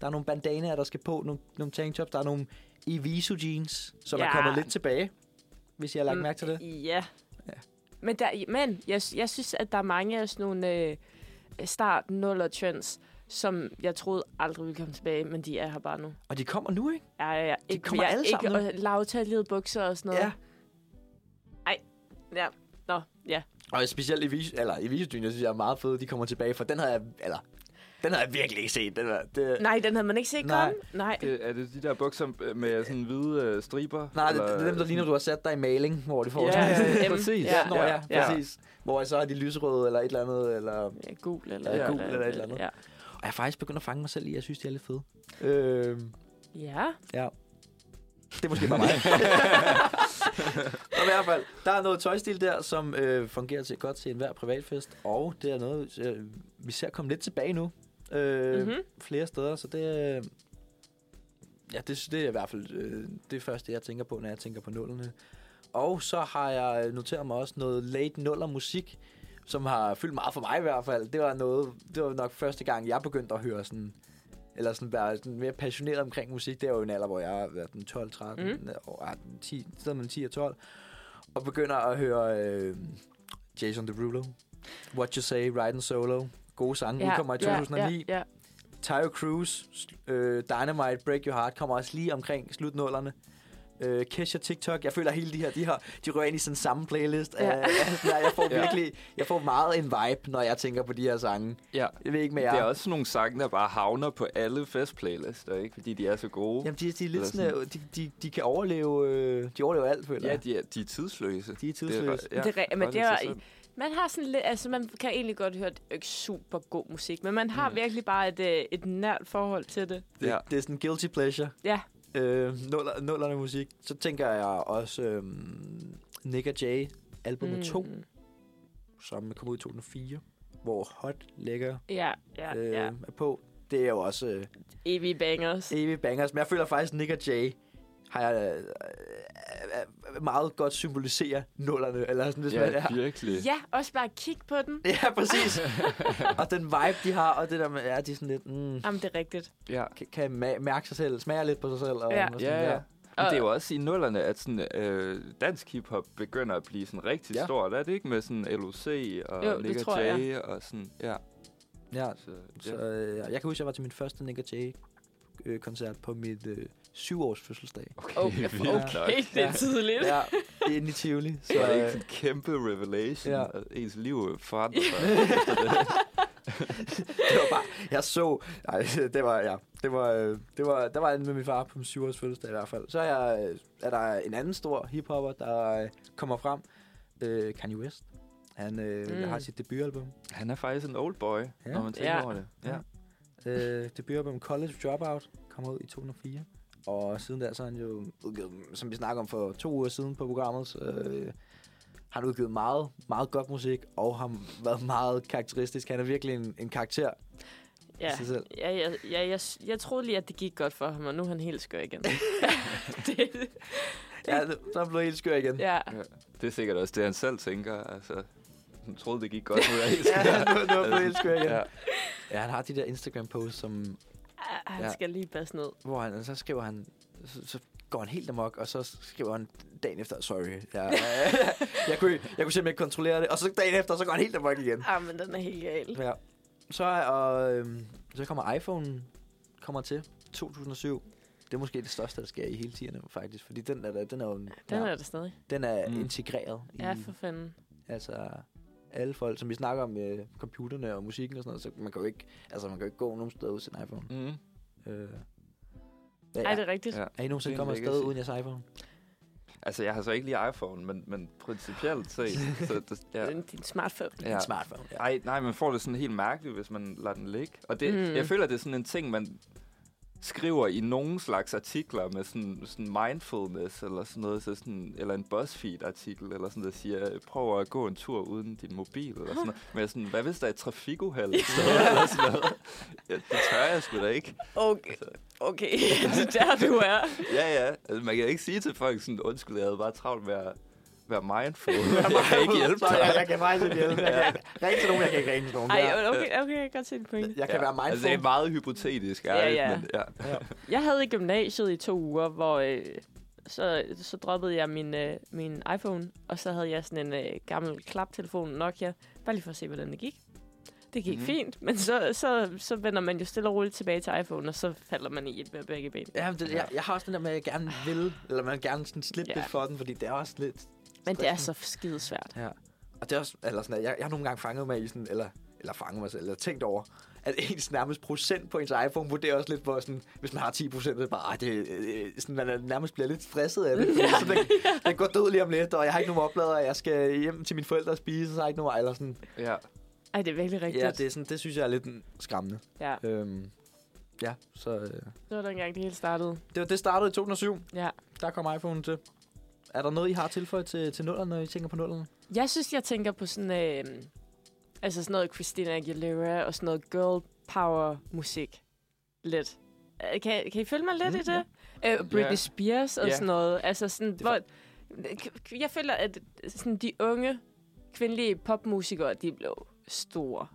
Speaker 3: Der er nogle bandanaer, der skal på, nogle, nogle tanktops. Der er nogle Eviso jeans, som ja.
Speaker 1: Ja.
Speaker 3: er kommet lidt tilbage, hvis jeg har lagt
Speaker 1: Mm,
Speaker 3: mærke til det.
Speaker 1: Ja. Men, der, men jeg, jeg synes, at der er mange af sådan nogle øh, start 0 trends, som jeg troede aldrig ville komme tilbage, men de er her bare nu.
Speaker 3: Og de kommer nu, ikke?
Speaker 1: Ja, ja, ja. Ikke,
Speaker 3: kommer
Speaker 1: jeg,
Speaker 3: alle
Speaker 1: ikke,
Speaker 3: sammen nu.
Speaker 1: Og lavtallede bukser og sådan noget.
Speaker 3: Ja.
Speaker 1: ja. Nå, ja.
Speaker 3: Og specielt Eviso, eller Eviso jeans, jeg synes jeg er meget fede. De kommer tilbage, for den havde jeg, eller, den havde jeg virkelig ikke set. Den var, det,
Speaker 1: Nej, den havde man ikke set
Speaker 3: Øh. Nej.
Speaker 1: komme. Nej.
Speaker 2: Det- Er det de der bukser med sådan hvide øh, striber?
Speaker 3: Nej, det,
Speaker 2: Eller-
Speaker 3: det er dem, der ligner, du har sat dig i maling, hvor de får
Speaker 1: Ja,
Speaker 3: sådan
Speaker 1: ja, ja.
Speaker 3: præcis.
Speaker 1: Ja.
Speaker 3: Ja, Nå, ja,
Speaker 1: Ja.
Speaker 3: præcis. Hvor så er de lyserøde, eller et eller andet, eller
Speaker 1: Ja, gul eller,
Speaker 3: Ja, gul eller et eller andet.
Speaker 1: Ja.
Speaker 3: Og jeg er faktisk begyndt at fange mig selv i, at jeg synes, de er lidt fede. Øh,
Speaker 1: Ja.
Speaker 3: Ja. Det er måske bare mig. Nå, i hvert fald, der er noget tøjstil der, som øh, fungerer til godt til enhver privatfest, og det er noget, øh, vi ser komme lidt tilbage nu. Øh, mm-hmm.
Speaker 1: Mhm.
Speaker 3: Flere steder, så det... Øh, ja, det, det er i hvert fald øh, det første, jeg tænker på, når jeg tænker på nullerne. Og så har jeg noteret mig også noget late nuller musik, som har fyldt meget for mig i hvert fald. Det var noget, det var nok første gang, jeg begyndte at høre sådan eller sådan være sådan mere passioneret omkring musik, det er jo en alder, hvor jeg har været den 12, 13, mm. og ah, 10, så mellem 10 og 12, og begynder at høre øh, Jason Derulo, What You Say, Riding Solo, gode sange, ja, udkommer i 2009, ja, ja.
Speaker 1: Ja, ja.
Speaker 3: Tyre Cruz, øh, Dynamite, Break Your Heart, kommer også lige omkring slutnullerne. Øh, Kesha, TikTok, jeg føler hele de her, de, har, de rører ind i sådan samme playlist. Øh, Ja.
Speaker 1: Ja.
Speaker 3: Af, af, sådan her. jeg får
Speaker 2: Ja.
Speaker 3: virkelig, jeg får meget en vibe, når jeg tænker på de her sange.
Speaker 2: Ja.
Speaker 3: Jeg ved ikke med jer.
Speaker 2: Det er også nogle sange, der bare havner på alle festplaylister, ikke? Fordi de er så gode.
Speaker 3: Jamen, de, de er lidt
Speaker 2: Eller
Speaker 3: sådan, øh, de, de, de kan overleve, øh, de overlever alt, føler
Speaker 2: ja,
Speaker 3: jeg.
Speaker 2: de er, de er tidsløse.
Speaker 3: De er tidsløse.
Speaker 1: Det er rigtigt, men
Speaker 2: godt
Speaker 1: det
Speaker 2: i
Speaker 1: er
Speaker 2: sig
Speaker 1: jo-
Speaker 2: selv.
Speaker 1: Man har sådan lidt, altså man kan egentlig godt høre, at det er jo ikke super god musik, men man har mm. virkelig bare et, øh, et nært forhold til det.
Speaker 3: Det,
Speaker 2: Ja.
Speaker 3: det er sådan guilty pleasure.
Speaker 1: Ja.
Speaker 3: Øh, nuller, nullerne musik. Så tænker jeg også øh, Nick og Jay, albumet mm. 2, som kom ud i 2004, hvor Hot ligger
Speaker 1: Ja, ja,
Speaker 3: øh,
Speaker 1: ja.
Speaker 3: er på. Det er jo også øh,
Speaker 1: Evie bangers.
Speaker 3: evig bangers, men jeg føler faktisk, at Nick og Jay har jeg øh, øh, øh, meget godt symboliserer nullerne, eller sådan, hvis man er.
Speaker 2: Ja, virkelig.
Speaker 1: Ja, også bare kig på den.
Speaker 3: Ja, præcis. og den vibe, de har, og det der med, ja, de er sådan lidt, mm,
Speaker 1: Jamen, det er rigtigt.
Speaker 2: Ja.
Speaker 3: kan, kan ma- mærke sig selv, smager lidt på sig selv. Og,
Speaker 1: Ja.
Speaker 3: og sådan,
Speaker 2: Ja, ja. Men
Speaker 1: Og-
Speaker 2: det er jo også i nullerne, at sådan, øh, dansk hiphop begynder at blive sådan rigtig
Speaker 3: Ja.
Speaker 2: ja. stort, er det ikke? Med sådan LOC og
Speaker 1: Jo, det
Speaker 2: Nick
Speaker 1: tror
Speaker 2: og
Speaker 1: jeg.
Speaker 2: Jay og sådan, ja.
Speaker 3: ja.
Speaker 2: Så,
Speaker 3: Så,
Speaker 2: ja.
Speaker 3: øh, jeg kan huske, at jeg var til min første Nick Jay-koncert på mit øh, syvårs fødselsdag.
Speaker 2: Okay,
Speaker 1: Okay,
Speaker 2: vildt nok.
Speaker 1: okay det er
Speaker 3: Ja.
Speaker 1: tidligt.
Speaker 3: Ja, inde i Tivoli. Så,
Speaker 2: Så er det ikke
Speaker 3: øh,
Speaker 2: sådan en kæmpe revelation,
Speaker 3: Ja.
Speaker 2: ja. at ens liv forandrer sig.
Speaker 3: det var bare, jeg så, nej, det var, ja, det var, øh, det var, der var en med min far på min syvårs fødselsdag i hvert fald. Så er, jeg, øh, er der en anden stor hiphopper, der øh, kommer frem, øh, Kanye West. Han øh,
Speaker 1: Mm.
Speaker 3: mm. har sit debutalbum.
Speaker 2: Han er faktisk en old boy,
Speaker 3: Ja.
Speaker 2: ja. når man tænker
Speaker 1: Ja.
Speaker 2: ja. over det. Ja.
Speaker 3: Øh, debutalbum College Dropout kom ud i 2004. Og siden da, så har han jo, udgivet, som vi snakker om for to uger siden på programmet, så, øh, har han udgivet meget, meget godt musik, og har været meget karakteristisk. Han er virkelig en, en karakter ja. i
Speaker 1: Ja.
Speaker 3: sig selv.
Speaker 1: Ja, ja, ja jeg, jeg troede lige, at det gik godt for ham, og nu er han helt skør igen. det,
Speaker 3: Ja, så er han blevet helt skør igen.
Speaker 1: ja.
Speaker 2: Ja. Det er sikkert også det, han selv tænker. Altså, han troede, det gik godt, nu er jeg helt
Speaker 3: Ja, nu, nu er han blevet
Speaker 2: Altså,
Speaker 3: helt skør igen.
Speaker 2: ja.
Speaker 3: Ja. ja, han har de der Instagram-posts, som,
Speaker 1: Ah, Han
Speaker 3: Ja.
Speaker 1: skal lige passe ned.
Speaker 3: hvor han, så skriver han, så, så går han helt amok, og så skriver han dagen efter, sorry, jeg, jeg, kunne, jeg kunne simpelthen ikke kontrollere det, og så dagen efter, så går han helt amok igen.
Speaker 1: Ah, men den er helt gal.
Speaker 3: Ja. Så, er- og, øhm, så kommer iPhone kommer til 2007. Det er måske det største, der sker i hele tiden faktisk, fordi den er, der- den er, jo en-
Speaker 1: Den
Speaker 3: ja,
Speaker 1: er der stadig.
Speaker 3: den er
Speaker 2: Mm.
Speaker 3: integreret i
Speaker 1: Ja, for fanden.
Speaker 3: altså, alle folk, som vi snakker om øh, computerne og musikken og sådan noget, så man kan jo ikke, altså, man kan jo ikke gå nogen steder uden sin iPhone.
Speaker 2: Mm.
Speaker 3: Øh, ja,
Speaker 1: Ej, det
Speaker 3: ja.
Speaker 1: er rigtigt.
Speaker 2: Ja.
Speaker 3: Er I nogensinde
Speaker 2: Det er en
Speaker 3: kommet afsted
Speaker 2: legacy.
Speaker 3: uden jeres iPhone?
Speaker 2: Altså, jeg har så ikke lige iPhone, men, men principielt set. så det, ja.
Speaker 1: Den- Din smartphone.
Speaker 3: Ja.
Speaker 2: Ja.
Speaker 3: En smartphone, ja.
Speaker 2: Ej, nej, man får det sådan helt mærkeligt, hvis man lader den ligge. Og det,
Speaker 1: Mm.
Speaker 2: mm. jeg føler, det er sådan en ting, man skriver i nogen slags artikler med sådan, sådan mindfulness eller sådan noget, så sådan, eller en BuzzFeed-artikel eller sådan, der siger, prøv at gå en tur uden din mobil eller sådan noget. Men jeg er sådan, hvad hvis der er et trafikuheld et sted, eller sådan noget? Ja, det tør jeg sgu da ikke.
Speaker 1: Okay, okay. det er der, du er.
Speaker 2: Ja, ja. Altså, man kan ikke sige til folk sådan, undskyld, jeg havde bare travlt med at være mindful. jeg kan ikke hjælpe
Speaker 3: Så, jeg,
Speaker 2: dig.
Speaker 3: jeg kan faktisk ikke hjælpe. Jeg kan ringe til nogen, jeg kan ikke ringe til nogen.
Speaker 1: Ej,
Speaker 3: Jeg-
Speaker 1: okay, okay, jeg kan godt se din pointe.
Speaker 3: jeg kan være mindful.
Speaker 2: Altså, det er meget hypotetisk,
Speaker 1: Ja,
Speaker 2: ærligt,
Speaker 1: ja.
Speaker 2: men ja.
Speaker 1: Jeg havde i gymnasiet i to uger, hvor øh, så, så droppede jeg min, øh, min iPhone, og så havde jeg sådan en øh, gammel klaptelefon Nokia, bare lige for at se, hvordan det gik. Det gik mm-hmm.
Speaker 2: Mhm.
Speaker 1: fint, men så, så, så vender man jo stille og roligt tilbage til iPhone, og så falder man i et med begge ben.
Speaker 3: Ja, men det, jeg, jeg har også den der med, at jeg gerne vil, eller man gerne sådan slippe
Speaker 1: Ja.
Speaker 3: lidt for den, fordi det er også lidt...
Speaker 1: Men det er så skide svært.
Speaker 3: Ja. Og det er også, eller sådan, at jeg, jeg har nogle gange fanget mig i sådan, eller, eller fanget mig selv, eller tænkt over, at ens nærmest procent på ens iPhone vurderer også lidt, hvor sådan, hvis man har 10 procent, så er det bare, ah, det, øh, sådan, man er nærmest bliver lidt stresset af det. Fordi så den, den, går død lige om lidt, og jeg har ikke nogen oplader, og jeg skal hjem til mine forældre og spise, og så har jeg ikke nogen, eller sådan.
Speaker 2: ja.
Speaker 1: Ej, det er virkelig rigtigt.
Speaker 3: Ja, det, er sådan, det synes jeg er lidt mm, skræmmende.
Speaker 1: ja.
Speaker 3: Øhm, Ja, så øh,
Speaker 1: Det var dengang, det hele startede.
Speaker 3: det, var- det startede i 2007.
Speaker 1: Ja.
Speaker 3: Der kom iPhone til. Er der noget, I har tilføjet til, til nullerne, når I tænker på nullerne?
Speaker 1: Jeg synes, jeg tænker på sådan, øh, altså sådan noget Christina Aguilera og sådan noget girl power musik. Lidt. Øh, Kan, kan I følge mig lidt mm, i det? Ja. Øh, Britney
Speaker 2: Ja.
Speaker 1: Spears og
Speaker 2: Ja.
Speaker 1: sådan noget. Altså sådan, hvor, jeg føler, at sådan de unge kvindelige popmusikere, de blev store.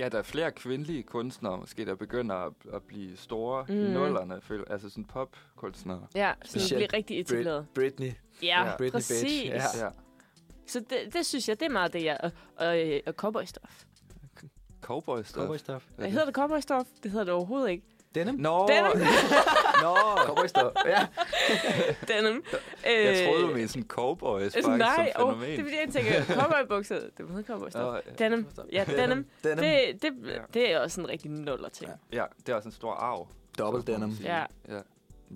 Speaker 2: Ja, der er flere kvindelige kunstnere, måske, der begynder at, at blive store mm.
Speaker 1: Mm.
Speaker 2: i nullerne. føler- Altså sådan popkunstnere.
Speaker 1: Ja, sådan de
Speaker 3: Specielt
Speaker 1: blev rigtig etableret.
Speaker 3: Britney.
Speaker 1: Ja,
Speaker 2: Ja.
Speaker 1: ja,
Speaker 3: Britney
Speaker 1: præcis.
Speaker 3: bitch. Ja.
Speaker 2: Ja.
Speaker 1: Så det, det synes jeg, det er meget det, jeg... Og, og, øh, og cowboystof.
Speaker 2: Cowboy stuff.
Speaker 3: Cowboy stuff.
Speaker 2: Er
Speaker 1: Hvad
Speaker 2: det-
Speaker 1: hedder det cowboystof? Det hedder det overhovedet ikke.
Speaker 3: Denim.
Speaker 2: Nå!
Speaker 1: Denim.
Speaker 2: Nå!
Speaker 3: Cowboy stuff. Ja.
Speaker 1: Denim.
Speaker 2: Jeg
Speaker 1: Øh,
Speaker 2: troede, du mente sådan cowboys,
Speaker 1: Altså,
Speaker 2: faktisk,
Speaker 1: nej,
Speaker 2: som
Speaker 1: og det
Speaker 2: fænomen.
Speaker 1: er fordi, jeg tænker, cowboybukser, det må hedde cowboystof.
Speaker 2: Nå, øh, ja.
Speaker 1: Denim, ja, denim.
Speaker 3: Denim.
Speaker 1: Det, det,
Speaker 2: Ja.
Speaker 1: det er også en rigtig nuller ting.
Speaker 3: Ja.
Speaker 2: ja, det er også en stor arv.
Speaker 3: Dobbelt
Speaker 2: så må man
Speaker 3: denim.
Speaker 2: sige.
Speaker 1: Ja.
Speaker 2: ja.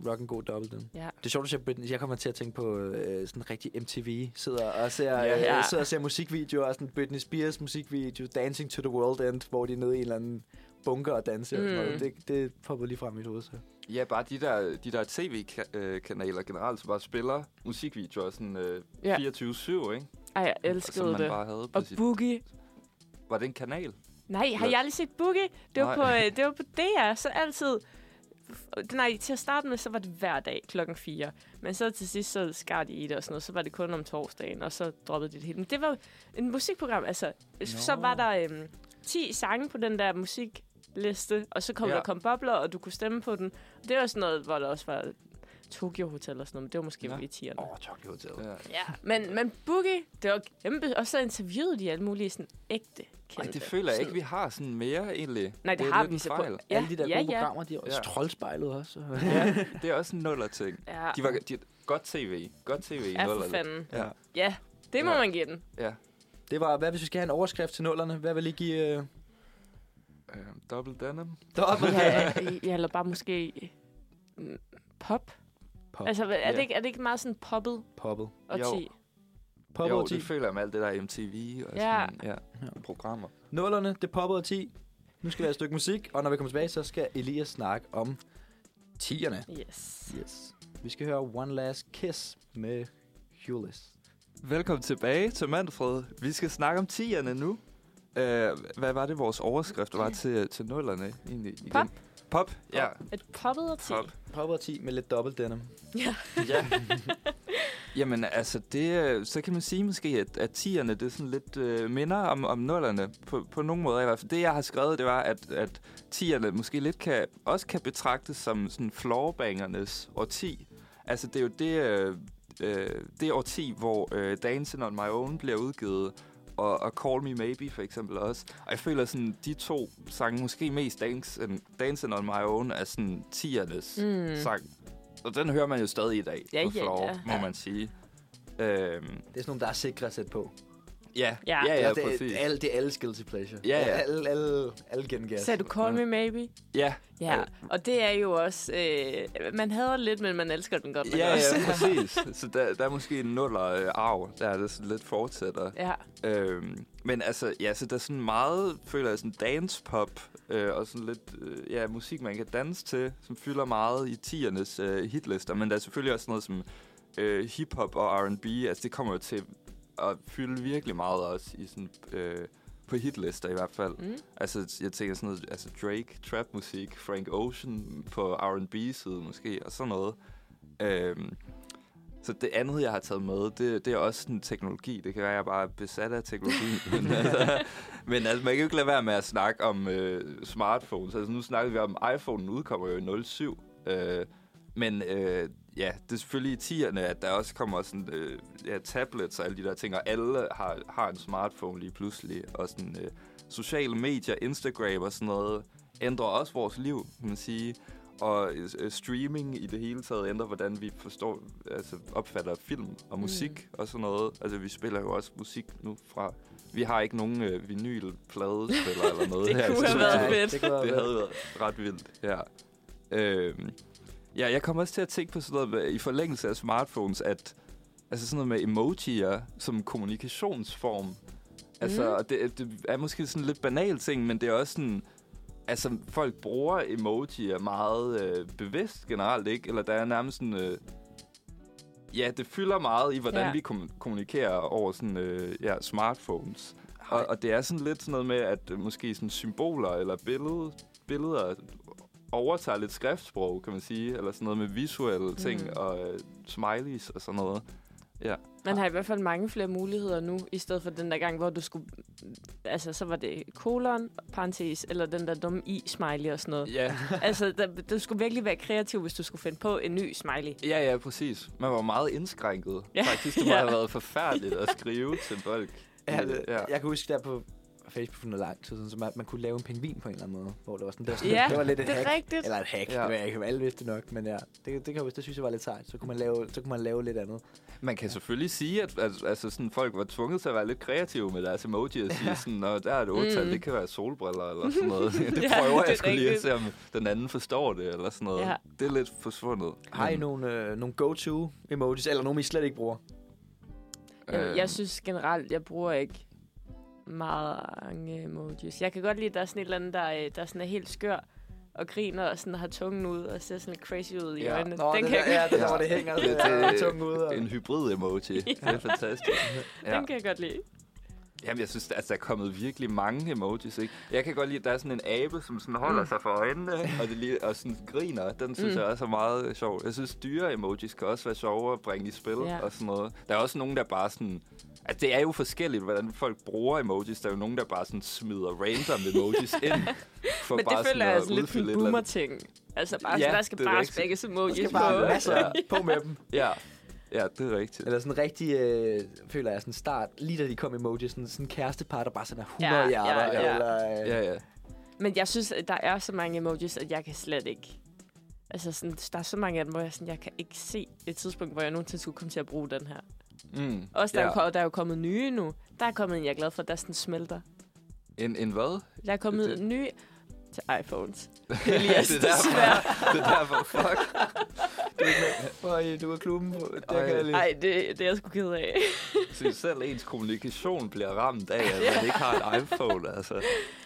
Speaker 3: Rock en god dobbelt denim.
Speaker 1: Ja.
Speaker 3: Det er sjovt, at jeg, Britney, jeg kommer til at tænke på øh, sådan rigtig MTV. Sidder og ser,
Speaker 2: Ja.
Speaker 3: yeah.
Speaker 1: Ja.
Speaker 3: øh, sidder og ser musikvideoer, og sådan Britney Spears musikvideo, Dancing to the World End, hvor de er nede i en eller anden bunker og danser. Mm. Og sådan
Speaker 1: Mm.
Speaker 3: noget. Det, det popper lige frem i mit hoved. Så.
Speaker 2: Ja, bare de der, de der tv-kanaler generelt, som bare spiller musikvideoer sådan øh,
Speaker 1: Ja.
Speaker 2: 24-7, ikke?
Speaker 1: Ej, jeg
Speaker 2: Altså, som
Speaker 1: elskede
Speaker 2: man
Speaker 1: det.
Speaker 2: bare havde på
Speaker 1: Og
Speaker 2: sit...
Speaker 1: Boogie.
Speaker 2: Var det en kanal?
Speaker 1: Nej, har jeg aldrig set Boogie? Det var,
Speaker 2: Nej.
Speaker 1: på, øh, det var på DR, så altid... Nej, til at starte med, så var det hver dag klokken 4. Men så til sidst, så skar de i det og sådan noget. Så var det kun om torsdagen, og så droppede de det hele. Men det var jo en musikprogram. Altså, no. så var der øhm, 10 sange på den der musikliste, og så kom ja.
Speaker 2: Ja.
Speaker 1: der kom bobler, og du kunne stemme på den. Det var sådan noget, hvor der også var Tokyo Hotel og sådan noget, men det var måske
Speaker 2: Nå.
Speaker 1: ja. i 10'erne.
Speaker 3: Åh, oh, Tokyo Hotel.
Speaker 2: Ja.
Speaker 1: Ja, men, men Boogie, det var kæmpe. Og så interviewede de alle mulige sådan ægte
Speaker 2: Ej,
Speaker 1: kendte.
Speaker 2: det føler jeg ikke,
Speaker 1: Sådan-
Speaker 2: vi har sådan mere, egentlig.
Speaker 1: Nej, det,
Speaker 2: er
Speaker 1: det har
Speaker 2: lidt
Speaker 1: vi
Speaker 2: en
Speaker 1: så på.
Speaker 2: fejl.
Speaker 1: Ja,
Speaker 3: Alle de der
Speaker 1: ja,
Speaker 3: gode
Speaker 1: ja.
Speaker 3: programmer, de er også
Speaker 2: Ja.
Speaker 3: troldspejlet også.
Speaker 2: Ja, det er også en nuller-ting.
Speaker 1: Ja,
Speaker 2: De var de, godt tv. Godt tv i
Speaker 1: ja for
Speaker 2: nullerne.
Speaker 1: fanden.
Speaker 2: Ja.
Speaker 1: Ja, det må
Speaker 2: Ja.
Speaker 1: man give den.
Speaker 2: Ja.
Speaker 3: Det var, hvad hvis vi skal have en overskrift til nullerne? Hvad vil I give? Øh,
Speaker 2: Øh, double denim.
Speaker 3: dobbelt
Speaker 1: Ja, ja, eller bare måske mm, pop.
Speaker 3: Pop.
Speaker 1: Altså, hvad- er, det
Speaker 2: Ja.
Speaker 1: ikke, er det ikke meget sådan poppet
Speaker 3: Poppet.
Speaker 1: og
Speaker 2: Jo.
Speaker 1: 10?
Speaker 3: Poppet
Speaker 2: jo,
Speaker 3: og 10.
Speaker 2: det føler jeg med alt det der MTV og
Speaker 1: Ja.
Speaker 2: sådan, ja.
Speaker 3: Ja.
Speaker 2: ja. programmer.
Speaker 3: Nullerne, det poppede og 10. Nu skal vi have et stykke musik, og når vi kommer tilbage, så skal Elias snakke om 10'erne.
Speaker 1: Yes.
Speaker 3: Yes. Vi skal høre One Last Kiss med Hulis.
Speaker 2: Velkommen tilbage til Manfred. Vi skal snakke om 10'erne nu. Øh, hvad var det, vores overskrift var til, til nullerne egentlig? Igen?
Speaker 1: Pop.
Speaker 2: Pop, ja.
Speaker 1: Et poppet og 10.
Speaker 2: Pop.
Speaker 3: Poppet og 10 med lidt dobbelt denim.
Speaker 2: ja. Jamen altså, det, øh, så kan man sige måske, at, at 10'erne det er sådan lidt øh, minder om, om nullerne på, på nogle måder. I hvert fald. Det jeg har skrevet, det var, at, at 10'erne måske lidt kan, også kan betragtes som sådan floorbangernes årti. Altså det er jo det, øh, øh, det årti, hvor øh, Dancing on My Own bliver udgivet, og, og Call Me Maybe for eksempel også. Og jeg føler sådan, de to sange, måske mest Dancing, Dancing on My Own, er sådan 10'ernes
Speaker 1: Mm.
Speaker 2: sang. Og den hører man jo stadig i dag
Speaker 1: Ja,
Speaker 2: på
Speaker 1: ja,
Speaker 2: Floor,
Speaker 1: ja.
Speaker 2: må man sige. Øhm,
Speaker 3: Det er sådan nogle, der er sikre at sætte på.
Speaker 2: ja,
Speaker 1: Ja.
Speaker 2: ja, ja, ja
Speaker 3: Eller det,
Speaker 2: præcis.
Speaker 3: det, er alle, det er alles guilty pleasure.
Speaker 2: Ja, ja.
Speaker 3: Alle, alle, alle gengas.
Speaker 1: Sagde du Call Me Maybe?
Speaker 2: Ja,
Speaker 1: Ja,
Speaker 2: Ja.
Speaker 1: og det er jo også... Øh, man hader lidt, men man elsker den godt. nok
Speaker 2: ja,
Speaker 1: også.
Speaker 2: ja, præcis. Så der, der er måske en nuller øh, arv, der er det sådan lidt fortsætter.
Speaker 1: ja.
Speaker 2: Øhm, men altså, ja, så der er sådan meget, føler jeg, sådan dance-pop øh, og sådan lidt, øh, ja, musik, man kan danse til, som fylder meget i tiernes øh, hitlister. Men der er selvfølgelig også noget som øh, hip-hop og R&B, altså det kommer jo til at fylde virkelig meget også i sådan, øh, på hitlister i hvert fald.
Speaker 1: Mm.
Speaker 2: Altså, jeg tænker sådan noget, altså Drake, trap-musik, Frank Ocean på R&B-siden måske, og sådan noget. Øhm, så det andet, jeg har taget med, det, det er også sådan teknologi. Det kan være, jeg bare er besat af teknologi. men, altså, men altså, man kan jo ikke lade være med at snakke om øh, smartphones. Altså, nu snakkede vi om, iPhone udkommer jo i 07. Øh, men øh, ja, det er selvfølgelig i 10'erne, at der også kommer sådan, øh, ja, tablets og alle de der ting, og alle har, har en smartphone lige pludselig. Og sådan, øh, sociale medier, Instagram og sådan noget, ændrer også vores liv, kan man sige. Og øh, streaming i det hele taget ændrer, hvordan vi forstår, altså opfatter film og musik mm. og sådan noget. Altså, vi spiller jo også musik nu fra... Vi har ikke nogen øh, vinylpladespiller eller noget
Speaker 1: Det
Speaker 2: her. i
Speaker 1: kunne have
Speaker 2: studiet.
Speaker 1: været fedt.
Speaker 3: Det kunne have
Speaker 2: Det
Speaker 3: været
Speaker 2: havde været ret vildt, ja. Øhm, ja, jeg kom også til at tænke på sådan noget med, i forlængelse af smartphones, at altså sådan noget med emojier som kommunikationsform. Altså,
Speaker 1: Mm.
Speaker 2: mm. det, det er måske sådan en lidt banal ting, men det er også sådan, altså, folk bruger emojier meget øh, bevidst generelt, ikke? Eller der er nærmest sådan... Øh, ja, det fylder meget i, hvordan
Speaker 1: Ja.
Speaker 2: ja. vi kom- kommunikerer over sådan, øh, ja, smartphones. Og, og det er sådan lidt sådan noget med, at øh, måske sådan symboler eller billede, billeder overtager lidt skriftsprog, kan man sige. Eller sådan noget med visuelle ting
Speaker 1: Mhm.
Speaker 2: og øh, smileys og sådan noget.
Speaker 1: Man har i hvert fald mange flere muligheder nu, i stedet for den der gang, hvor du skulle... Altså, så var det kolon, parentes, eller den der dumme i-smiley og sådan noget.
Speaker 2: Ja,
Speaker 1: altså, der, du skulle virkelig være kreativ, hvis du skulle finde på en ny smiley.
Speaker 2: ja, ja, præcis. Man var meget indskrænket.
Speaker 1: Ja.
Speaker 2: Ja. Faktisk, det må
Speaker 1: Ja.
Speaker 2: have været forfærdeligt at skrive til folk.
Speaker 3: Ja, det,
Speaker 2: Ja.
Speaker 3: ja. Jeg kan huske der på Facebook for noget lang tid siden, så man, man kunne lave en pingvin på en eller anden måde, hvor det var sådan, det var, sådan,
Speaker 1: Ja,
Speaker 3: det var lidt et
Speaker 1: Det er
Speaker 3: hack.
Speaker 1: rigtigt.
Speaker 3: Eller et hack,
Speaker 2: Ja.
Speaker 3: ja. det ved jeg ikke, om alle vidste det nok, men ja, det, det, kan jeg huske, det synes jeg var lidt sejt. Så kunne man lave, så kunne man lave lidt andet.
Speaker 2: Man kan selvfølgelig sige, at altså, altså sådan, folk var tvunget til at være lidt kreative med deres emoji og sige sådan, at der er et otal,
Speaker 1: Mm.
Speaker 2: mm. det kan være solbriller eller sådan noget. det
Speaker 1: Ja,
Speaker 2: prøver
Speaker 1: det er
Speaker 2: jeg skulle lige at
Speaker 1: rigtigt.
Speaker 2: se, om den anden forstår det eller sådan noget.
Speaker 1: Ja.
Speaker 2: Ja. Det er lidt forsvundet.
Speaker 3: Har I nogle, øh, nogle go-to-emojis, eller nogle, I slet ikke bruger?
Speaker 2: øh,
Speaker 3: øh.
Speaker 1: Jeg, jeg synes generelt, jeg bruger ikke meget mange emojis. Jeg kan godt lide, at der er sådan et eller andet, der, er- der er sådan er helt skør og griner og sådan har tungen ud og ser sådan lidt crazy ud i
Speaker 2: Ja.
Speaker 1: øjnene.
Speaker 3: Nå,
Speaker 1: den,
Speaker 3: det
Speaker 1: kan
Speaker 3: der,
Speaker 1: jeg,
Speaker 3: ja, det der,
Speaker 2: Ja.
Speaker 3: hvor det hænger
Speaker 2: Det-
Speaker 3: det,
Speaker 2: det-
Speaker 3: tungt ud. Og...
Speaker 2: en hybrid emoji. Det er fantastisk.
Speaker 1: ja. den kan jeg godt lide.
Speaker 2: Jamen, jeg synes, at der er kommet virkelig mange emojis, ikke? Jeg kan godt lide, at der er sådan en abe, som sådan holder sig for øjnene, ikke? og, det lige, og sådan griner. Den synes
Speaker 1: Mm.
Speaker 2: mm. jeg også er meget sjov. Jeg synes, dyre emojis kan også være sjove at bringe i spil
Speaker 1: Ja.
Speaker 2: ja. og sådan noget. Der er også nogen, der bare sådan... Altså, det er jo forskelligt, hvordan folk bruger emojis. Der er jo nogen, der bare sådan smider random emojis ind. For
Speaker 1: Men det føler
Speaker 2: at
Speaker 1: jeg altså lidt
Speaker 2: udfylde
Speaker 1: en
Speaker 2: et eller andet.
Speaker 1: boomer-ting. Altså bare, ja,
Speaker 2: Ja,
Speaker 1: der skal
Speaker 2: det er
Speaker 1: bare
Speaker 2: rigtigt.
Speaker 1: spækkes
Speaker 3: Der
Speaker 1: emojis
Speaker 3: skal
Speaker 1: på. altså.
Speaker 3: bare
Speaker 2: Ja.
Speaker 3: masser på med dem.
Speaker 2: Ja. ja, det er rigtigt.
Speaker 3: Eller sådan rigtig, øh, føler jeg, sådan start, lige da de kom emojis, sådan, sådan kærestepar, der bare sender 100
Speaker 1: Ja, ja,
Speaker 3: hjerter.
Speaker 1: ja.
Speaker 3: Eller, øh,
Speaker 2: Ja, ja.
Speaker 1: Men jeg synes, at der er så mange emojis, at jeg kan slet ikke... Altså, sådan, der er så mange af dem, hvor jeg, sådan, jeg kan ikke se et tidspunkt, hvor jeg nogensinde skulle komme til at bruge den her.
Speaker 2: Mm.
Speaker 1: Også der,
Speaker 2: ja.
Speaker 1: ja. er, jo- der er jo kommet nye nu. Der er kommet en, jeg er glad for, der sådan smelter.
Speaker 2: En, en hvad?
Speaker 1: Der er kommet
Speaker 2: Det-
Speaker 1: det,
Speaker 2: det-
Speaker 1: nye til iPhones. Elias,
Speaker 2: det er
Speaker 1: desværre.
Speaker 2: derfor. det er derfor. Fuck.
Speaker 3: Øj, du er klubben. på- Der
Speaker 2: Øj.
Speaker 3: kan jeg lige.
Speaker 1: Nej, det, det er jeg sgu ked af.
Speaker 2: Så selv ens kommunikation bliver ramt af, at man ikke har en iPhone, altså.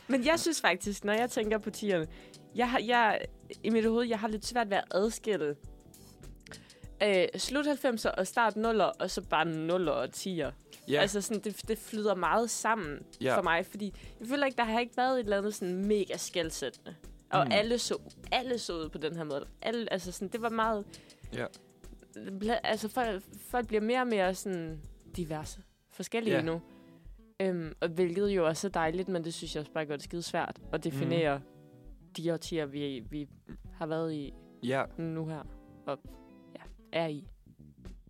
Speaker 1: Men jeg synes faktisk, når jeg tænker på tierne, jeg har, jeg, i mit hoved, jeg har lidt svært ved at adskille øh, slut 90'er og start 0'er, og så bare 0'er og 10'er. Ja. Altså sådan, det, det flyder meget sammen ja.
Speaker 2: Ja.
Speaker 1: for mig, fordi jeg føler ikke, der har ikke været et eller andet sådan mega skældsættende. Og mm.
Speaker 2: Mm.
Speaker 1: alle, så, alle så ud på den her måde. Alle, altså sådan, det var meget...
Speaker 2: Ja.
Speaker 1: Bla- Altså folk, folk bliver mere og mere sådan diverse, forskellige
Speaker 2: Ja.
Speaker 1: yeah. nu. Øhm, og hvilket jo også er dejligt, men det synes jeg også bare gør det skide svært at definere mm. de årtier, vi, vi har været i
Speaker 2: ja,
Speaker 1: nu her, og ja, er i.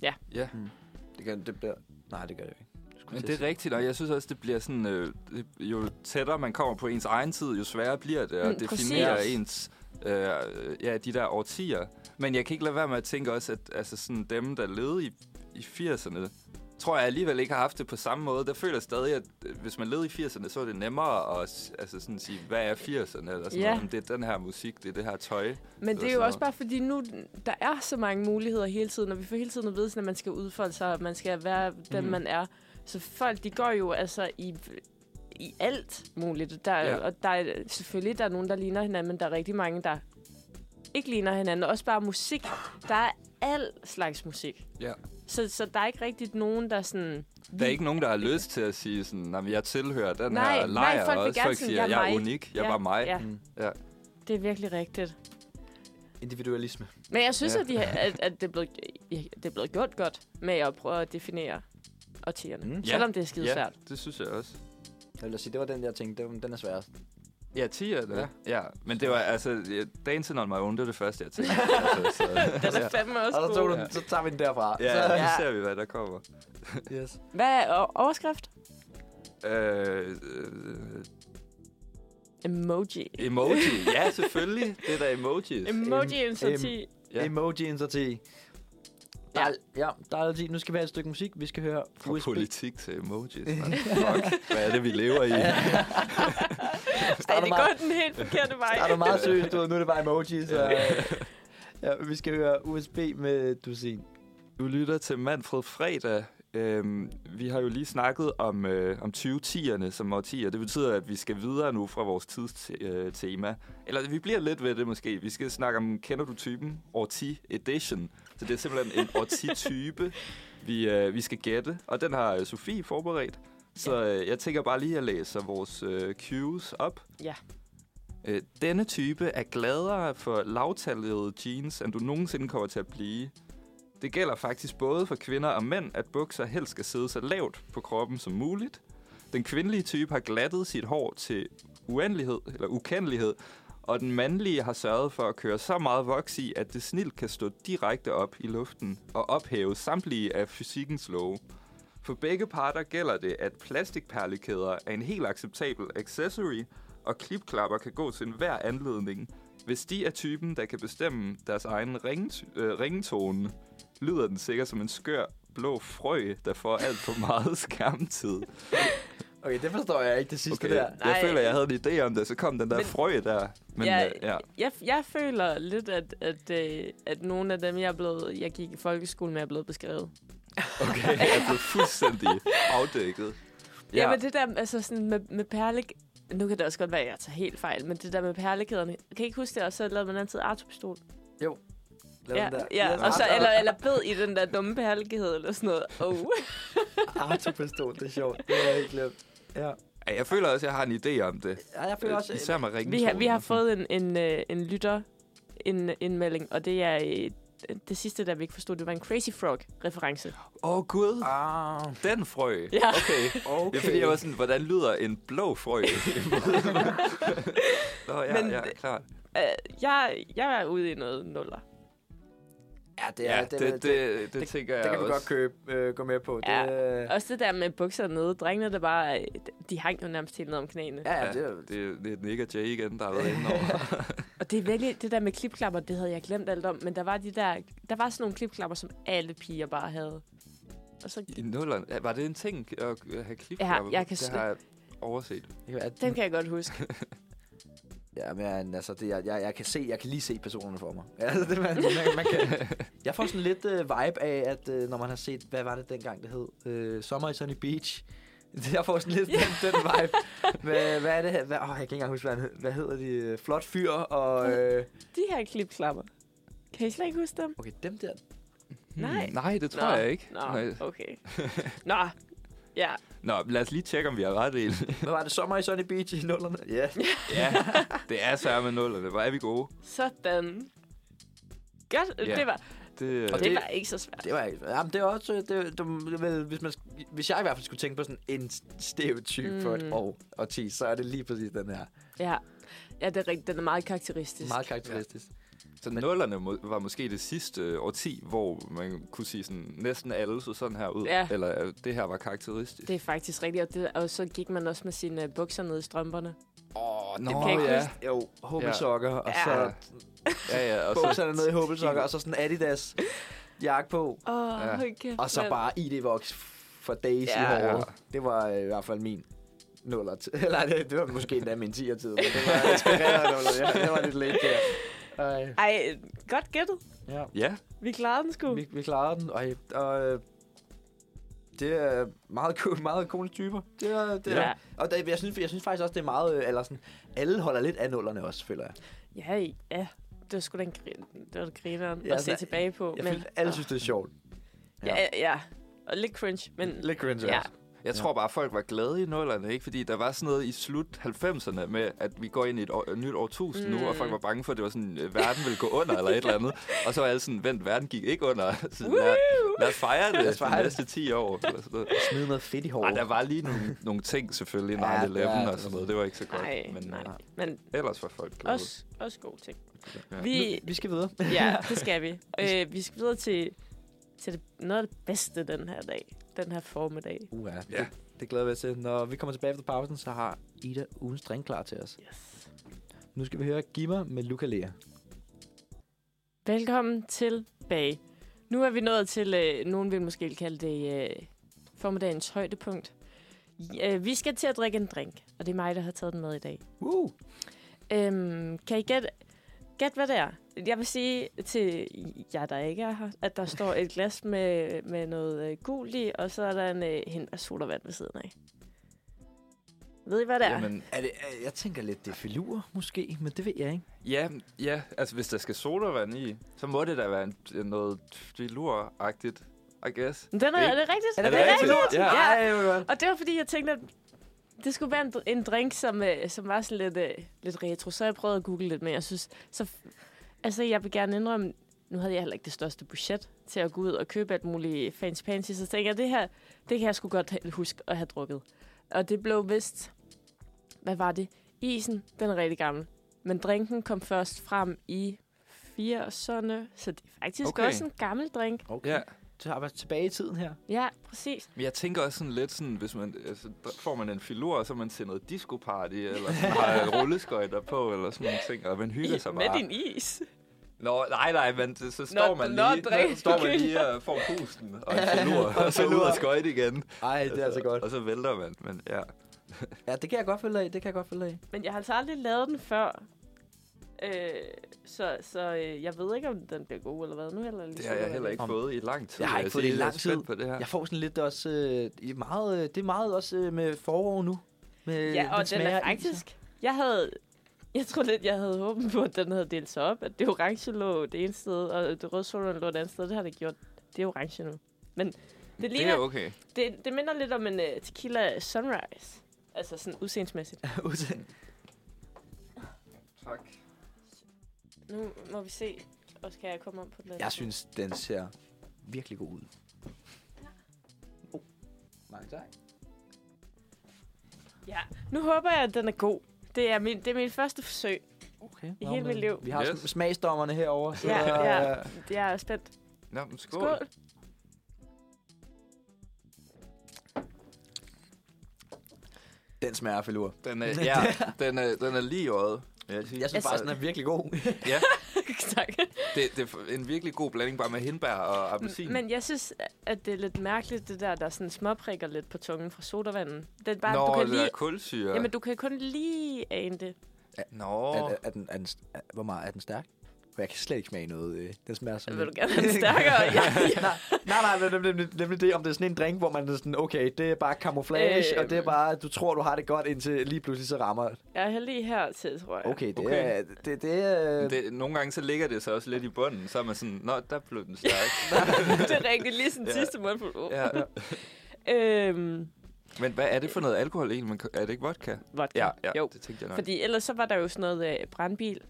Speaker 2: ja.
Speaker 3: hmm. Det, kan, det bliver... Nej, det gør det jo ikke.
Speaker 2: Men det er rigtigt, og jeg synes også, det bliver sådan, øh, det- jo tættere man kommer på ens egen tid, jo sværere bliver det at
Speaker 1: Mm,
Speaker 2: mm,
Speaker 1: præcis.
Speaker 2: definere ens, øh, ja, de der årtier. Men jeg kan ikke lade være med at tænke også, at altså sådan, dem, der levede i, i 80'erne, tror jeg alligevel ikke har haft det på samme måde. Der føler jeg stadig, at øh, hvis man levede i 80'erne, så er det nemmere at s- altså sådan sige, hvad er 80'erne? Eller sådan
Speaker 1: Ja.
Speaker 2: noget. Det er den her musik, det er det her tøj.
Speaker 1: Men det er
Speaker 2: sådan
Speaker 1: jo
Speaker 2: noget.
Speaker 1: også bare fordi nu, der er så mange muligheder hele tiden, og vi får hele tiden at vide, sådan, at man skal udfolde sig, og man skal være den, mm.
Speaker 2: Mhm.
Speaker 1: man er. Så folk, de går jo altså i, i alt muligt. Der, ja.
Speaker 2: Ja.
Speaker 1: Og der er selvfølgelig der er nogen, der ligner hinanden, men der er rigtig mange, der ikke ligner hinanden. Også bare musik. Der er al slags musik.
Speaker 2: Ja.
Speaker 1: Så, så der er ikke rigtigt nogen, der sådan...
Speaker 2: Der er ikke nogen, der har lyst til at sige sådan, at jeg tilhører den
Speaker 1: Nej, nej,
Speaker 2: her lejr,
Speaker 1: folk vil
Speaker 2: og også
Speaker 1: gerne
Speaker 2: folk
Speaker 1: sige,
Speaker 2: siger,
Speaker 1: "Jeg er
Speaker 2: jeg er
Speaker 1: mig."
Speaker 2: unik, jeg var mig.
Speaker 1: Ja.
Speaker 3: Mm.
Speaker 2: Ja.
Speaker 1: Det er virkelig rigtigt.
Speaker 3: Individualisme.
Speaker 1: Men jeg synes, ja.
Speaker 2: Ja.
Speaker 1: at, de, har- at, at det, er blevet, det er blevet gjort godt med at prøve at definere årtierne. Mm.
Speaker 3: Mm.
Speaker 2: Ja.
Speaker 1: Selvom det er skide
Speaker 2: ja,
Speaker 1: svært.
Speaker 2: det synes jeg også.
Speaker 3: Jeg vil da sige, det var den, jeg tænkte, det var- den er sværest.
Speaker 2: Ja, 10'erne. Ja. ja. men det var altså, ja, Dancing on my own, det var det første, jeg tænkte. altså, så,
Speaker 1: Den er fandme også
Speaker 3: Og så, tog
Speaker 1: god.
Speaker 2: du
Speaker 3: du, den,
Speaker 2: den,
Speaker 3: så tager vi den derfra.
Speaker 2: ja,
Speaker 1: Så-
Speaker 2: nu
Speaker 1: Ja.
Speaker 2: ser vi, hvad der kommer.
Speaker 3: Yes.
Speaker 1: Hvad er o- overskrift?
Speaker 2: Øh, øh,
Speaker 1: Emoji.
Speaker 2: emoji. Ja, selvfølgelig. Det er da emoji.
Speaker 1: Emoji
Speaker 3: Em- em-
Speaker 1: initiativ.
Speaker 2: Ja.
Speaker 3: Emoji'en så til. Der
Speaker 1: Ja.
Speaker 3: er, ja, der er altid. Nu skal vi have et stykke musik. Vi skal høre
Speaker 2: Fra politik til emojis. Man. Fuck, hvad er det, vi lever i?
Speaker 1: Ej,
Speaker 3: starter
Speaker 1: det
Speaker 3: meget-
Speaker 1: går den helt forkerte vej.
Speaker 3: Er du meget seriøst? Du ved, nu er det bare emoji, så... ja, vi skal høre USB med Dusin.
Speaker 2: Du lytter til Manfred Fredag, Øhm, vi har jo lige snakket om, øh, om 2010'erne som årtier. Det betyder, at vi skal videre nu fra vores tidstema. Eller vi bliver lidt ved det måske. Vi skal snakke om, kender du typen? Årti edition. Så det er simpelthen en årti-type, vi, øh, vi skal gætte. Og den har øh, Sofie forberedt. Så øh, jeg tænker bare lige at læse vores øh, cues op.
Speaker 1: Ja.
Speaker 2: Øh, denne type er gladere for lavtallede jeans, end du nogensinde kommer til at blive. Det gælder faktisk både for kvinder og mænd, at bukser helst skal sidde så lavt på kroppen som muligt. Den kvindelige type har glattet sit hår til uendelighed, eller ukendelighed, og den mandlige har sørget for at køre så meget voks i, at det snilt kan stå direkte op i luften og ophæve samtlige af fysikkens love. For begge parter gælder det, at plastikperlekæder er en helt acceptabel accessory, og klipklapper kan gå til enhver anledning, hvis de er typen, der kan bestemme deres egen ringet- øh, ringetone lyder den sikkert som en skør blå frø, der får alt for meget skærmtid.
Speaker 3: Okay, det forstår jeg ikke, det sidste
Speaker 2: Okay,
Speaker 3: okay. der.
Speaker 2: jeg
Speaker 1: Nej.
Speaker 2: føler, jeg havde en idé om det, så kom den der
Speaker 1: Men-
Speaker 2: frø der. Men
Speaker 1: Jeg-
Speaker 2: øh, ja,
Speaker 1: Jeg, jeg føler lidt, at, at, øh, at nogle af dem, jeg, er blevet, jeg gik i folkeskolen med, er blevet beskrevet.
Speaker 2: okay, jeg blev fuldstændig afdækket.
Speaker 1: Ja. Jamen det der altså sådan med, med perle... Nu kan det også godt være, at jeg tager helt fejl, men det der med perlekæderne. Kan I ikke huske det? Og så lavede man altid artopistol.
Speaker 3: Lav
Speaker 1: Ja,
Speaker 3: den der.
Speaker 1: ja. Og så, eller, eller bed i den der dumme perlekæde eller sådan noget. Oh.
Speaker 3: Artopistol, det er sjovt. Det har jeg ikke glemt. Øh, Ja.
Speaker 2: Ja, jeg føler også, at jeg har en idé om det.
Speaker 3: ja jeg føler også...
Speaker 2: Især med
Speaker 1: vi, har,
Speaker 2: ringetonen.
Speaker 1: vi har fået en, en, øh, en lytter en øh, indmelding, og det er øh, det sidste, der vi ikke forstod, det var en Crazy Frog-reference.
Speaker 2: Åh, oh, gud.
Speaker 3: Ah,
Speaker 2: Den frø.
Speaker 1: Ja.
Speaker 2: Okay.
Speaker 3: okay.
Speaker 2: Det er fordi, jeg var sådan, hvordan lyder en blå frø? Nå, ja,
Speaker 1: Men-
Speaker 2: men, ja, klart.
Speaker 1: Uh, jeg, jeg er ude i noget nuller.
Speaker 3: Ja, det er...
Speaker 2: Ja, det, det, det, det tænker jeg
Speaker 3: det kan vi
Speaker 2: også.
Speaker 3: godt købe, øh, gå med på. Det,
Speaker 1: Ja.
Speaker 3: øh,
Speaker 1: Også det der med bukser nede. Drengene, der bare... øh, De hang jo nærmest helt ned om knæene.
Speaker 3: ja, ja,
Speaker 2: Ja,
Speaker 3: det er
Speaker 2: det, er- det er Nick og Jay igen, der har været inde over.
Speaker 1: Og det er virkelig, det der med klipklapper, det havde jeg glemt alt om, men der var de der, der var sådan nogle klipklapper, som alle piger bare havde. Og så,
Speaker 2: I nullerne? Ja, Var det en ting at øh, have klip?
Speaker 1: Ja, jeg kan
Speaker 2: det
Speaker 1: sl-
Speaker 2: har jeg overset.
Speaker 3: at,
Speaker 1: den kan jeg godt huske.
Speaker 3: Ja, men altså, det, jeg, jeg, jeg, kan se, jeg kan lige se personerne for mig. Altså, det, man, man, man kan. Jeg får sådan lidt øh, vibe af, at øh, når man har set, hvad var det dengang, det hed? Øh, Sommer i Sunny Beach. Jeg får sådan lidt den, den vibe. Hvad, hvad er det her? Hvad, åh, jeg kan ikke engang huske, hvad, han hed. hvad hedder de? Øh, Flot fyr og... Øh,
Speaker 1: De her klipklapper. Kan I slet ikke huske dem?
Speaker 3: okay, dem der.
Speaker 1: Hmm. Nej.
Speaker 2: Hmm. Nej, det tror
Speaker 1: Nå,
Speaker 2: jeg ikke.
Speaker 1: Nå,
Speaker 2: Nej.
Speaker 1: okay. Nå, ja.
Speaker 2: Nå, lad os lige tjekke, om vi har ret i det.
Speaker 3: Hvad var det? Sommer i Sunny Beach i nullerne? Ja. Yeah.
Speaker 2: ja, det er sørme med nullerne. Hvor er vi gode?
Speaker 1: Sådan. Godt,
Speaker 2: Ja.
Speaker 1: det, var,
Speaker 2: Det,
Speaker 3: Og
Speaker 1: det,
Speaker 3: det-
Speaker 1: var ikke så svært.
Speaker 3: Det var ikke... Jamen, det er også... Det, det, det, vel, hvis, man, hvis jeg i hvert fald skulle tænke på sådan en stereotyp mm. for et
Speaker 1: Mm.
Speaker 3: år og 10, så er det lige præcis den her.
Speaker 1: Ja. ja, det er rigtigt. Den er meget karakteristisk.
Speaker 3: Meget karakteristisk.
Speaker 2: så nullerne må, var måske det sidste øh, årti, hvor man kunne sige sådan, næsten alle så sådan her ud.
Speaker 1: Ja.
Speaker 2: Eller øh, det her var karakteristisk.
Speaker 1: Det er faktisk rigtigt, og, det, og så gik man også med sine øh, bukser ned i strømperne.
Speaker 2: Åh, oh, nå,
Speaker 1: kan jeg ikke
Speaker 2: ja.
Speaker 1: huske.
Speaker 3: Jo, hobelsokker, ja. og
Speaker 1: Ja.
Speaker 3: så
Speaker 2: Ja. ja, ja. Og
Speaker 3: bukserne
Speaker 2: så,
Speaker 3: ned i hobelsokker, og så sådan Adidas jakke på,
Speaker 1: Åh, oh,
Speaker 2: Ja.
Speaker 1: ja. kæft,
Speaker 3: og så
Speaker 1: mand.
Speaker 3: bare ID-voks for days ja,
Speaker 1: Ja.
Speaker 3: i håret.
Speaker 2: Ja.
Speaker 3: Det var øh, i hvert fald min nuller. t- Eller det, det var måske endda min 10'er tid, men det var inspireret af nuller. Ja, det var lidt lidt der. Ej,
Speaker 1: Ej, godt gættet.
Speaker 3: ja.
Speaker 2: ja,
Speaker 1: Vi klarede den sgu.
Speaker 3: Vi, vi klarede den, og, og øh, det er meget, cool, meget cool typer. Det er, det er.
Speaker 1: Ja.
Speaker 3: Ja. Og det, jeg, synes, jeg synes faktisk også, det er meget... øh, Eller sådan, alle holder lidt af nullerne også, føler jeg.
Speaker 1: Ja, i- ja. Det var sgu den grin, det var grineren
Speaker 3: Ja,
Speaker 1: ja, at se
Speaker 3: altså,
Speaker 1: tilbage på. Ah.
Speaker 3: jeg føler, alle synes, det er sjovt.
Speaker 1: ja. ja, ja. Og lidt cringe, men...
Speaker 3: Lidt cringe altså.
Speaker 1: Ja.
Speaker 3: også.
Speaker 2: Jeg tror bare, folk var glade i nullerne, ikke? Fordi der var sådan noget i slut 90'erne med, at vi går ind i et, år, et nyt årtusind mm. nu, og folk var bange for, at det var sådan, øh, verden ville gå under eller et eller andet. Og så var alle sådan, vent, verden gik ikke under. Så lad, lad os fejre det
Speaker 3: Lad os fejre
Speaker 2: de
Speaker 3: det.
Speaker 2: næste 10 år. Eller sådan noget.
Speaker 3: Smid noget fedt i håret.
Speaker 2: Ej, der var lige nogle, nogle ting selvfølgelig, 9-11
Speaker 3: Ja, ja,
Speaker 2: og sådan noget. Det var ikke så godt.
Speaker 1: Nej,
Speaker 2: men
Speaker 1: nej.
Speaker 2: øh,
Speaker 1: Men
Speaker 2: ellers var folk glade.
Speaker 1: også, også gode ting.
Speaker 2: Ja.
Speaker 1: Vi,
Speaker 3: Vi skal videre.
Speaker 1: ja, det skal vi. Øh, vi skal videre til, til det, noget af det bedste den her dag. Den her formiddag.
Speaker 3: Uh, ja.
Speaker 2: Ja.
Speaker 3: Det, det glæder vi os til. Når vi kommer tilbage efter pausen, så har Ida ugens drink klar til os.
Speaker 1: Yes.
Speaker 3: Nu skal vi høre Gimmer med Luca Lea.
Speaker 1: Velkommen tilbage. Nu er vi nået til, øh, nogen vil måske kalde det øh, formiddagens højdepunkt. Øh, vi skal til at drikke en drink, og det er mig, der har taget den med i dag.
Speaker 3: Uh,
Speaker 1: Øhm, kan I gætte? Gæt, hvad det er. Jeg vil sige til jer, der ikke er her, at der står et glas med, med noget øh, gul i, og så er der en øh, hint af sodavand ved siden af. Ved I, hvad det er?
Speaker 2: Jamen,
Speaker 3: Er det, er- jeg tænker lidt, det er filur måske, men det ved jeg ikke.
Speaker 2: ja, ja, altså hvis der skal sodavand i, så må det da være en, noget filuragtigt, I guess.
Speaker 1: Den er,
Speaker 2: Ikke?
Speaker 1: er det rigtigt?
Speaker 2: Er det rigtigt? Ja.
Speaker 1: Ja.
Speaker 3: Ej, hvor godt.
Speaker 1: Og det var, fordi jeg tænkte, at det skulle være en, dr- en drink, som, øh, som var sådan lidt, øh, lidt retro. Så jeg prøvede at google lidt, men jeg synes... Så, f- altså, jeg vil gerne indrømme, nu havde jeg heller ikke det største budget til at gå ud og købe alt muligt fancy fancy, så tænkte jeg, det her, det kan jeg sgu godt ha- huske at have drukket. Og det blev vist... Hvad var det? Isen, den er rigtig gammel. Men drinken kom først frem i 80'erne, så det er faktisk
Speaker 2: Okay.
Speaker 1: okay. også en gammel drink.
Speaker 3: Okay.
Speaker 2: Ja,
Speaker 3: Så har vi tilbage i tiden her.
Speaker 1: Ja, præcis.
Speaker 2: men jeg tænker også sådan lidt sådan, hvis man, altså, der får man en filur, og så er man til noget disco-party, eller sådan, har rulleskøjter på, eller sådan nogle ting, og man hygger sig
Speaker 1: med
Speaker 2: bare.
Speaker 1: din is.
Speaker 2: Nå, nej, nej, men det- så står man
Speaker 1: nå,
Speaker 2: lige,
Speaker 1: drik.
Speaker 2: så står man lige og får pusten, og en filur, og så ud og skøjte igen.
Speaker 3: Ej, det er altså godt.
Speaker 2: Og så vælter man, men ja.
Speaker 3: Ja, det kan jeg godt følge af, det kan jeg godt følge af.
Speaker 1: Men jeg har altså aldrig lavet den før. Øh, så så øh, jeg ved ikke, om den bliver god eller ligesom hvad. Nu heller lige
Speaker 2: Det har jeg
Speaker 1: sodavand.
Speaker 2: heller ikke
Speaker 3: Om-
Speaker 2: fået i lang tid.
Speaker 3: Jeg har
Speaker 2: vil
Speaker 3: ikke fået det i
Speaker 2: sige. Jeg er
Speaker 3: lang tid.
Speaker 2: spændt på det her.
Speaker 3: Jeg får sådan lidt også, øh, i meget, øh, det er meget også øh, med forår nu. Med
Speaker 2: Øh,
Speaker 1: Ja, og den
Speaker 3: smager
Speaker 1: er
Speaker 3: af is.
Speaker 1: faktisk... Jeg havde... Jeg tror lidt, jeg havde håbet på, at den havde delt sig op. At det orange lå det ene sted, og det røde solvand lå det andet sted. Det har det gjort. Det er orange nu. Men det,
Speaker 2: Det er
Speaker 1: ligner,
Speaker 2: okay.
Speaker 1: det, det minder lidt om en uh, tequila sunrise. Altså sådan udseendsmæssigt.
Speaker 3: Ud-
Speaker 2: Tak.
Speaker 1: Nu må vi se. Og skal jeg komme om på den
Speaker 3: jeg synes, den ser virkelig god ud. Oh. Mange tak.
Speaker 1: Ja. Nu håber jeg, at den er god. Det er min, det er min første forsøg.
Speaker 3: Okay.
Speaker 1: I hele mit liv.
Speaker 3: Vi har yes.
Speaker 2: Yes.
Speaker 3: smagsdommerne herovre. Så
Speaker 1: Ja,
Speaker 3: øh,
Speaker 1: ja. Jeg er spændt.
Speaker 2: Nå, men skål.
Speaker 1: Skål.
Speaker 2: skål.
Speaker 3: Den smager af filur.
Speaker 2: Den er, ja, den er, den er lige i øjet. vil Jeg, sige.
Speaker 3: Jeg synes faktisk, den er virkelig god.
Speaker 2: ja,
Speaker 1: tak.
Speaker 2: det, det er en virkelig god blanding bare med hindbær og appelsin.
Speaker 1: Men jeg synes, at det er lidt mærkeligt, det der, der sådan småprikker lidt på tungen fra sodavanden. Det er bare,
Speaker 2: Nå,
Speaker 1: du kan
Speaker 2: det er
Speaker 1: lige...
Speaker 2: kulsyre.
Speaker 1: Jamen, du kan kun lige ane det.
Speaker 2: Nå,
Speaker 3: Er, er, er, den, er den, st- er, hvor meget er den stærk? For Jeg kan slet ikke smage noget. øh, Den smager sådan...
Speaker 1: Vil du
Speaker 3: lidt-
Speaker 1: gerne have den stærkere? ja, ja.
Speaker 3: nej, nej, nej, men nemlig, nemlig, nemlig det, om det er sådan en drink, hvor man er sådan, okay, det er bare camouflage, øh,
Speaker 1: Øh,
Speaker 3: og det er bare, du tror, du har det godt, indtil lige pludselig så rammer.
Speaker 1: Jeg er heldig her til, tror jeg.
Speaker 3: Okay, det
Speaker 2: Okay.
Speaker 3: er... Det, det, øh, er
Speaker 2: det, nogle gange så ligger det så også lidt i bunden, så er man sådan, nå, der blev den stærk.
Speaker 1: det er rigtigt. Lige sådan
Speaker 2: Ja.
Speaker 1: sidste måned. Oh.
Speaker 2: ja.
Speaker 1: Øhm,
Speaker 2: Men hvad er det for noget alkohol egentlig? Man, er det ikke vodka?
Speaker 1: vodka.
Speaker 2: Ja, ja
Speaker 1: Jo.
Speaker 2: det tænkte jeg nok.
Speaker 1: Fordi ellers så var der jo sådan noget øh, brandbil.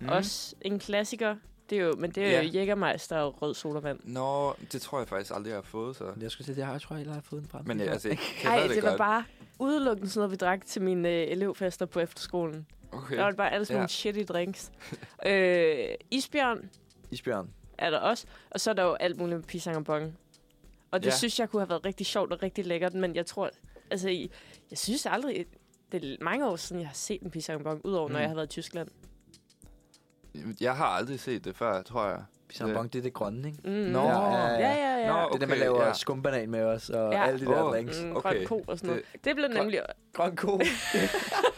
Speaker 1: Mm. Også en klassiker. Det er jo, men det er jo
Speaker 2: Mhm. Ja.
Speaker 1: Jägermeister og rød sodavand.
Speaker 2: Nå, det tror jeg faktisk aldrig, jeg har fået, så.
Speaker 3: Jeg skulle sige, jeg tror, jeg har fået en brand.
Speaker 2: Men jeg, altså, jeg kender
Speaker 1: Nej,
Speaker 2: det,
Speaker 1: det, det var
Speaker 2: godt.
Speaker 1: bare udelukkende sådan noget, vi drak til mine øh, elevfester på efterskolen.
Speaker 2: Okay.
Speaker 1: Der var det bare alle sådan
Speaker 2: Ja.
Speaker 1: nogle shitty drinks. øh, isbjørn
Speaker 3: Isbjørn.
Speaker 1: er der også, og så er der jo alt muligt med pisang og bong. Og det
Speaker 2: Ja.
Speaker 1: ja. synes jeg kunne have været rigtig sjovt og rigtig lækkert, men jeg tror, altså, jeg, jeg synes aldrig, det er mange år siden, jeg har set en pisang og bong, udover mm.
Speaker 2: Mm.
Speaker 1: når jeg har været i Tyskland.
Speaker 2: Jeg har aldrig set det før, tror jeg.
Speaker 3: Pisambong, det er det grønne, ikke?
Speaker 1: Mm.
Speaker 2: Nå.
Speaker 1: Ja, ja,
Speaker 3: ja.
Speaker 1: ja. ja.
Speaker 2: Nå,
Speaker 1: Nå,
Speaker 3: Det er det, man
Speaker 2: Okay,
Speaker 3: laver
Speaker 2: ja.
Speaker 3: skumbanan med os, og
Speaker 1: Ja.
Speaker 3: alle de der
Speaker 2: Åh.
Speaker 3: drinks.
Speaker 1: Mm,
Speaker 2: Okay.
Speaker 1: grøn ko og sådan noget. Det, det blev
Speaker 2: grøn-
Speaker 1: nemlig
Speaker 3: Grøn ko.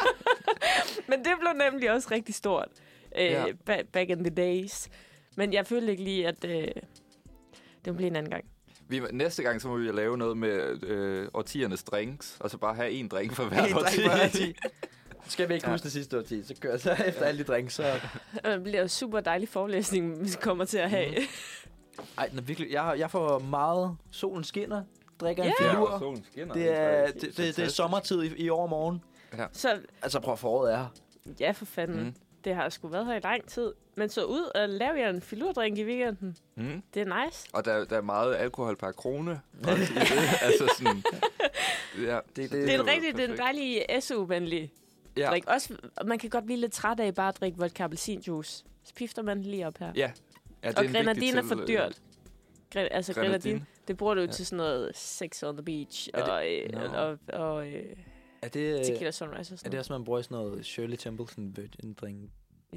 Speaker 1: Men det blev nemlig også rigtig stort øh,
Speaker 2: Ja.
Speaker 1: ja. ba- back in the days. Men jeg følte ikke lige, at øh, det blev en anden gang.
Speaker 2: Vi, næste gang, så må vi lave noget med øh, årtiernes drinks, og så bare have en drink for hver årti.
Speaker 3: Skal vi ikke
Speaker 2: Ja.
Speaker 3: huske det sidste årti, så kører så efter alle de drinks, så...
Speaker 1: Og Det bliver en super dejlig forelæsning, vi kommer til at have.
Speaker 3: Ej, den er virkelig... Jeg, jeg får meget... Solen skinner, drikker en
Speaker 2: Ja,
Speaker 3: filur.
Speaker 2: og solen skinner.
Speaker 3: Det er,
Speaker 2: faktisk
Speaker 3: det, det, det er
Speaker 2: fantastisk.
Speaker 3: sommertid i, i overmorgen.
Speaker 1: Så
Speaker 3: Altså, prøv at foråret er her.
Speaker 1: ja, for fanden.
Speaker 2: Mm.
Speaker 1: Mm. Det har sgu været her i lang tid. Men så ud og lav jer en filurdrink i weekenden.
Speaker 2: Mm.
Speaker 1: Det er nice.
Speaker 2: Og der, der er meget alkohol per krone. også i det. altså sådan... Ja,
Speaker 3: det-
Speaker 2: så
Speaker 1: Det er en
Speaker 2: jo
Speaker 1: rigtig, det er en
Speaker 2: perfekt.
Speaker 1: dejlig SU-venlig
Speaker 2: ja.
Speaker 1: ja. drik. Også, og man kan godt blive lidt træt af bare at drikke vodka appelsinjuice. Så pifter man den lige op her. Ja,
Speaker 2: Ja. ja det
Speaker 1: og
Speaker 2: en vigtig
Speaker 1: grenadine er for
Speaker 2: til-
Speaker 1: dyrt. Gre- altså grenadine.
Speaker 2: Grenadine.
Speaker 1: Det bruger du jo
Speaker 2: Ja.
Speaker 1: ja. til sådan noget sex on the beach
Speaker 3: Er det-
Speaker 1: og, øh,
Speaker 2: Nå.
Speaker 1: og, og øh,
Speaker 3: Er det,
Speaker 1: tequila sunrise og
Speaker 3: er
Speaker 1: sådan
Speaker 3: det
Speaker 1: noget.
Speaker 3: også, man bruger i sådan noget Shirley Templeton virgin drink?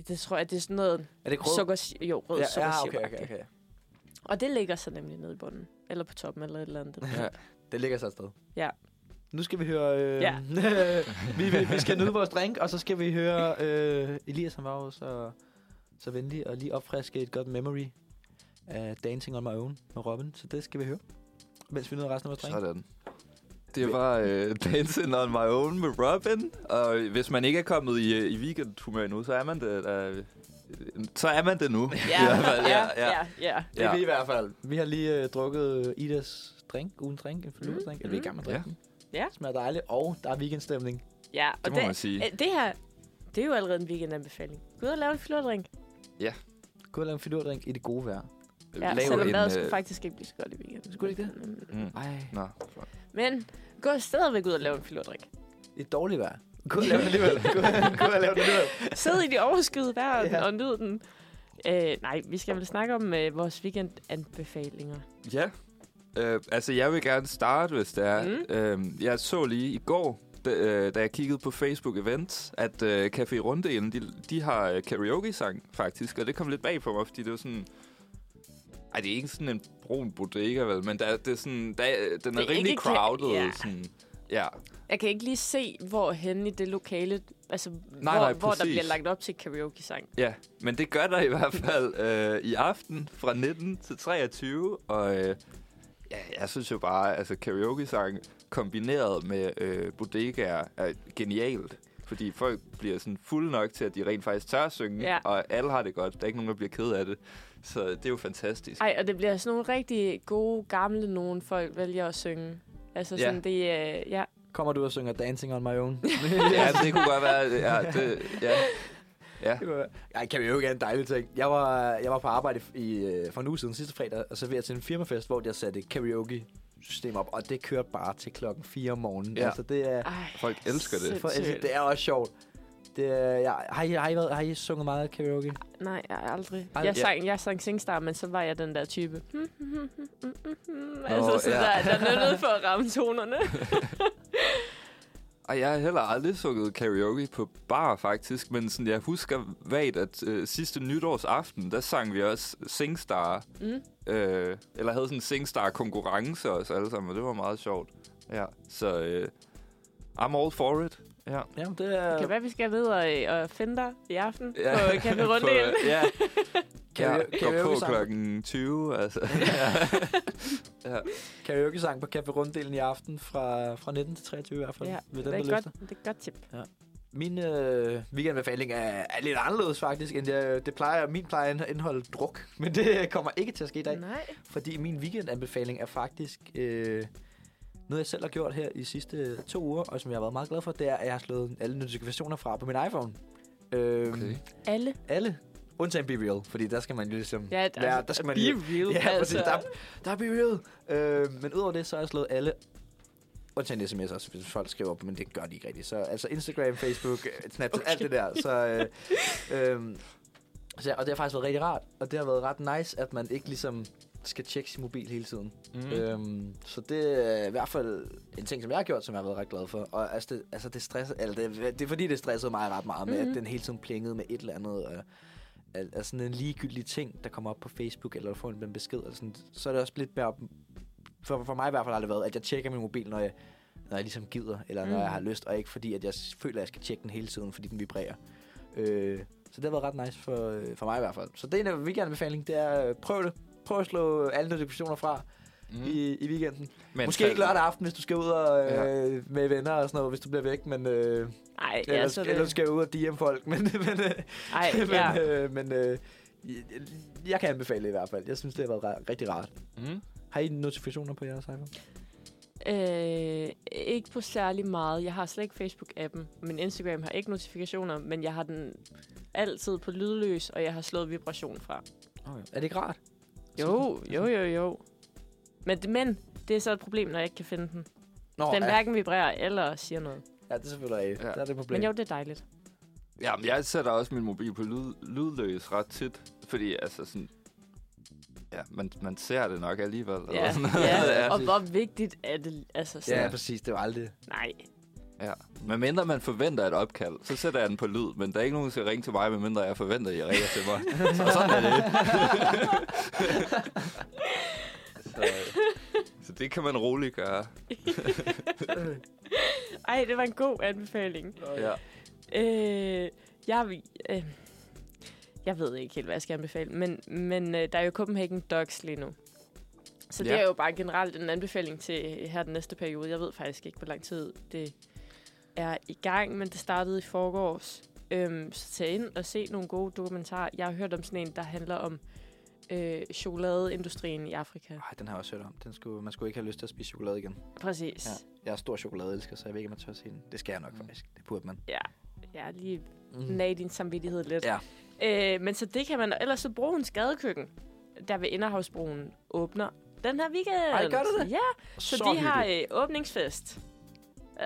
Speaker 1: Det, tror jeg, det er sådan noget
Speaker 3: Er det grød?
Speaker 1: sukker, jo, rød
Speaker 3: ja,
Speaker 1: sukker
Speaker 3: ja, okay, okay, okay.
Speaker 1: Og det ligger så nemlig nede i bunden. Eller på toppen, eller et eller andet.
Speaker 2: Ja.
Speaker 3: Det ligger sig afsted.
Speaker 1: Ja.
Speaker 3: Nu skal vi høre... Øh,
Speaker 1: Ja.
Speaker 3: vi, vi, vi skal nyde vores drink, og så skal vi høre øh, Elias, han var også og så venlig at lige opfriske et godt memory af Dancing on my own med Robin. Så det skal vi høre, mens vi nyder resten af vores drink.
Speaker 2: Sådan. Det var øh, Dancing on my own med Robin. Og hvis man ikke er kommet i, øh, i weekendhumør endnu, så er man det. Øh, så er man det nu.
Speaker 1: Ja,
Speaker 2: I hvert fald,
Speaker 1: ja, ja, ja.
Speaker 3: Det er
Speaker 2: Ja.
Speaker 3: vi i hvert fald. Vi har lige øh, drukket Idas drink, ugen drink, en forløbet drink. Mm. vi er i gang med
Speaker 2: Ja.
Speaker 3: drinken.
Speaker 1: Ja.
Speaker 3: Smager dejligt, og der er weekendstemning.
Speaker 1: ja. Og
Speaker 2: Det må man sige.
Speaker 1: øh, Det her, det er jo allerede en weekendanbefaling. Gå ud og lave en flordrink.
Speaker 3: Kunne lave en filurdrink i det gode vejr.
Speaker 1: Ja,
Speaker 2: Lav
Speaker 1: selvom
Speaker 2: en,
Speaker 1: vejret skulle
Speaker 2: øh,
Speaker 1: faktisk ikke blive så godt i weekenden.
Speaker 3: Skulle det ikke
Speaker 1: det?
Speaker 2: Mm.
Speaker 3: Ej.
Speaker 2: Nå,
Speaker 1: Men gå stadigvæk ud og lave en filordrink.
Speaker 3: I et dårligt vejr. Kunne lave det alligevel. Kunne- Kunne lave det alligevel.
Speaker 1: Sid i de overskyede vejr
Speaker 3: Ja.
Speaker 1: ja. og nyd den. Øh, nej, vi skal vel snakke om øh, vores weekendanbefalinger.
Speaker 2: Ja. Øh, altså, jeg vil gerne starte, hvis det er.
Speaker 1: Mm.
Speaker 2: Mm. Øh, jeg så lige i går, da, øh, da jeg kiggede på Facebook Events, at øh, Café Runddelen, de, de har øh, karaoke-sang, faktisk. Og det kom lidt bag på mig, fordi det var sådan... Ej, det er ikke sådan en brun bodega, vel? Men der, det er sådan, der, øh, den er,
Speaker 1: ikke
Speaker 2: er rimelig
Speaker 1: ka-
Speaker 2: crowded.
Speaker 1: ja.
Speaker 2: Ja. Sådan, ja.
Speaker 1: Jeg kan ikke lige se, hvor hen i det lokale, altså nej, hvor,
Speaker 2: nej,
Speaker 1: nej, hvor der
Speaker 2: præcis.
Speaker 1: bliver lagt op til karaoke-sang.
Speaker 2: Ja, men det gør der i hvert fald øh, i aften fra 19 til 23, og øh, ja, jeg synes jo bare, altså karaoke-sang kombineret med øh, bodegaer er genialt, fordi folk bliver sådan fulde nok til, at de rent faktisk tør at synge,
Speaker 1: Ja.
Speaker 2: og alle har det godt, der er ikke nogen, der bliver ked af det, så det er jo fantastisk.
Speaker 1: Ej, og det bliver sådan nogle rigtig gode, gamle nogen, folk vælger at synge. Altså
Speaker 2: Ja.
Speaker 1: sådan, ja. det er... Øh, ja.
Speaker 3: Kommer du og synger Dancing on my own?
Speaker 2: ja, det kunne godt være, ja, det, ja. Ja,
Speaker 3: Ej, kan vi jo ikke have en dejlig ting. Jeg var, jeg var på arbejde i, øh, for en uge siden sidste fredag, og så var jeg til en firmafest, hvor jeg satte karaoke system op, og det kørte bare til klokken 4 om morgenen. Ja.
Speaker 2: Ja.
Speaker 3: Altså, det er,
Speaker 1: Ej,
Speaker 2: folk elsker det.
Speaker 1: sindssygt.
Speaker 3: for, altså, det er også sjovt. Det er, ja, har, I, har, I været, har I sunget meget karaoke?
Speaker 1: Nej, jeg er aldrig.
Speaker 3: Ej,
Speaker 1: jeg,
Speaker 2: ja.
Speaker 1: sang, jeg sang Singstar, men så var jeg den der type. Nå,
Speaker 2: Nå,
Speaker 1: altså, så
Speaker 2: ja.
Speaker 1: ja. der, der er noget for at ramme tonerne.
Speaker 2: Og jeg har heller aldrig sunget karaoke på bar, faktisk. Men sådan, jeg husker vagt, at øh, sidste nytårsaften, der sang vi også Singstar.
Speaker 1: Mm.
Speaker 2: Øh, eller havde sådan en Singstar-konkurrence også alle sammen, og det var meget sjovt. Ja, så øh, I'm all for it. Ja.
Speaker 3: Jamen, det er...
Speaker 1: Det kan være, vi skal ned og, og finde dig i aften ja.
Speaker 2: Ja.
Speaker 1: på Café Runddelen.
Speaker 2: På, øh, ja,
Speaker 3: Karaoke-
Speaker 2: ja, går på
Speaker 3: karaoke-sang.
Speaker 2: klokken 20, altså.
Speaker 3: karaoke-sang på Café Runddelen i aften fra, fra 19 til 23 i hvert fald.
Speaker 1: Ja,
Speaker 3: med
Speaker 1: det,
Speaker 3: den,
Speaker 1: er et
Speaker 3: der
Speaker 1: godt,
Speaker 3: lyster.
Speaker 1: det er et godt tip.
Speaker 3: Min øh, weekendanbefaling er, er lidt anderledes faktisk, end jeg, det plejer. Min plejer at indeholde druk, men det kommer ikke til at ske i dag.
Speaker 1: Nej.
Speaker 3: Fordi min weekendanbefaling er faktisk øh, noget, jeg selv har gjort her i sidste to uger, og som jeg har været meget glad for, det er, at jeg har slået alle notifikationer fra på min iPhone. Øh, okay.
Speaker 2: Okay.
Speaker 1: Alle.
Speaker 3: Alle. Undtagen Be Real, fordi der skal man jo ligesom...
Speaker 1: Ja, altså,
Speaker 3: være- der skal man jo-
Speaker 1: Be real,
Speaker 3: Ja, altså.
Speaker 1: altså.
Speaker 3: præcis. Der, der er Be Real. Øh, men udover det, så har jeg slået alle... Undtagen sms også, hvis folk skriver op, men det gør de ikke rigtigt. Så altså Instagram, Facebook, øh, Snapchat, okay. alt det der. Så, øh, øh, så, ja, og det har faktisk været rigtig rart. Og det har været ret nice, at man ikke ligesom skal tjekke sin mobil hele tiden. Mm.
Speaker 2: Øh,
Speaker 3: Øhm, så det er i hvert fald en ting, som jeg har gjort, som jeg har været ret glad for. Og altså, det, altså det, stresser, altså det, det er fordi, det stressede mig ret meget med, mm. at den hele tiden plingede med et eller andet. Og, al- altså sådan en ligegyldig ting, der kommer op på Facebook, eller du får en en besked, eller sådan, så er det også lidt mere... op- For, for mig i hvert fald har det været, at jeg tjekker min mobil, når jeg, når jeg ligesom gider, eller når
Speaker 1: Mm.
Speaker 3: jeg har lyst, og ikke fordi, at jeg s- føler, at jeg skal tjekke den hele tiden, fordi den vibrerer. Øh, så det har været ret nice for, øh, for mig i hvert fald. Så det er en weekendanbefaling, det er øh, prøv det. Prøv at slå alle notifikationer fra mm. i, i weekenden.
Speaker 2: Men
Speaker 3: Måske ikke lørdag aften, hvis du skal ud og, øh, ja.
Speaker 2: Ja.
Speaker 3: med venner og sådan noget, hvis du bliver væk, men øh,
Speaker 1: Ej, ja,
Speaker 3: ellers,
Speaker 1: så
Speaker 3: ja,
Speaker 1: er det...
Speaker 3: ellers skal jeg ud og DM folk. Men, men, øh,
Speaker 1: Ej, ja.
Speaker 3: men, øh, men øh, jeg kan anbefale det i hvert fald. Jeg synes, det har været ra- rigtig rart.
Speaker 2: Mm.
Speaker 3: Har I notifikationer på jeres iPhone?
Speaker 1: Øh, ikke på særlig meget. Jeg har slet ikke Facebook-appen. Min Instagram har ikke notifikationer, men jeg har den altid på lydløs, og jeg har slået vibration fra.
Speaker 3: Okay. Er det ikke rart?
Speaker 1: Jo, jo, jo, jo. Men, men det er så et problem, når jeg ikke kan finde den.
Speaker 3: Nå,
Speaker 1: Den
Speaker 3: ja,
Speaker 1: hverken vibrerer eller siger noget.
Speaker 3: ja, det er selvfølgelig rigtigt.
Speaker 2: Ja.
Speaker 3: Der er det et problem.
Speaker 1: Men jo, det er dejligt.
Speaker 2: Jamen, jeg sætter også min mobil på lyd, lydløs ret tit, fordi altså sådan... Ja, man, man ser det nok alligevel. eller
Speaker 1: Ja,
Speaker 2: sådan noget.
Speaker 1: ja.
Speaker 2: Ja.
Speaker 1: Og hvor vigtigt er det? Altså sådan,
Speaker 3: ja,
Speaker 1: ja.
Speaker 3: præcis. Det var aldrig...
Speaker 1: nej.
Speaker 2: ja. Men mindre man forventer et opkald, så sætter jeg den på lyd, men der er ikke nogen, der skal ringe til mig, medmindre jeg forventer, at I ringer til mig. Så sådan er det. så, øh, så det kan man roligt gøre.
Speaker 1: Ej, det var en god anbefaling.
Speaker 2: Ja.
Speaker 1: Øh, jeg, øh, Jeg ved ikke helt, hvad jeg skal anbefale, men, men øh, der er jo Copenhagen Dogs lige nu. Så det
Speaker 2: Ja.
Speaker 1: er jo bare generelt en anbefaling til her den næste periode. Jeg ved faktisk ikke, hvor lang tid det er i gang, men det startede i forgårs. Øhm, så tag ind og se nogle gode dokumentarer. Jeg har hørt om sådan en, der handler om øh, chokoladeindustrien i Afrika.
Speaker 3: Ej, den har jeg også hørt om. Den skulle, man skulle ikke have lyst til at spise chokolade igen.
Speaker 1: Præcis.
Speaker 3: Ja. Jeg er stor chokoladeelsker, så jeg ved ikke, om jeg tør se den. Det skal jeg nok faktisk. Det burde man.
Speaker 1: Ja, ja lige nag din samvittighed lidt.
Speaker 3: Ja.
Speaker 1: Øh, men så det kan man, ellers så broens gadekøkken, der ved Inderhavsbroen, åbner den her weekend.
Speaker 3: Ej, gør det det?
Speaker 1: Ja, så, så de har øh, åbningsfest.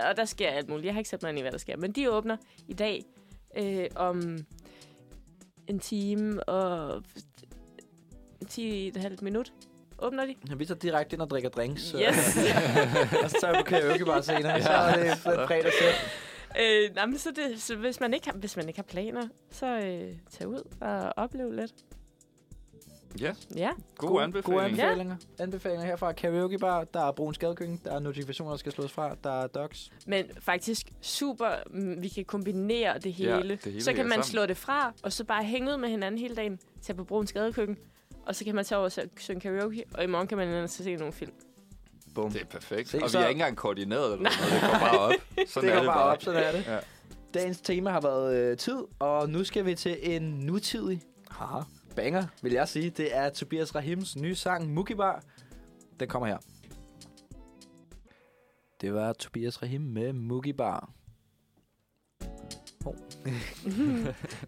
Speaker 1: Og der sker alt muligt. Jeg har ikke sat mig ind i, hvad der sker. Men de åbner i dag øh, om en time og 10,5 minut. Åbner de?
Speaker 3: Ja, vi tager direkte ind og drikker drinks.
Speaker 1: Så.
Speaker 3: øh.
Speaker 1: Yes.
Speaker 3: og Altså, så tager vi på karaoke bare senere. Ja. Så er det fredag
Speaker 1: Øh, nej, men så, det, så hvis, man ikke har, hvis man ikke har planer, så øh, tag ud og oplev lidt.
Speaker 2: Ja,
Speaker 1: Ja,
Speaker 2: god,
Speaker 3: Gode-
Speaker 2: anbefaling.
Speaker 3: Gode anbefalinger. Ja. Anbefalinger herfra. Karaoke bar, der er brun skadekøkken, der er notifikationer, der skal slås fra, der er docs.
Speaker 1: men faktisk super, mm, vi kan kombinere det hele.
Speaker 2: Ja, det hele
Speaker 1: så kan
Speaker 2: hænger
Speaker 1: man
Speaker 2: sammen.
Speaker 1: slå det fra, og så bare hænge ud med hinanden hele dagen, tage på Bruns Gadekøkken, og så kan man tage over og sy- synge karaoke, og i morgen kan man ellers se nogle film.
Speaker 3: Bum.
Speaker 2: Det er perfekt.
Speaker 3: Se,
Speaker 2: og
Speaker 3: så-
Speaker 2: vi er ikke engang koordineret eller noget. Det går bare op. Sådan
Speaker 3: det
Speaker 2: er
Speaker 3: går
Speaker 2: det
Speaker 3: bare op, sådan er det.
Speaker 2: Ja.
Speaker 3: Dagens tema har været øh, tid, og nu skal vi til en nutidig haha, banger, vil jeg sige. Det er Tobias Rahims nye sang, Mukibar. Den kommer her. Det var Tobias Rahim med Mukibar.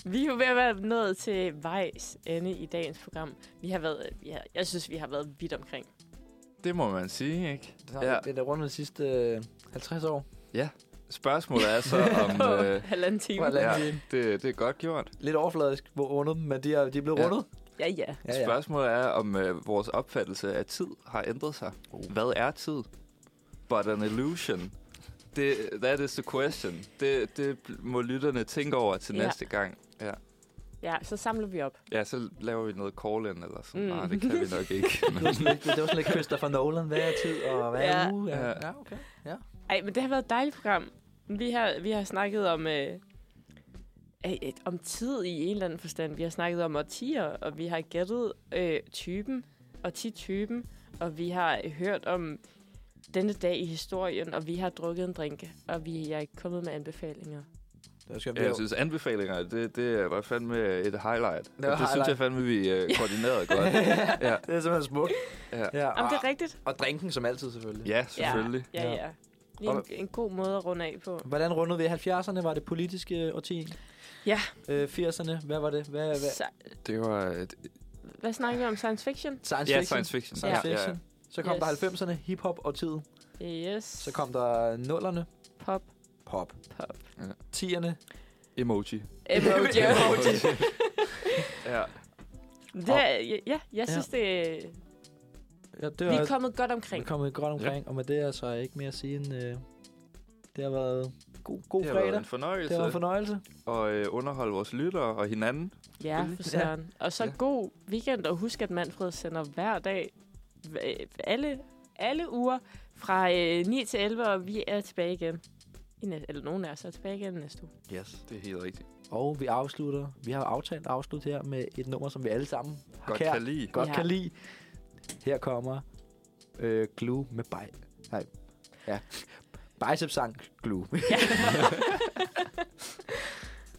Speaker 1: Vi er jo ved at være nået til vejs ende i dagens program. Vi har været, vi har, jeg synes, vi har været vidt omkring.
Speaker 2: Det må man sige, ikke?
Speaker 3: Ja.
Speaker 2: Ja.
Speaker 3: Det er rundt de sidste øh, 50 år.
Speaker 2: Spørgsmålet er så, om...
Speaker 1: På
Speaker 2: øh,
Speaker 1: halvanden time.
Speaker 3: Hvordan
Speaker 2: ja,
Speaker 3: de-
Speaker 2: det, det er godt gjort.
Speaker 3: Lidt overfladisk hvor rundet dem, men de er, de er blevet
Speaker 2: Ja.
Speaker 3: rundet.
Speaker 1: Ja, ja.
Speaker 2: Ja, ja. Spørgsmålet er, om øh, vores opfattelse af tid har ændret sig. Oh. Hvad er tid? But an illusion. Det, that is the question. Det, det må lytterne tænke over til
Speaker 1: Ja.
Speaker 2: ja. næste gang. Ja.
Speaker 1: Ja, så samler vi op.
Speaker 2: ja, så laver vi noget call-in eller sådan.
Speaker 1: Mm.
Speaker 2: Mm. Nej, det kan vi nok ikke.
Speaker 3: Det var, sådan lidt, det var sådan lidt Christopher Nolan. Hvad er tid, og hvad er
Speaker 1: Ja.
Speaker 3: uge? Ja.
Speaker 2: Ja.
Speaker 3: ja, okay.
Speaker 1: Ej, men det har været et dejligt program. Vi har, vi har snakket om, øh, øh, øh, om tid i en eller anden forstand. Vi har snakket om årtier, og vi har gættet øh, typen, årti-typen, og vi har hørt om denne dag i historien, og vi har drukket en drink, og vi er kommet med anbefalinger.
Speaker 3: Det var skønt.
Speaker 2: Ja, jeg synes, anbefalinger, det, det var fandme et highlight. Det, det
Speaker 3: highlight.
Speaker 2: synes jeg fandme, vi øh, koordinerede godt. Ja,
Speaker 3: det er simpelthen smukt.
Speaker 2: Ja.
Speaker 3: ja.
Speaker 1: Jamen, det
Speaker 3: Og,
Speaker 1: er rigtigt.
Speaker 3: og drinken som altid, Ah, selvfølgelig.
Speaker 2: ja selvfølgelig.
Speaker 1: Ja, ja. ja. Lige en,
Speaker 3: Og-
Speaker 1: en god måde at runde af på.
Speaker 3: Hvordan rundede vi 70'erne? Var det politiske årti?
Speaker 1: Ja.
Speaker 3: Øh, 80'erne? Hvad var det? Hvad, hvad?
Speaker 1: Så,
Speaker 2: Det var... Et,
Speaker 1: hvad snakker vi om? Science fiction?
Speaker 3: Science
Speaker 2: ja, science fiction.
Speaker 3: Science
Speaker 2: Ja,
Speaker 3: fiction.
Speaker 2: ja.
Speaker 3: Så kom
Speaker 1: Yes.
Speaker 3: der 90'erne, hiphop og tid.
Speaker 1: Yes.
Speaker 3: Så kom der 0'erne,
Speaker 1: Pop.
Speaker 3: pop.
Speaker 1: Pop.
Speaker 2: Ja.
Speaker 3: 10'erne,
Speaker 2: Emoji.
Speaker 1: Emoji. Emoji.
Speaker 2: Ja.
Speaker 1: Det, er- ja, jeg synes, det,
Speaker 3: ja, det
Speaker 1: Vi er
Speaker 3: var,
Speaker 1: kommet godt
Speaker 3: vi er
Speaker 1: omkring.
Speaker 3: kommet godt omkring. Og med det er så ikke mere at sige end, øh, det har været god, god
Speaker 2: Det har været
Speaker 3: fredag.
Speaker 2: en fornøjelse.
Speaker 3: Det var en fornøjelse.
Speaker 2: og øh, underholde vores lyttere og hinanden.
Speaker 1: Ja,
Speaker 2: Selvfølgelig.
Speaker 1: for søren. Og så
Speaker 2: Ja.
Speaker 1: god weekend, og husk, at Manfred sender hver dag, hva- alle, alle uger, fra øh, 9 til 11, og vi er tilbage igen. I næ- eller nogen af os er tilbage igen næste uge.
Speaker 3: Yes.
Speaker 2: Det er helt rigtigt.
Speaker 3: Og vi afslutter, vi har aftalt at afslutte her med et nummer, som vi alle sammen har
Speaker 2: Godt
Speaker 3: kært,
Speaker 2: kan lide.
Speaker 3: godt
Speaker 1: Ja.
Speaker 3: kan lide. Her kommer øh, Glue med bij. Nej. Ja. Biceps sang Glue.